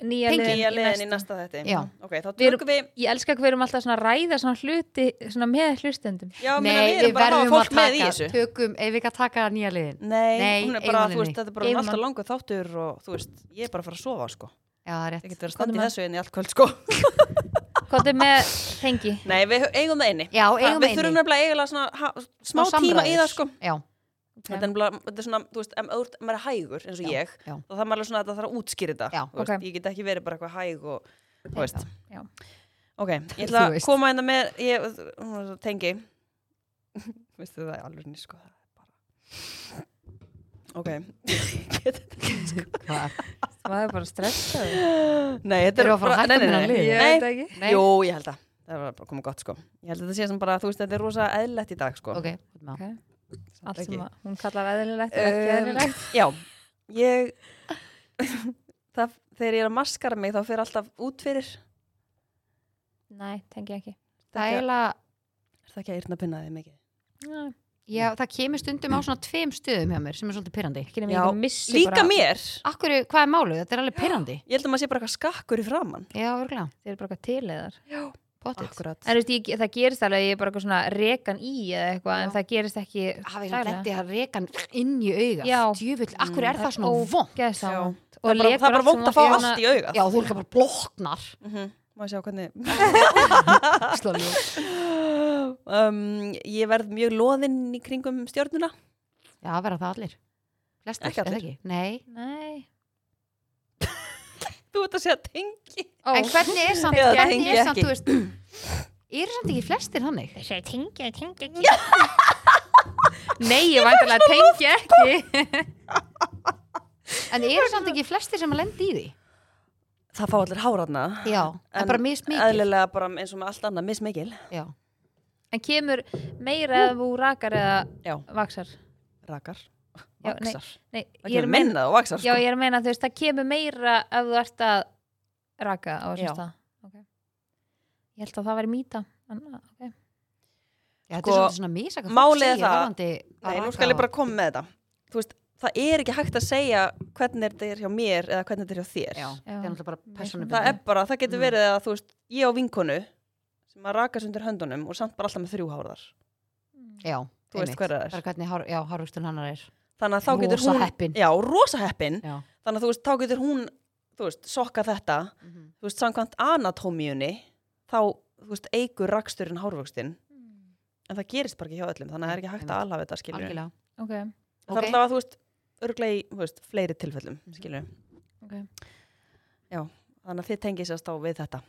Speaker 3: nýja
Speaker 1: Tengi.
Speaker 3: liðin
Speaker 2: nýja
Speaker 3: í
Speaker 2: leiðin í
Speaker 3: næsta.
Speaker 2: næsta þetta
Speaker 1: Já.
Speaker 2: Ok, þá
Speaker 3: Við erum-
Speaker 2: tökum við
Speaker 3: ég elska hvað við erum alltaf svona að ræða svona hluti svona með hlustendum
Speaker 2: Já,
Speaker 1: Nei,
Speaker 2: meina, við erum
Speaker 1: við
Speaker 2: bara að hafa
Speaker 1: verðum að
Speaker 2: fólk með í
Speaker 1: taka,
Speaker 2: þessu Mm.
Speaker 1: tökum, ef við ekki að taka nýja liðin.
Speaker 2: Nei,
Speaker 1: Nei,
Speaker 2: hún er bara,
Speaker 1: eigum
Speaker 2: þú veist,
Speaker 1: henni.
Speaker 2: þetta er bara
Speaker 3: Eigum
Speaker 2: alltaf
Speaker 3: hann.
Speaker 2: langur þáttur og þú veist, ég er bara að fara að sofa, sko
Speaker 1: Já, það er
Speaker 2: Ég
Speaker 1: rétt.
Speaker 2: get verið að standa í
Speaker 3: Komdu
Speaker 2: þessu inn í allt kvöld, sko
Speaker 3: hvað er með tengi
Speaker 2: Nei, við eigum það inni
Speaker 1: Já, eigum
Speaker 2: Við þurfum nefnilega eiginlega svona ha, smá
Speaker 1: Smá
Speaker 2: tíma í
Speaker 1: samræður.
Speaker 2: það, sko
Speaker 1: Já,
Speaker 2: *laughs* Þetta er nefnilega, þetta er svona, þú veist, ef maður ef maður er hægur, eins og
Speaker 1: Já,
Speaker 2: ég
Speaker 1: já.
Speaker 2: þá þarf maður alveg svona að það þarf að útskýra þetta
Speaker 1: Já,
Speaker 2: þú veist,
Speaker 3: ok.
Speaker 2: Ég get ekki verið bara eitthvað hæg og, þú veist
Speaker 3: Já.
Speaker 1: *laughs*
Speaker 2: Ok, ég ætla að
Speaker 1: veist.
Speaker 2: koma hérna með ég, hún var svo tengi *laughs* Veistu það er alveg nýr, sko það er bara Ok *laughs* Ég get þetta ekki, sko.
Speaker 1: hvað?
Speaker 3: það er bara stressað
Speaker 2: Nei, þetta er
Speaker 1: Erum við að fara að
Speaker 2: bara-
Speaker 1: hætta
Speaker 2: nei,
Speaker 1: með
Speaker 2: nei,
Speaker 1: þennan
Speaker 2: nei.
Speaker 1: lið?
Speaker 3: ég
Speaker 2: Nei,
Speaker 3: veit ekki
Speaker 1: Nei,
Speaker 2: Jú, ég held að það var bara komið gott sko Ég held að þetta sé sem bara, þú veist, þetta er rosa eðlætt í dag sko
Speaker 1: ok, út með það.
Speaker 3: Ok.
Speaker 2: Samt
Speaker 3: allt
Speaker 2: ekki.
Speaker 3: sem að hún kallar veðililegt er ekki
Speaker 2: Um,
Speaker 3: veðililegt
Speaker 2: *laughs* Já, ég *laughs* það, þegar ég er að maskara mig þá fer alltaf út fyrir Er
Speaker 3: nei, tengi ekki
Speaker 1: það er
Speaker 2: ekki,
Speaker 1: eiginlega,
Speaker 2: er það ekki að yrna pinna þig mikið?
Speaker 3: Já,
Speaker 1: já, það kemur stundum á svona tveim stöðum hjá mér sem er svolítið pirrandi.
Speaker 3: ekki nema
Speaker 2: Já,
Speaker 3: ég missi
Speaker 2: Líka
Speaker 3: bara
Speaker 2: mér,
Speaker 1: Akkur, hvað er málið? Þetta er alveg pirrandi.
Speaker 2: ég held að maður sé bara eitthvað skakkur í framann
Speaker 1: Já, örgulega,
Speaker 3: þeir eru bara eitthvað tileðar
Speaker 1: potið.
Speaker 3: en þú veist, ég, það gerist alveg að ég er bara eitthvað svona rekan í eða eitthvað, en
Speaker 1: Já.
Speaker 3: það gerist ekki
Speaker 1: Hafið hann
Speaker 3: daglega.
Speaker 1: lettið að reka hann inn í auga.
Speaker 3: Já.
Speaker 1: Djöfull, akkur er
Speaker 3: Það
Speaker 1: það
Speaker 3: er
Speaker 1: svona vond?
Speaker 3: ógeðslega
Speaker 2: Já.
Speaker 3: vont.
Speaker 2: Það er bara,
Speaker 3: lekur
Speaker 2: það er bara
Speaker 3: allt sem
Speaker 2: vond að fá
Speaker 3: maður-
Speaker 2: allt í augað
Speaker 1: Já, þú er ekki bara bloknar.
Speaker 2: mm Má sjá hvernig *gasps*
Speaker 1: Slóðljó.
Speaker 2: um, Ég verð mjög loðinn í kringum stjórnuna
Speaker 1: Já, verða það allir. Flestir,
Speaker 2: Ekki
Speaker 1: er það
Speaker 2: allir.
Speaker 1: ekki? Nei.
Speaker 3: Nei.
Speaker 2: Þú ert að segja tengi
Speaker 3: Ó,
Speaker 1: En hvernig er samt,
Speaker 2: Já, það
Speaker 1: hvernig
Speaker 2: tengi
Speaker 1: er
Speaker 2: ég
Speaker 1: samt,
Speaker 2: ekki.
Speaker 1: þú veist, eru samt ekki flestir þannig?
Speaker 3: þessi tengja, tengja ekki. *laughs* Nei, ég vænt alveg að tengja ekki.
Speaker 1: En eru samt ekki flestir sem að lendi í því?
Speaker 2: Það fá allir háratna
Speaker 1: Já, en,
Speaker 2: En
Speaker 1: bara mismikið.
Speaker 2: Eðlilega bara eins og með allt annað mismikil
Speaker 1: Já,
Speaker 3: En kemur meira eða þú rakar eða
Speaker 2: Já,
Speaker 3: vaksar?
Speaker 2: rakar,
Speaker 3: Já, nei,
Speaker 2: vaksar
Speaker 3: Nei,
Speaker 2: Það kemur minna og vaksar
Speaker 3: Já,
Speaker 2: sko.
Speaker 3: ég er að meina þú veist, það kemur meira ef þú ert að raka á
Speaker 2: Já.
Speaker 3: þessum stað. Ok. Ég held að það væri mýta. En, ah, okay.
Speaker 1: já þetta
Speaker 2: Sko,
Speaker 1: er svolítið svona misaka
Speaker 2: málið er það-
Speaker 1: varandi
Speaker 2: Nei, nú skal ég bara koma með þetta Þú veist, það er ekki hægt að segja hvernig þetta er hjá mér eða hvernig þetta er hjá þér
Speaker 1: Já, það er náttúrulega bara
Speaker 2: Það
Speaker 1: persónubundið.
Speaker 2: er bara, það getur
Speaker 1: Mm.
Speaker 2: verið að þú veist, ég á vinkonu sem að rakast undir höndunum og samt bara alltaf með þrjú háraðar
Speaker 1: Já,
Speaker 2: Þú veist hver það er.
Speaker 1: Bara hvernig hár, já, hárvöxtun hannar er.
Speaker 2: Þannig að þá getur
Speaker 1: Rosa
Speaker 2: hún
Speaker 1: heppin.
Speaker 2: Já, rosa heppin
Speaker 1: Já.
Speaker 2: Þannig að þú veist, þá getur hún, þú veist, sokka þetta
Speaker 1: Mhm.
Speaker 2: Þú veist, samkvæmt anatómíunni þá, þú veist, eigur raksturinn hárvöxtin
Speaker 3: Hmm.
Speaker 2: en það gerist bara ekki hjá öllum, þannig að það er ekki hægt að
Speaker 1: Einmitt.
Speaker 2: alhafa þetta skilur
Speaker 1: Algjörlega.
Speaker 3: ok,
Speaker 2: Það er
Speaker 1: Ok.
Speaker 2: allavega, þú veist, örglega í, þú veist, fleiri tilfellum skilur
Speaker 3: ok.
Speaker 2: Þannig að þið tengið sérst á við þetta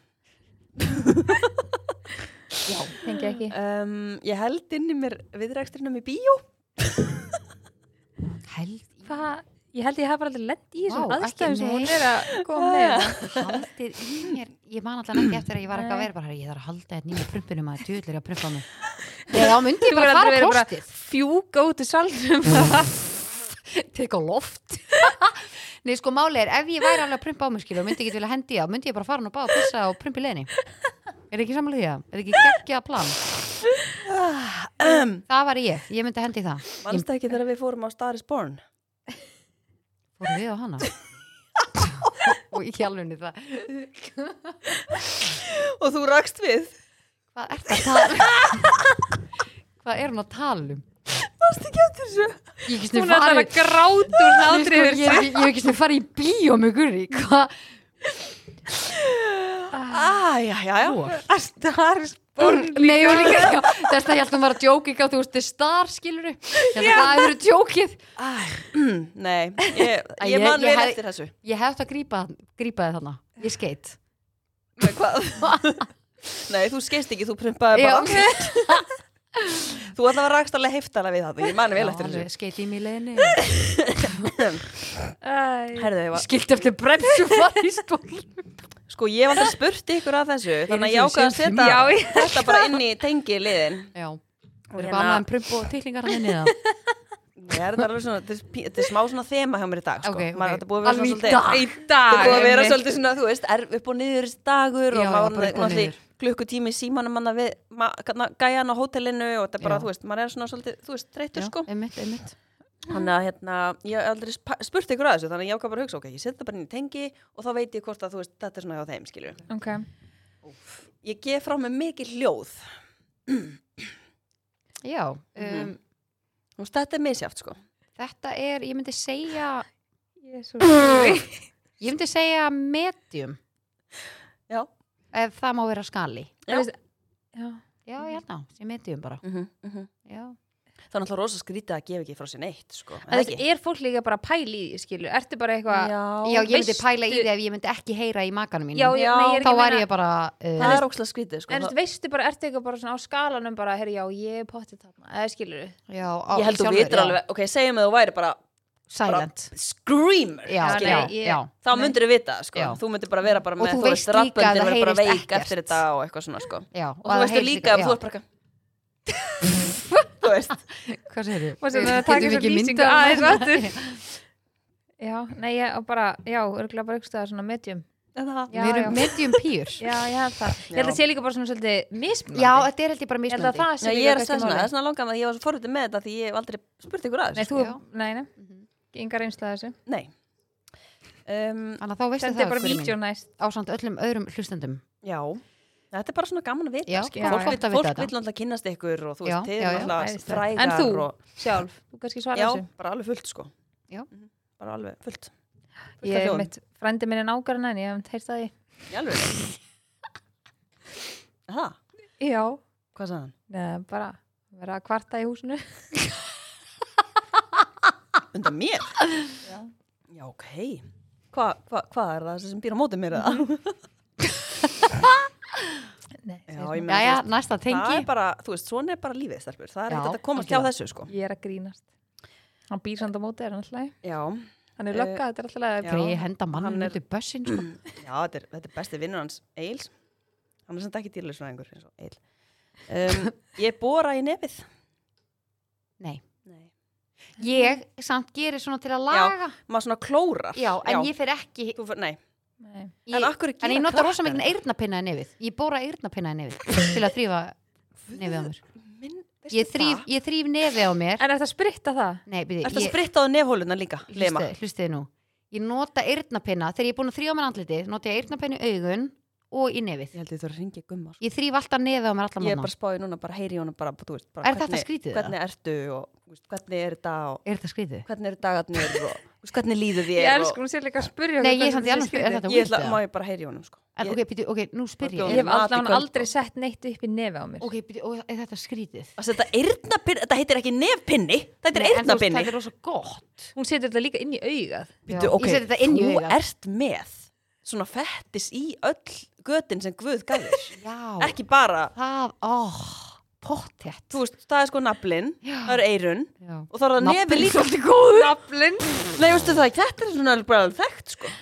Speaker 1: Já,
Speaker 3: Tengja ekki.
Speaker 2: um, Ég held inn í mér viðræksturinnum í bíó
Speaker 1: held,
Speaker 3: Hvað? Ég held ég hafa bara aldrei lent í þessum
Speaker 1: Vá,
Speaker 3: aðstæðum
Speaker 1: ekki
Speaker 3: sem hún
Speaker 1: neitt.
Speaker 3: er að koma með.
Speaker 1: haldið í mér. Ég man alltaf ekki eftir að ég var eitthvað að
Speaker 3: Nei.
Speaker 1: vera bara, ég þarf að halda þetta nýja prumpinum að djúðlir að prumpa á mig. Já, þá myndi ég
Speaker 3: Þú er
Speaker 1: bara
Speaker 3: aldrei
Speaker 1: fara
Speaker 3: verið
Speaker 1: á
Speaker 3: bara-
Speaker 1: klostið.
Speaker 3: Fjúka út í salnum.
Speaker 1: tek á loft *laughs* Nei, sko, máli er, ef ég væri alveg að prumpa á mig skilu og myndi ekki vilja hendi á, myndi ég bara fara hann og báða pissa og prumpa í leðinni Er ekki samanlega því að? Er ekki geggja plan? Það var ég, ég myndi hendi í það
Speaker 2: Manstu ekki þegar við fórum á Star is Born?
Speaker 1: Fóru við á *laughs* hana Og ég alveg niður það
Speaker 2: Og þú rakst við
Speaker 1: Hvað er það að tala um? *laughs* Hvað er hann að tala um?
Speaker 2: Manstu ekki eftir þessu?
Speaker 1: Ég ekki
Speaker 3: *laughs* hún
Speaker 1: snið
Speaker 3: er alltaf
Speaker 1: farið
Speaker 3: að gráta úr
Speaker 1: Nei,
Speaker 3: hlátri
Speaker 1: sko, Ég
Speaker 3: yfir þessu.
Speaker 1: ég- ég hef ekki snið farið í bíó með gurri Hvað?
Speaker 2: Ah, já, já, já
Speaker 1: Hvor?
Speaker 2: Star is
Speaker 1: Nei, ég var líka já, Þess að ég held að hún var að djóka ekki á þú veist, star skilur Ég held að það hefur djókið
Speaker 2: Ah. *clears throat* Nei, ég,
Speaker 1: Æ,
Speaker 2: ég
Speaker 1: ég-
Speaker 2: man
Speaker 1: ég
Speaker 2: vel
Speaker 1: hef-
Speaker 2: eftir þessu
Speaker 1: Ég hef þetta að grípa, grípa þið þarna. Ég skeitt.
Speaker 2: Með hvað? *laughs* Nei, þú skeist ekki, þú prumpaði bara Þú ætlaði að rakst alveg heftala við það Ég man vel eftir þessu
Speaker 1: Skeitt í mig í *laughs* leiðinni.
Speaker 3: Æ.
Speaker 2: Herðu, ég var
Speaker 1: Skeitt eftir bremsu farið í stól.
Speaker 2: Sko, ég var aldrei spurt ykkur að þessu Þannig að ég
Speaker 1: Einu sinni
Speaker 2: ákvað að
Speaker 1: síðan.
Speaker 2: setja
Speaker 3: Já, ég-
Speaker 2: þetta bara inn í tengi liðin
Speaker 1: Já. Það er
Speaker 2: Hérna-
Speaker 1: eitthvað annað en prump og tillingar hann inni það.
Speaker 2: Ég er þetta alveg svona, þetta er pí- þetta er smá svona þema hjá mér í dag, sko
Speaker 1: Ok, ok.
Speaker 2: Maður þetta búið að vera
Speaker 1: Alveg í
Speaker 2: svona svolítið
Speaker 1: dag.
Speaker 3: Í
Speaker 2: Þetta
Speaker 3: dag
Speaker 2: búið að vera
Speaker 3: einmitt.
Speaker 2: svolítið svona, þú veist, er upp og niður dagur
Speaker 1: Já,
Speaker 2: og
Speaker 1: já,
Speaker 2: maður
Speaker 1: bara upp og
Speaker 2: náttúrulega
Speaker 1: niður.
Speaker 2: klukkutími í símanum manna við ma gana- gæjan á hótelinu og þetta er bara,
Speaker 1: Já.
Speaker 2: þú veist, maður er svona svolítið, þú veist,
Speaker 1: Já,
Speaker 2: þreytur sko.
Speaker 1: einmitt, einmitt.
Speaker 2: Þannig að hérna, ég hef aldrei sp- spurt ykkur að þessu, þannig að ég ákvað bara að hugsa, ok, ég setja það bara inn í tengi og þá veit ég hvort að þú veist, þetta er svona hjá þeim, skilju.
Speaker 3: ok,
Speaker 2: Ég gef frá mig mikið hljóð,
Speaker 1: Já, um,
Speaker 2: Mhm. þú veist, þetta er misjátt, sko.
Speaker 1: þetta er, ég myndi segja
Speaker 3: ég er svo sorry.
Speaker 1: ég myndi segja medium
Speaker 2: Já.
Speaker 1: ef það má vera skali
Speaker 2: Já.
Speaker 3: Þú veist- já,
Speaker 1: Já, ég held að, sem medium bara
Speaker 2: Mm -hmm, mm -hmm.
Speaker 1: Já,
Speaker 2: Það er náttúrulega rosa skrítið að gefa ekki frá sér neitt, sko.
Speaker 3: En þú veist, er fólk líka bara að pæla í því, skilur, ertu bara eitthvað
Speaker 1: Sko, Já ég myndi
Speaker 3: veistu-
Speaker 1: pæla í því ef ég myndi ekki heyra í makanum mínum
Speaker 3: já, já,
Speaker 2: Já,
Speaker 3: nei, ég
Speaker 1: þá
Speaker 3: er ekki að
Speaker 1: var
Speaker 3: meina-
Speaker 1: ég bara uh,
Speaker 2: Það er ókslega skrítið, sko.
Speaker 3: En þú veist, veistu bara, ertu eitthvað bara svona á skalanum bara, herri, já, ég er pottið þarna, eða skilur
Speaker 1: já, á,
Speaker 2: ég held þú
Speaker 1: sjálfur,
Speaker 2: vitur
Speaker 1: já,
Speaker 2: alveg, ok, segjum að þú væri bara
Speaker 1: Silent
Speaker 2: screamer,
Speaker 1: Já,
Speaker 3: Já,
Speaker 2: skilur.
Speaker 1: já,
Speaker 3: nei, ég-
Speaker 1: já
Speaker 2: þá
Speaker 3: Nei.
Speaker 2: myndir þú vita, sko,
Speaker 1: Já.
Speaker 2: þú myndir bara vera bara
Speaker 1: Og
Speaker 2: með,
Speaker 1: þú veist líka að
Speaker 2: raddböndin
Speaker 1: það
Speaker 2: verður
Speaker 1: heyrist
Speaker 2: bara veik eftir
Speaker 1: ekkert.
Speaker 2: þetta og eitthvað svona, sko
Speaker 1: Já,
Speaker 2: og þú veistu líka, ef þú ert bara eitthvað- þú veist,
Speaker 1: Hvað segir
Speaker 3: Og sem það taka svo lýsingu aðeins aftur. *laughs* Já, nei, ég og bara, já, örgulega bara aukstaða svona medium.
Speaker 2: *laughs* en það
Speaker 3: Já,
Speaker 1: Við
Speaker 3: já.
Speaker 1: erum medium pýr
Speaker 3: Já, ég held það. Ég held
Speaker 2: Já.
Speaker 3: að sé líka bara svona svolítið mismunandi.
Speaker 1: Já, þetta er held ég bara
Speaker 3: ég held að
Speaker 1: mismöndi
Speaker 3: það
Speaker 2: Já,
Speaker 3: sé
Speaker 2: ég er að
Speaker 3: kannski
Speaker 2: segja svona,
Speaker 3: málið.
Speaker 2: það er svona langan að ég var svo forvitið með þetta því ég hef aldrei spurt ykkur að
Speaker 3: Nei,
Speaker 2: þessu,
Speaker 3: þú,
Speaker 2: sko.
Speaker 1: Já.
Speaker 3: nei, nei,
Speaker 1: Mhm.
Speaker 3: engar einslað þessu.
Speaker 2: Nei um,
Speaker 1: Þannig að þá veistu
Speaker 3: Þetta
Speaker 1: það
Speaker 3: er bara
Speaker 1: Guðrún mín,
Speaker 3: vídeo næst.
Speaker 1: ásamt öllum öðrum hlustendum
Speaker 2: Já, þetta er bara svona gaman að vita
Speaker 1: Já,
Speaker 2: skilur.
Speaker 3: já,
Speaker 2: fólk,
Speaker 3: já.
Speaker 1: gott að
Speaker 2: fólk
Speaker 1: vita
Speaker 2: vil
Speaker 1: þetta.
Speaker 2: náttúrulega kynnast ykkur og þú
Speaker 1: Já,
Speaker 2: veist, þið
Speaker 1: já, já.
Speaker 2: náttúrulega
Speaker 3: Æðislegt.
Speaker 2: fræðar
Speaker 3: En þú?
Speaker 2: og,
Speaker 3: Sjálf, þú kannski svara
Speaker 2: Já,
Speaker 3: þessu.
Speaker 2: bara alveg fullt, sko
Speaker 1: Já.
Speaker 2: Mhm, Bara alveg fullt Fullt af
Speaker 3: Ég er
Speaker 2: hljóðum.
Speaker 3: mitt, frændi minn er nágarinn en ég hef heirt það í.
Speaker 2: Í alveg
Speaker 1: *laughs*
Speaker 2: Það,
Speaker 3: Já.
Speaker 2: hvað sagði hann?
Speaker 3: Nei, bara vera að kvarta í húsinu. *laughs*
Speaker 2: Undan mér?
Speaker 3: Já.
Speaker 2: Já, ok. Hva, hva, hvað er það sem býr á mótið mér
Speaker 1: Mhm,
Speaker 2: eða?
Speaker 3: Nei,
Speaker 2: Já, ég
Speaker 3: segir svona.
Speaker 2: meina,
Speaker 1: Jæja,
Speaker 2: þú
Speaker 1: næsta
Speaker 2: Það
Speaker 1: tengi
Speaker 2: er bara, þú veist, svona er bara lífið, stelpur. Það er
Speaker 1: Já,
Speaker 2: ekkert að komast hjá
Speaker 1: algjörlega.
Speaker 2: þessu, sko.
Speaker 3: ég er að grínast. Hann býr samt á móti, er hann alltaf í?
Speaker 2: Já,
Speaker 3: Hann er
Speaker 2: Eh,
Speaker 3: lögga, þetta er alltaf að
Speaker 2: já.
Speaker 1: Þegar ég henda mannum
Speaker 2: Hann er-
Speaker 1: út í bössin sko.
Speaker 2: já þetta, er, þetta er besti vinnur hans, Eils. Hann er samt ekki dýrlega svona einhver, eins og Eil.
Speaker 1: *laughs*
Speaker 2: Um, ég bóra í nefið.
Speaker 1: Nei.
Speaker 2: Nei.
Speaker 1: Ég samt gerir svona til að laga
Speaker 2: Maður svona klórar.
Speaker 1: Já, en ég fer ekki
Speaker 2: Þú, fer- nei,
Speaker 3: Nei.
Speaker 1: ég,
Speaker 2: en akkur
Speaker 1: En ég nota rosa mikið eyrnapinna í nefið Ég bóra eyrnapinna í nefið til að þrýfa nefið á mér
Speaker 2: Minn,
Speaker 1: Ég þrýf, ég þrýf nefið á mér
Speaker 3: En er þetta að spritta það?
Speaker 1: Nei, byrju,
Speaker 2: Ertu að
Speaker 1: ég,
Speaker 2: spritta á nefhóluna líka, Lema?
Speaker 1: hlustiði, hlustiði nú Ég nota eyrnapinna, þegar ég er búin að þrýfa mér andlitið nota ég eyrnapinna í augun og í nefið
Speaker 2: Ég held ég þú að ringja gumma, sko.
Speaker 1: Ég þrýf alltaf nefið á mér alla
Speaker 2: Ég er bara
Speaker 1: mánu
Speaker 2: að spá í núna, bara heyri í honum bara, þú veist, bara
Speaker 1: Er þetta skrítið það?
Speaker 2: hvernig ertu og þú veist, hvernig er þetta og
Speaker 1: Er þetta skrítið?
Speaker 2: hvernig eru dagarnir og þú veist, hvernig líður þér
Speaker 3: Ég elsku hún sér líka að spurja
Speaker 1: Nei, ég er
Speaker 3: okkur hvernig
Speaker 1: samt í alveg Er
Speaker 3: þetta sé skrítið.
Speaker 1: þetta
Speaker 2: ég
Speaker 1: weird
Speaker 2: ætla, má
Speaker 1: eða?
Speaker 2: ég bara heyri í honum sko.
Speaker 1: En
Speaker 2: ég,
Speaker 1: ok, byrju, ok, nú spyr
Speaker 2: Ég
Speaker 1: ég
Speaker 3: Ég hef
Speaker 2: mat í
Speaker 3: allan
Speaker 2: kvöld,
Speaker 3: aldrei sett neitt upp í nefi á mér
Speaker 1: Ok, byrju, og er þetta skrítið?
Speaker 2: að setja eyrnapinni, þetta heitir ekki nefpinni þetta er
Speaker 1: Nei, en þú veist,
Speaker 2: eyrnapinni
Speaker 1: Það er rosa gott
Speaker 3: Hún setur þetta líka inn í augað
Speaker 2: Bíddu,
Speaker 1: Já.
Speaker 2: ok,
Speaker 1: Ég seti þetta inn í
Speaker 2: þú
Speaker 1: augað.
Speaker 2: ert með svona fettis í öll götin sem Guð gæðir
Speaker 1: *laughs* Já,
Speaker 2: ekki bara,
Speaker 1: það, óh, pottjætt
Speaker 2: þú veist, það er sko naflin
Speaker 1: Já.
Speaker 2: það eru eyrun og þá er það
Speaker 1: Naflinn
Speaker 2: nefi líka
Speaker 1: svolítið góður
Speaker 3: Naflin
Speaker 2: Nei, veistu það, þetta er svona alveg bara alveg þekkt sko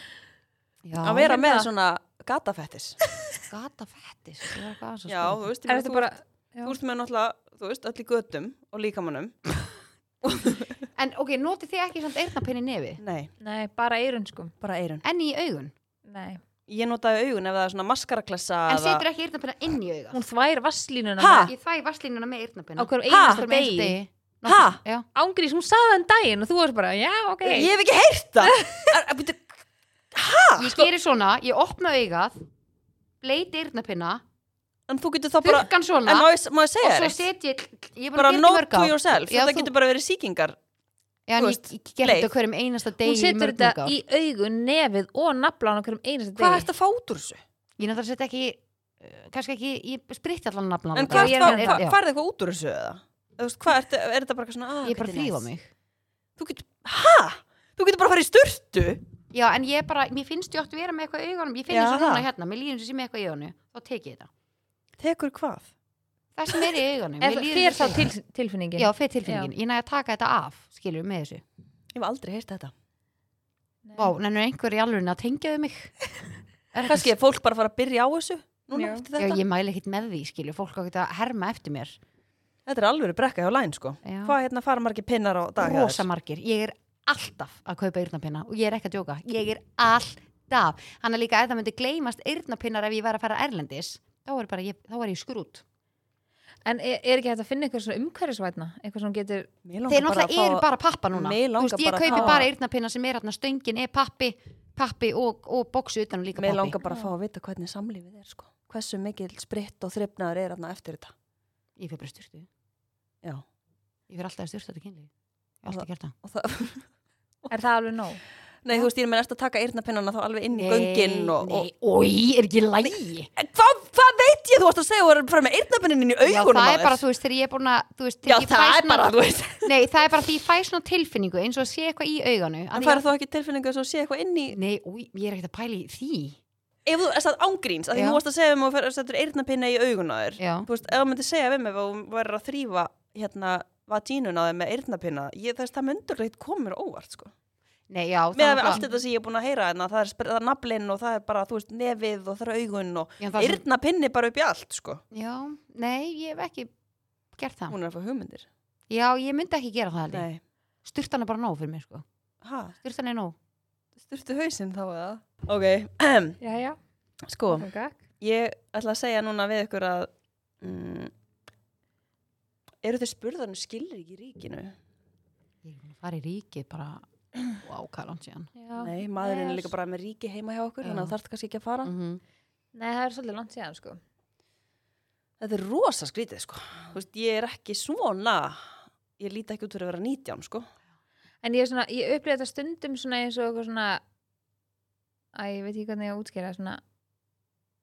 Speaker 2: að vera með
Speaker 3: hérna.
Speaker 2: svona
Speaker 1: *laughs*
Speaker 2: gatafettis
Speaker 1: gata fættis
Speaker 2: Já,
Speaker 1: um
Speaker 2: þú veist, ég
Speaker 3: Er
Speaker 2: meina,
Speaker 3: þetta
Speaker 2: þú
Speaker 3: bara
Speaker 2: ert- þú veist með náttúrulega, þú veist, öll í götum og líkamannum
Speaker 1: En ok, notið þið ekki samt eyrnapinn í nefi
Speaker 2: Nei,
Speaker 3: Nei, bara eyrun sko
Speaker 2: bara eyrun
Speaker 1: En í augun
Speaker 3: Nei
Speaker 2: Ég notaði augun ef það er svona maskaraklassa
Speaker 1: En
Speaker 2: eða-
Speaker 1: setur ekki eyrnapinna inn í auga
Speaker 3: Hún þvær vasslínuna
Speaker 2: Ha?
Speaker 1: Ég þæ vasslínuna með
Speaker 3: Á
Speaker 1: eyrnapinna
Speaker 3: hverju
Speaker 2: Ha?
Speaker 3: einasta degi
Speaker 2: Ha?
Speaker 1: Já,
Speaker 3: Ángrís, hún saði þann daginn og þú varst bara Já, ok
Speaker 2: Ég hef ekki heyrt það
Speaker 1: *laughs*
Speaker 2: Er- er- bíddu,
Speaker 1: ég gerir svona, ég opna augað Bleiti eyrnapinna
Speaker 2: En þú getur þá bara
Speaker 1: Þurkan
Speaker 2: En
Speaker 1: svona
Speaker 2: má ég, má ég
Speaker 1: Og
Speaker 2: segja
Speaker 1: svo
Speaker 2: þér
Speaker 1: set ég Ég er búin að gera
Speaker 2: Bara
Speaker 1: þetta í
Speaker 2: note
Speaker 1: mörg
Speaker 2: to
Speaker 1: ár.
Speaker 2: yourself
Speaker 1: Já,
Speaker 2: Þetta
Speaker 1: þú-
Speaker 2: getur bara verið sýkingar
Speaker 1: Já, en
Speaker 2: þú
Speaker 1: ég
Speaker 2: veist,
Speaker 1: ég gerði
Speaker 2: leið.
Speaker 1: þetta á hverjum einasta degi
Speaker 3: Hún setur
Speaker 1: mörg, mörg
Speaker 3: þetta
Speaker 1: ár.
Speaker 3: í augun, nefið og naflan á hverjum einasta
Speaker 2: Hvað
Speaker 3: degi
Speaker 2: ert að fá út úr þessu?
Speaker 1: Ég náttúrulega set ekki eh, Kannski ekki, ég spritt allan nafnlan
Speaker 2: En
Speaker 1: á
Speaker 2: hvað
Speaker 1: þetta.
Speaker 3: ertu
Speaker 1: Já,
Speaker 2: hva,
Speaker 1: ég-
Speaker 2: hva,
Speaker 1: hérna- já.
Speaker 2: færði eitthvað út úr þessu eða? Þú veist, hvað ertu, er þetta bara eitthvað svona ah,
Speaker 1: Ég er bara að
Speaker 2: hvernig
Speaker 1: þrýfa
Speaker 2: næs?
Speaker 1: mig
Speaker 2: Þú getur, hæ? Þú getur bara að fara í sturtu
Speaker 1: Já, en ég bara, mér finnst ég oft vera með eitthvað í augunum Ég finn
Speaker 2: Já,
Speaker 1: eins og
Speaker 2: það.
Speaker 1: núna hérna, mér líður eins og ég sé með eitthvað í augunum Þá tek ég þetta
Speaker 2: Tekur hvað?
Speaker 1: Það sem er í
Speaker 3: *laughs*
Speaker 1: augunum
Speaker 3: Er
Speaker 1: mér líður
Speaker 3: þér
Speaker 1: eins
Speaker 3: þá
Speaker 1: og ég sé-
Speaker 3: til, tilfinningin?
Speaker 1: Já, fyrir tilfinningin, ég næði að taka þetta af Skilur með þessu
Speaker 2: Ég hef aldrei heyrt þetta
Speaker 3: Nei.
Speaker 1: Vá, nennur einhver í alveg að tengja við mig Er þetta-
Speaker 2: Kanski er fólk bara að fara að byrja á þessu Núna
Speaker 3: Já.
Speaker 1: *laughs*
Speaker 2: eftir
Speaker 1: Já,
Speaker 2: þetta
Speaker 1: ég mæli ekkit með því, skilur Fólk á geta að herma eftir mér
Speaker 2: Þetta er alveg brekka hjá læn sko
Speaker 1: Já.
Speaker 2: Hvað hérna fara margir pinnar á dag hjá þér?
Speaker 1: Rosa margir, ég er alltaf að kaupa eyrnapinna Og ég er ekki að djóka, ég er alltaf Hann er líka að það myndi gleymast eyrnapinnar Ef ég væri að fara erlendis þá er, bara, ég, þá er ég skrút
Speaker 3: En er, er ekki hægt að finna eitthvað svona umhverfisvætna? Eitthvað sem getur,
Speaker 1: þeir náttúrulega eru bara pappa núna
Speaker 2: Mig
Speaker 1: Þú
Speaker 2: langar
Speaker 1: veist, ég
Speaker 2: bara að
Speaker 1: kaupi
Speaker 2: fá-
Speaker 1: bara eyrnapinna sem er hérna stöngin er pappi, pappi og, og boksi utan á líka
Speaker 2: Mér
Speaker 1: pappi
Speaker 2: langar bara að fá að vita hvernig samlífið er sko. Hversu mikil spritt og þrifnaður er þarna eftir þetta
Speaker 1: ég fyrir bara í styrtu,
Speaker 2: Já,
Speaker 1: ég fyrir alltaf að styrta þetta kynlíf ég er alltaf gert það
Speaker 2: og það
Speaker 3: er það alveg nóg?
Speaker 2: Nei, þú veist, ég er með næst að taka eyrnapinnana þá alveg inn í göngin og, og...
Speaker 1: nei, oi, er ekki lægi
Speaker 2: En Hvað hva veit ég þú varst að segja og er að fara með eyrnapinnin inn í
Speaker 1: Já,
Speaker 2: augunum
Speaker 1: það
Speaker 2: á
Speaker 1: er
Speaker 2: þér?
Speaker 1: bara, þú veist, þegar ég er búin að þú veist,
Speaker 2: Já,
Speaker 1: þegar ég fæ
Speaker 2: það er
Speaker 1: svona-
Speaker 2: bara, þú veist
Speaker 1: Nei, það er bara því ég fæ svona tilfinningu eins og að sé eitthvað í auganu
Speaker 2: En það er þá ekki tilfinningu þess að sé eitthvað inn í
Speaker 1: Nei, új, ég er ekkert að pæla í því
Speaker 2: Ef þú er það ángríns, að því
Speaker 1: Já.
Speaker 2: nú varst að segja um að þú setur eyrnapinna í augun á þér
Speaker 1: Já,
Speaker 2: Þú veist, ef þú myndir segja við mig að þú verður að þrýfa hérna vagínun á þeim með eyrnapinna ég, þess, það myndur leitt komur óvart sko.
Speaker 1: nei, já það
Speaker 2: með
Speaker 1: er
Speaker 2: að við allt
Speaker 1: náttúrulega-
Speaker 2: þetta sem ég er búin að heyra hérna, það er, spr- það er naflinn og það er bara, þú veist, nefið og það er augun og
Speaker 1: Já, það er svo-
Speaker 2: eyrnapinni bara upp í allt, sko
Speaker 1: Já, nei, ég hef ekki gert það
Speaker 2: hún er að fá hugmyndir
Speaker 1: Já, ég myndi ekki gera það alveg
Speaker 2: Nei,
Speaker 1: Sturtan er bara nóg fyrir mig, sko
Speaker 2: ha,
Speaker 1: Sturtan er nóg
Speaker 2: styrtu hausinn þá eða ok,
Speaker 3: Já, já,
Speaker 2: sko
Speaker 3: það er gagn.
Speaker 2: ég ætla að segja núna við ykkur að mm, eru þeir spurðanum skilur ekki ríkinu
Speaker 1: Ég er búin að fara í ríkið bara Vá, hvað er langt síðan
Speaker 3: Já.
Speaker 2: nei, maðurinn
Speaker 3: það
Speaker 2: er
Speaker 3: er-
Speaker 2: líka bara með ríki heima hjá okkur
Speaker 1: Já.
Speaker 2: þannig að þarf kannski ekki að fara
Speaker 1: Mhm.
Speaker 3: Nei, það er svolítið langt síðan, sko.
Speaker 2: þetta er rosa skrítið, sko þú veist, ég er ekki svona ég líti ekki út fyrir að vera 19, sko
Speaker 3: En ég, er svona, ég upplýði þetta stundum svona eins og eitthvað svona að ég veit ekki hvernig ég á að útskýra svona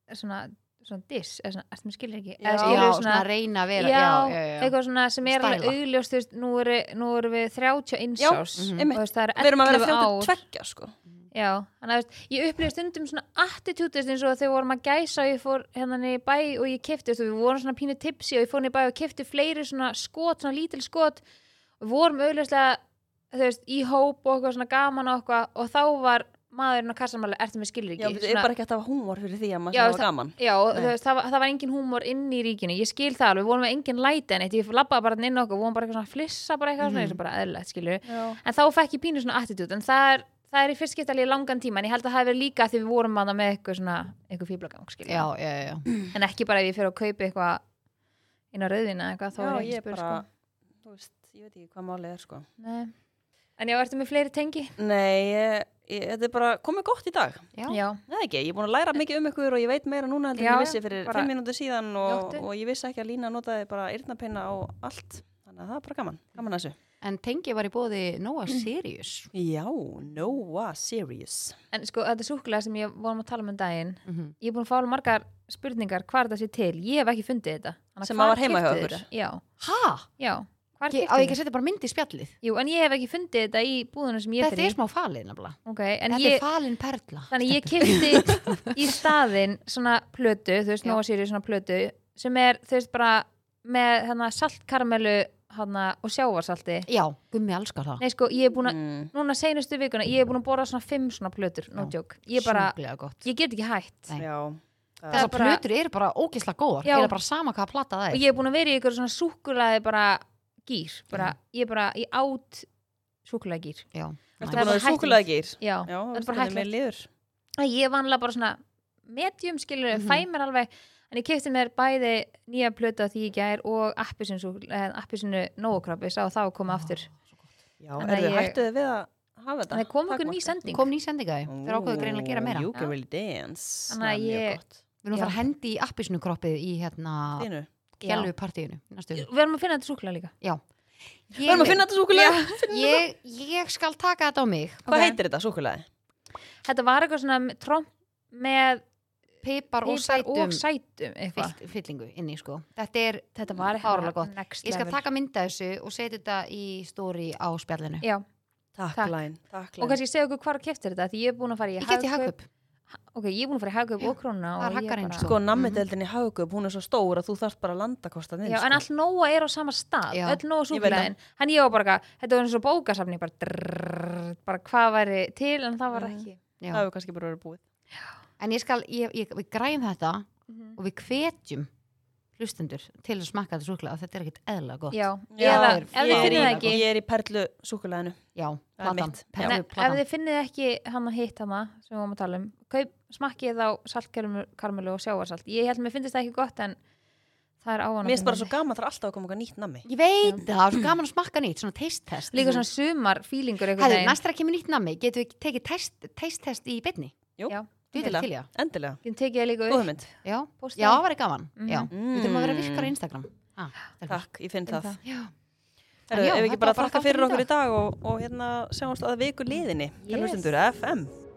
Speaker 3: svona, svona diss eða svona, ertu með skilur ekki
Speaker 2: Já,
Speaker 3: eða
Speaker 1: Já,
Speaker 3: skilur
Speaker 1: svona,
Speaker 3: svona,
Speaker 1: reyna að
Speaker 3: já,
Speaker 1: vera Já, já, já,
Speaker 3: eitthvað svona sem er alveg
Speaker 1: Stæla.
Speaker 3: augljóst þú veist, nú eru nú eru við 31
Speaker 2: Já,
Speaker 3: árs
Speaker 1: mhm.
Speaker 3: og þú veist, það
Speaker 2: við
Speaker 3: eru
Speaker 2: erum að
Speaker 3: 11
Speaker 2: vera
Speaker 3: ár
Speaker 2: 32, sko
Speaker 3: já, þannig að þú veist, ég upplýði stundum svona attitútist eins og þegar við vorum að gæsa og ég fór hérna niður í bæ og ég kefti við vorum svona pínu tipsi og ég fór niður í bæ og kefti fleiri svona skot, svona lítil skot við vorum auðvitað þú veist, í hóp og eitthvað svona gaman og eitthvað og þá var maðurinn á kassamæli ertu með skilur
Speaker 2: Já,
Speaker 3: ekki
Speaker 2: þetta er bara ekki hægt að hafa húmor fyrir því að maður
Speaker 3: Já,
Speaker 2: sé að hafa gaman.
Speaker 3: Já, og
Speaker 2: Nei.
Speaker 3: þú veist, það, var- það var engin húmor inn í ríkinu, ég skil það alveg, við vorum með engin læti en eitt, ég labbaði bara þarna inn okkur, við vorum bara eitthvað svona að flissa bara eitthvað svona,
Speaker 1: Mhm.
Speaker 3: eins og bara eðlilegt, skilju.
Speaker 2: Já.
Speaker 3: En þá fekk ég pínu svona attitút, en það er, það er í fyrst skipt alveg í langan tíma, en ég held að það hefur líka af því við vorum manna með eitthvað svona, eitthvað fýblagang, skilju.
Speaker 1: já, já, já.
Speaker 3: En ekki bara ef ég fer að kaupa eitthvað inn á rauðina eitthvað, þá
Speaker 2: Já,
Speaker 3: er
Speaker 2: ég
Speaker 3: ekki
Speaker 2: er
Speaker 3: spyr,
Speaker 2: bara,
Speaker 3: sko.
Speaker 2: þú veist, ég veit ekki hvað málið er, sko.
Speaker 3: Nei. En já, ertu með fleiri tengi?
Speaker 2: Nei, ég, ég, þetta er bara komið gott í dag.
Speaker 1: Já.
Speaker 3: Já.
Speaker 2: Nei, ekki, ég er búin að læra mikið um ykkur og ég veit meira núna heldur
Speaker 3: Já,
Speaker 2: en ég
Speaker 3: já,
Speaker 2: vissi fyrir
Speaker 3: bara-
Speaker 2: fimm mínútur síðan og,
Speaker 3: Njóttu.
Speaker 2: og ég vissi ekki að Lína notaði bara yrnapinna og allt. Þannig að það er bara gaman, gaman að þessu.
Speaker 1: En tengi var í bóði Nóa
Speaker 3: Mhm.
Speaker 1: Sirius
Speaker 2: Já, Noah Sirius.
Speaker 3: En sko, þetta súkulega sem ég vorum að tala um um daginn,
Speaker 1: Mhm.
Speaker 3: ég er búin að fá alveg margar spurningar hvar þetta sé til, ég hef ekki fundið þetta Þannig að
Speaker 2: Sem
Speaker 3: hvar
Speaker 2: að var heima hjá
Speaker 3: keyptuð
Speaker 2: okkur?
Speaker 3: þetta? já,
Speaker 1: Ha?
Speaker 3: já, hvar
Speaker 1: Ég- Á ég
Speaker 3: keyptuð
Speaker 1: ekki
Speaker 3: þetta?
Speaker 1: að setja bara mynd í spjallið
Speaker 3: Jú, en ég hef ekki fundið þetta í búðunum sem ég
Speaker 1: Þetta er
Speaker 3: fyrir
Speaker 1: smá falið nefnilega
Speaker 3: okay, en
Speaker 1: Þetta er
Speaker 3: ég,
Speaker 1: falin perla
Speaker 3: Þannig ég kipti í staðinn svona plötu, þú veist,
Speaker 1: Já.
Speaker 3: Nóa Sirius svona plötu sem er, þú veist, bara með hana, saltkarmelu hana, og sjávarsalti
Speaker 1: Já, gummi elskar það
Speaker 3: Nei, sko, ég er búin að,
Speaker 2: Mm.
Speaker 3: núna seinustu vikuna ég er búin að borða svona fimm svona plötur, no
Speaker 1: Já.
Speaker 3: joke ég bara,
Speaker 1: Sjúklega gott
Speaker 3: ég get ekki hætt
Speaker 1: Nei.
Speaker 2: Já.
Speaker 3: er
Speaker 1: Þessar
Speaker 3: bara-
Speaker 1: plötur eru bara ógisla góðar
Speaker 3: Já.
Speaker 1: Er það bara sama hvaða plata það
Speaker 3: og
Speaker 1: er
Speaker 3: ég er búin að vera í ykkur svona súkulaði bara gýr, bara, ég bara, ég át súkulaði gýr,
Speaker 1: Já,
Speaker 2: Ertu
Speaker 3: Það er
Speaker 2: búin að
Speaker 3: bara
Speaker 2: vera súkulega gýr?
Speaker 3: já,
Speaker 2: Já, það
Speaker 3: bara
Speaker 2: er bara
Speaker 3: hættulegt.
Speaker 2: hægt. liður.
Speaker 3: Æ, ég er vanlega bara svona medium skilur,
Speaker 1: Mhm.
Speaker 3: fæ mér alveg en ég kefti mér bæði nýja plötu af því ég gær og appisinu nógokrabbi, sá þá
Speaker 1: Ah,
Speaker 3: koma aftur
Speaker 2: Já,
Speaker 3: Þannig
Speaker 2: er
Speaker 3: að
Speaker 2: þið
Speaker 3: ég-
Speaker 2: hættuð við að hafa þetta?
Speaker 3: en það kom ykkur ný
Speaker 2: Takmarkað.
Speaker 3: sending
Speaker 1: Kom ný sendingaði, þeir ákveðu greinlega að gera meira
Speaker 2: You can
Speaker 3: Já.
Speaker 2: really dance
Speaker 3: Þannig að
Speaker 2: Það er mjög
Speaker 3: ég-
Speaker 2: gott.
Speaker 1: Við erum að fara
Speaker 3: Já.
Speaker 1: að hendi í appisinu kroppið í hérna
Speaker 2: Þínu.
Speaker 3: Já.
Speaker 1: Gjellu partíinu Við
Speaker 3: við erum að finna þetta súkulega líka
Speaker 2: Við erum að finna þetta súkulega
Speaker 1: ég, ég skal taka þetta á mig
Speaker 2: Hvað
Speaker 3: Ok.
Speaker 2: heitir þetta súkulega?
Speaker 3: þetta var eitthvað svona tromp með
Speaker 1: Pipar og
Speaker 3: pipar
Speaker 1: sætum
Speaker 3: og sætum eitthvað.
Speaker 1: fyll- fyllingu inni sko Þetta er,
Speaker 3: þetta var
Speaker 1: fárlega gott
Speaker 3: next
Speaker 1: ég skal
Speaker 3: level.
Speaker 1: taka mynda þessu og setja þetta í stóri á spjallinu
Speaker 3: Já, Takk.
Speaker 2: Takklæn
Speaker 3: og kannski segja okkur hvar keftir þetta því ég er búin að fara í
Speaker 1: Ég get í
Speaker 3: Hagkaup-
Speaker 1: hagkaup
Speaker 3: ok, ég er búin að fara í hagkaup og krónuna
Speaker 1: það er
Speaker 3: og ég
Speaker 1: haggarinn,
Speaker 3: bara-
Speaker 1: sko.
Speaker 2: Sko, nammideldin í Haugöp, hún er svo stór að þú þarft bara að landa kosta niður
Speaker 3: Já,
Speaker 2: sko.
Speaker 3: en all Nóa er á sama stað,
Speaker 1: Já.
Speaker 3: öll Nóa
Speaker 2: Ég veit það.
Speaker 3: súkulegin hann ég var bara, eitthvað, þetta var eins og bókasafni bara, drrrr, bara hvað væri til en það var
Speaker 2: Mhm.
Speaker 3: ekki
Speaker 1: Já.
Speaker 2: Það hefur kannski bara verið búið
Speaker 1: En ég skal, ég, ég, við græjum þetta
Speaker 3: Mhm.
Speaker 1: og við hvetjum hlustendur til að smakka þetta súkla og þetta er ekkert eðla gott.
Speaker 3: Já,
Speaker 2: Já,
Speaker 3: eða
Speaker 1: það er-
Speaker 3: ef
Speaker 1: ég
Speaker 3: þið
Speaker 1: er
Speaker 3: finnið
Speaker 1: í-
Speaker 3: það ekki
Speaker 2: Ég er í perlu súkuleginu
Speaker 1: Já,
Speaker 2: Það er
Speaker 1: platan.
Speaker 2: mitt.
Speaker 1: Perlu
Speaker 3: Nei, ef
Speaker 1: platan.
Speaker 3: þið finnið ekki hann að hitt hann sem við varum að tala um kaup, smakki ég þá saltkarmelu og sjáarsalt ég held mér finnst það ekki gott en það er áan
Speaker 2: Mér finnst bara svo gaman það er alltaf að koma eitthvað nýtt nammi.
Speaker 1: Ég veit það, það er svo gaman að smakka nýtt, svona taste test
Speaker 3: líka svona sumar fílingur einhvern
Speaker 1: Hæðu,
Speaker 3: veginn
Speaker 1: næst þegar kemur nýtt nammi, getum við tekið taste, taste test í beinni?
Speaker 2: Jú,
Speaker 3: Já.
Speaker 1: Þú veit
Speaker 2: Endilega.
Speaker 1: til í það?
Speaker 2: endilega.
Speaker 3: Ég tekið það líka
Speaker 2: Góða
Speaker 3: upp
Speaker 2: mynd.
Speaker 1: Já,
Speaker 3: Póstaði.
Speaker 1: já, það væri gaman
Speaker 3: Mhm.
Speaker 1: Já, við þurfum að vera virkar á
Speaker 2: Mm.
Speaker 1: Instagram ah, stelpur.
Speaker 2: Takk, ég finn
Speaker 3: Finn
Speaker 2: það.
Speaker 3: það.
Speaker 1: Já,
Speaker 2: Herru,
Speaker 1: En já,
Speaker 2: ef við
Speaker 1: þetta
Speaker 2: ekki bara
Speaker 1: var bara
Speaker 2: þakka fyrir
Speaker 1: þátturinn í
Speaker 2: okkur í dag og, og hérna sjáumst að viku liðinni. Yes.
Speaker 3: Yes.
Speaker 2: Hlustundur FM.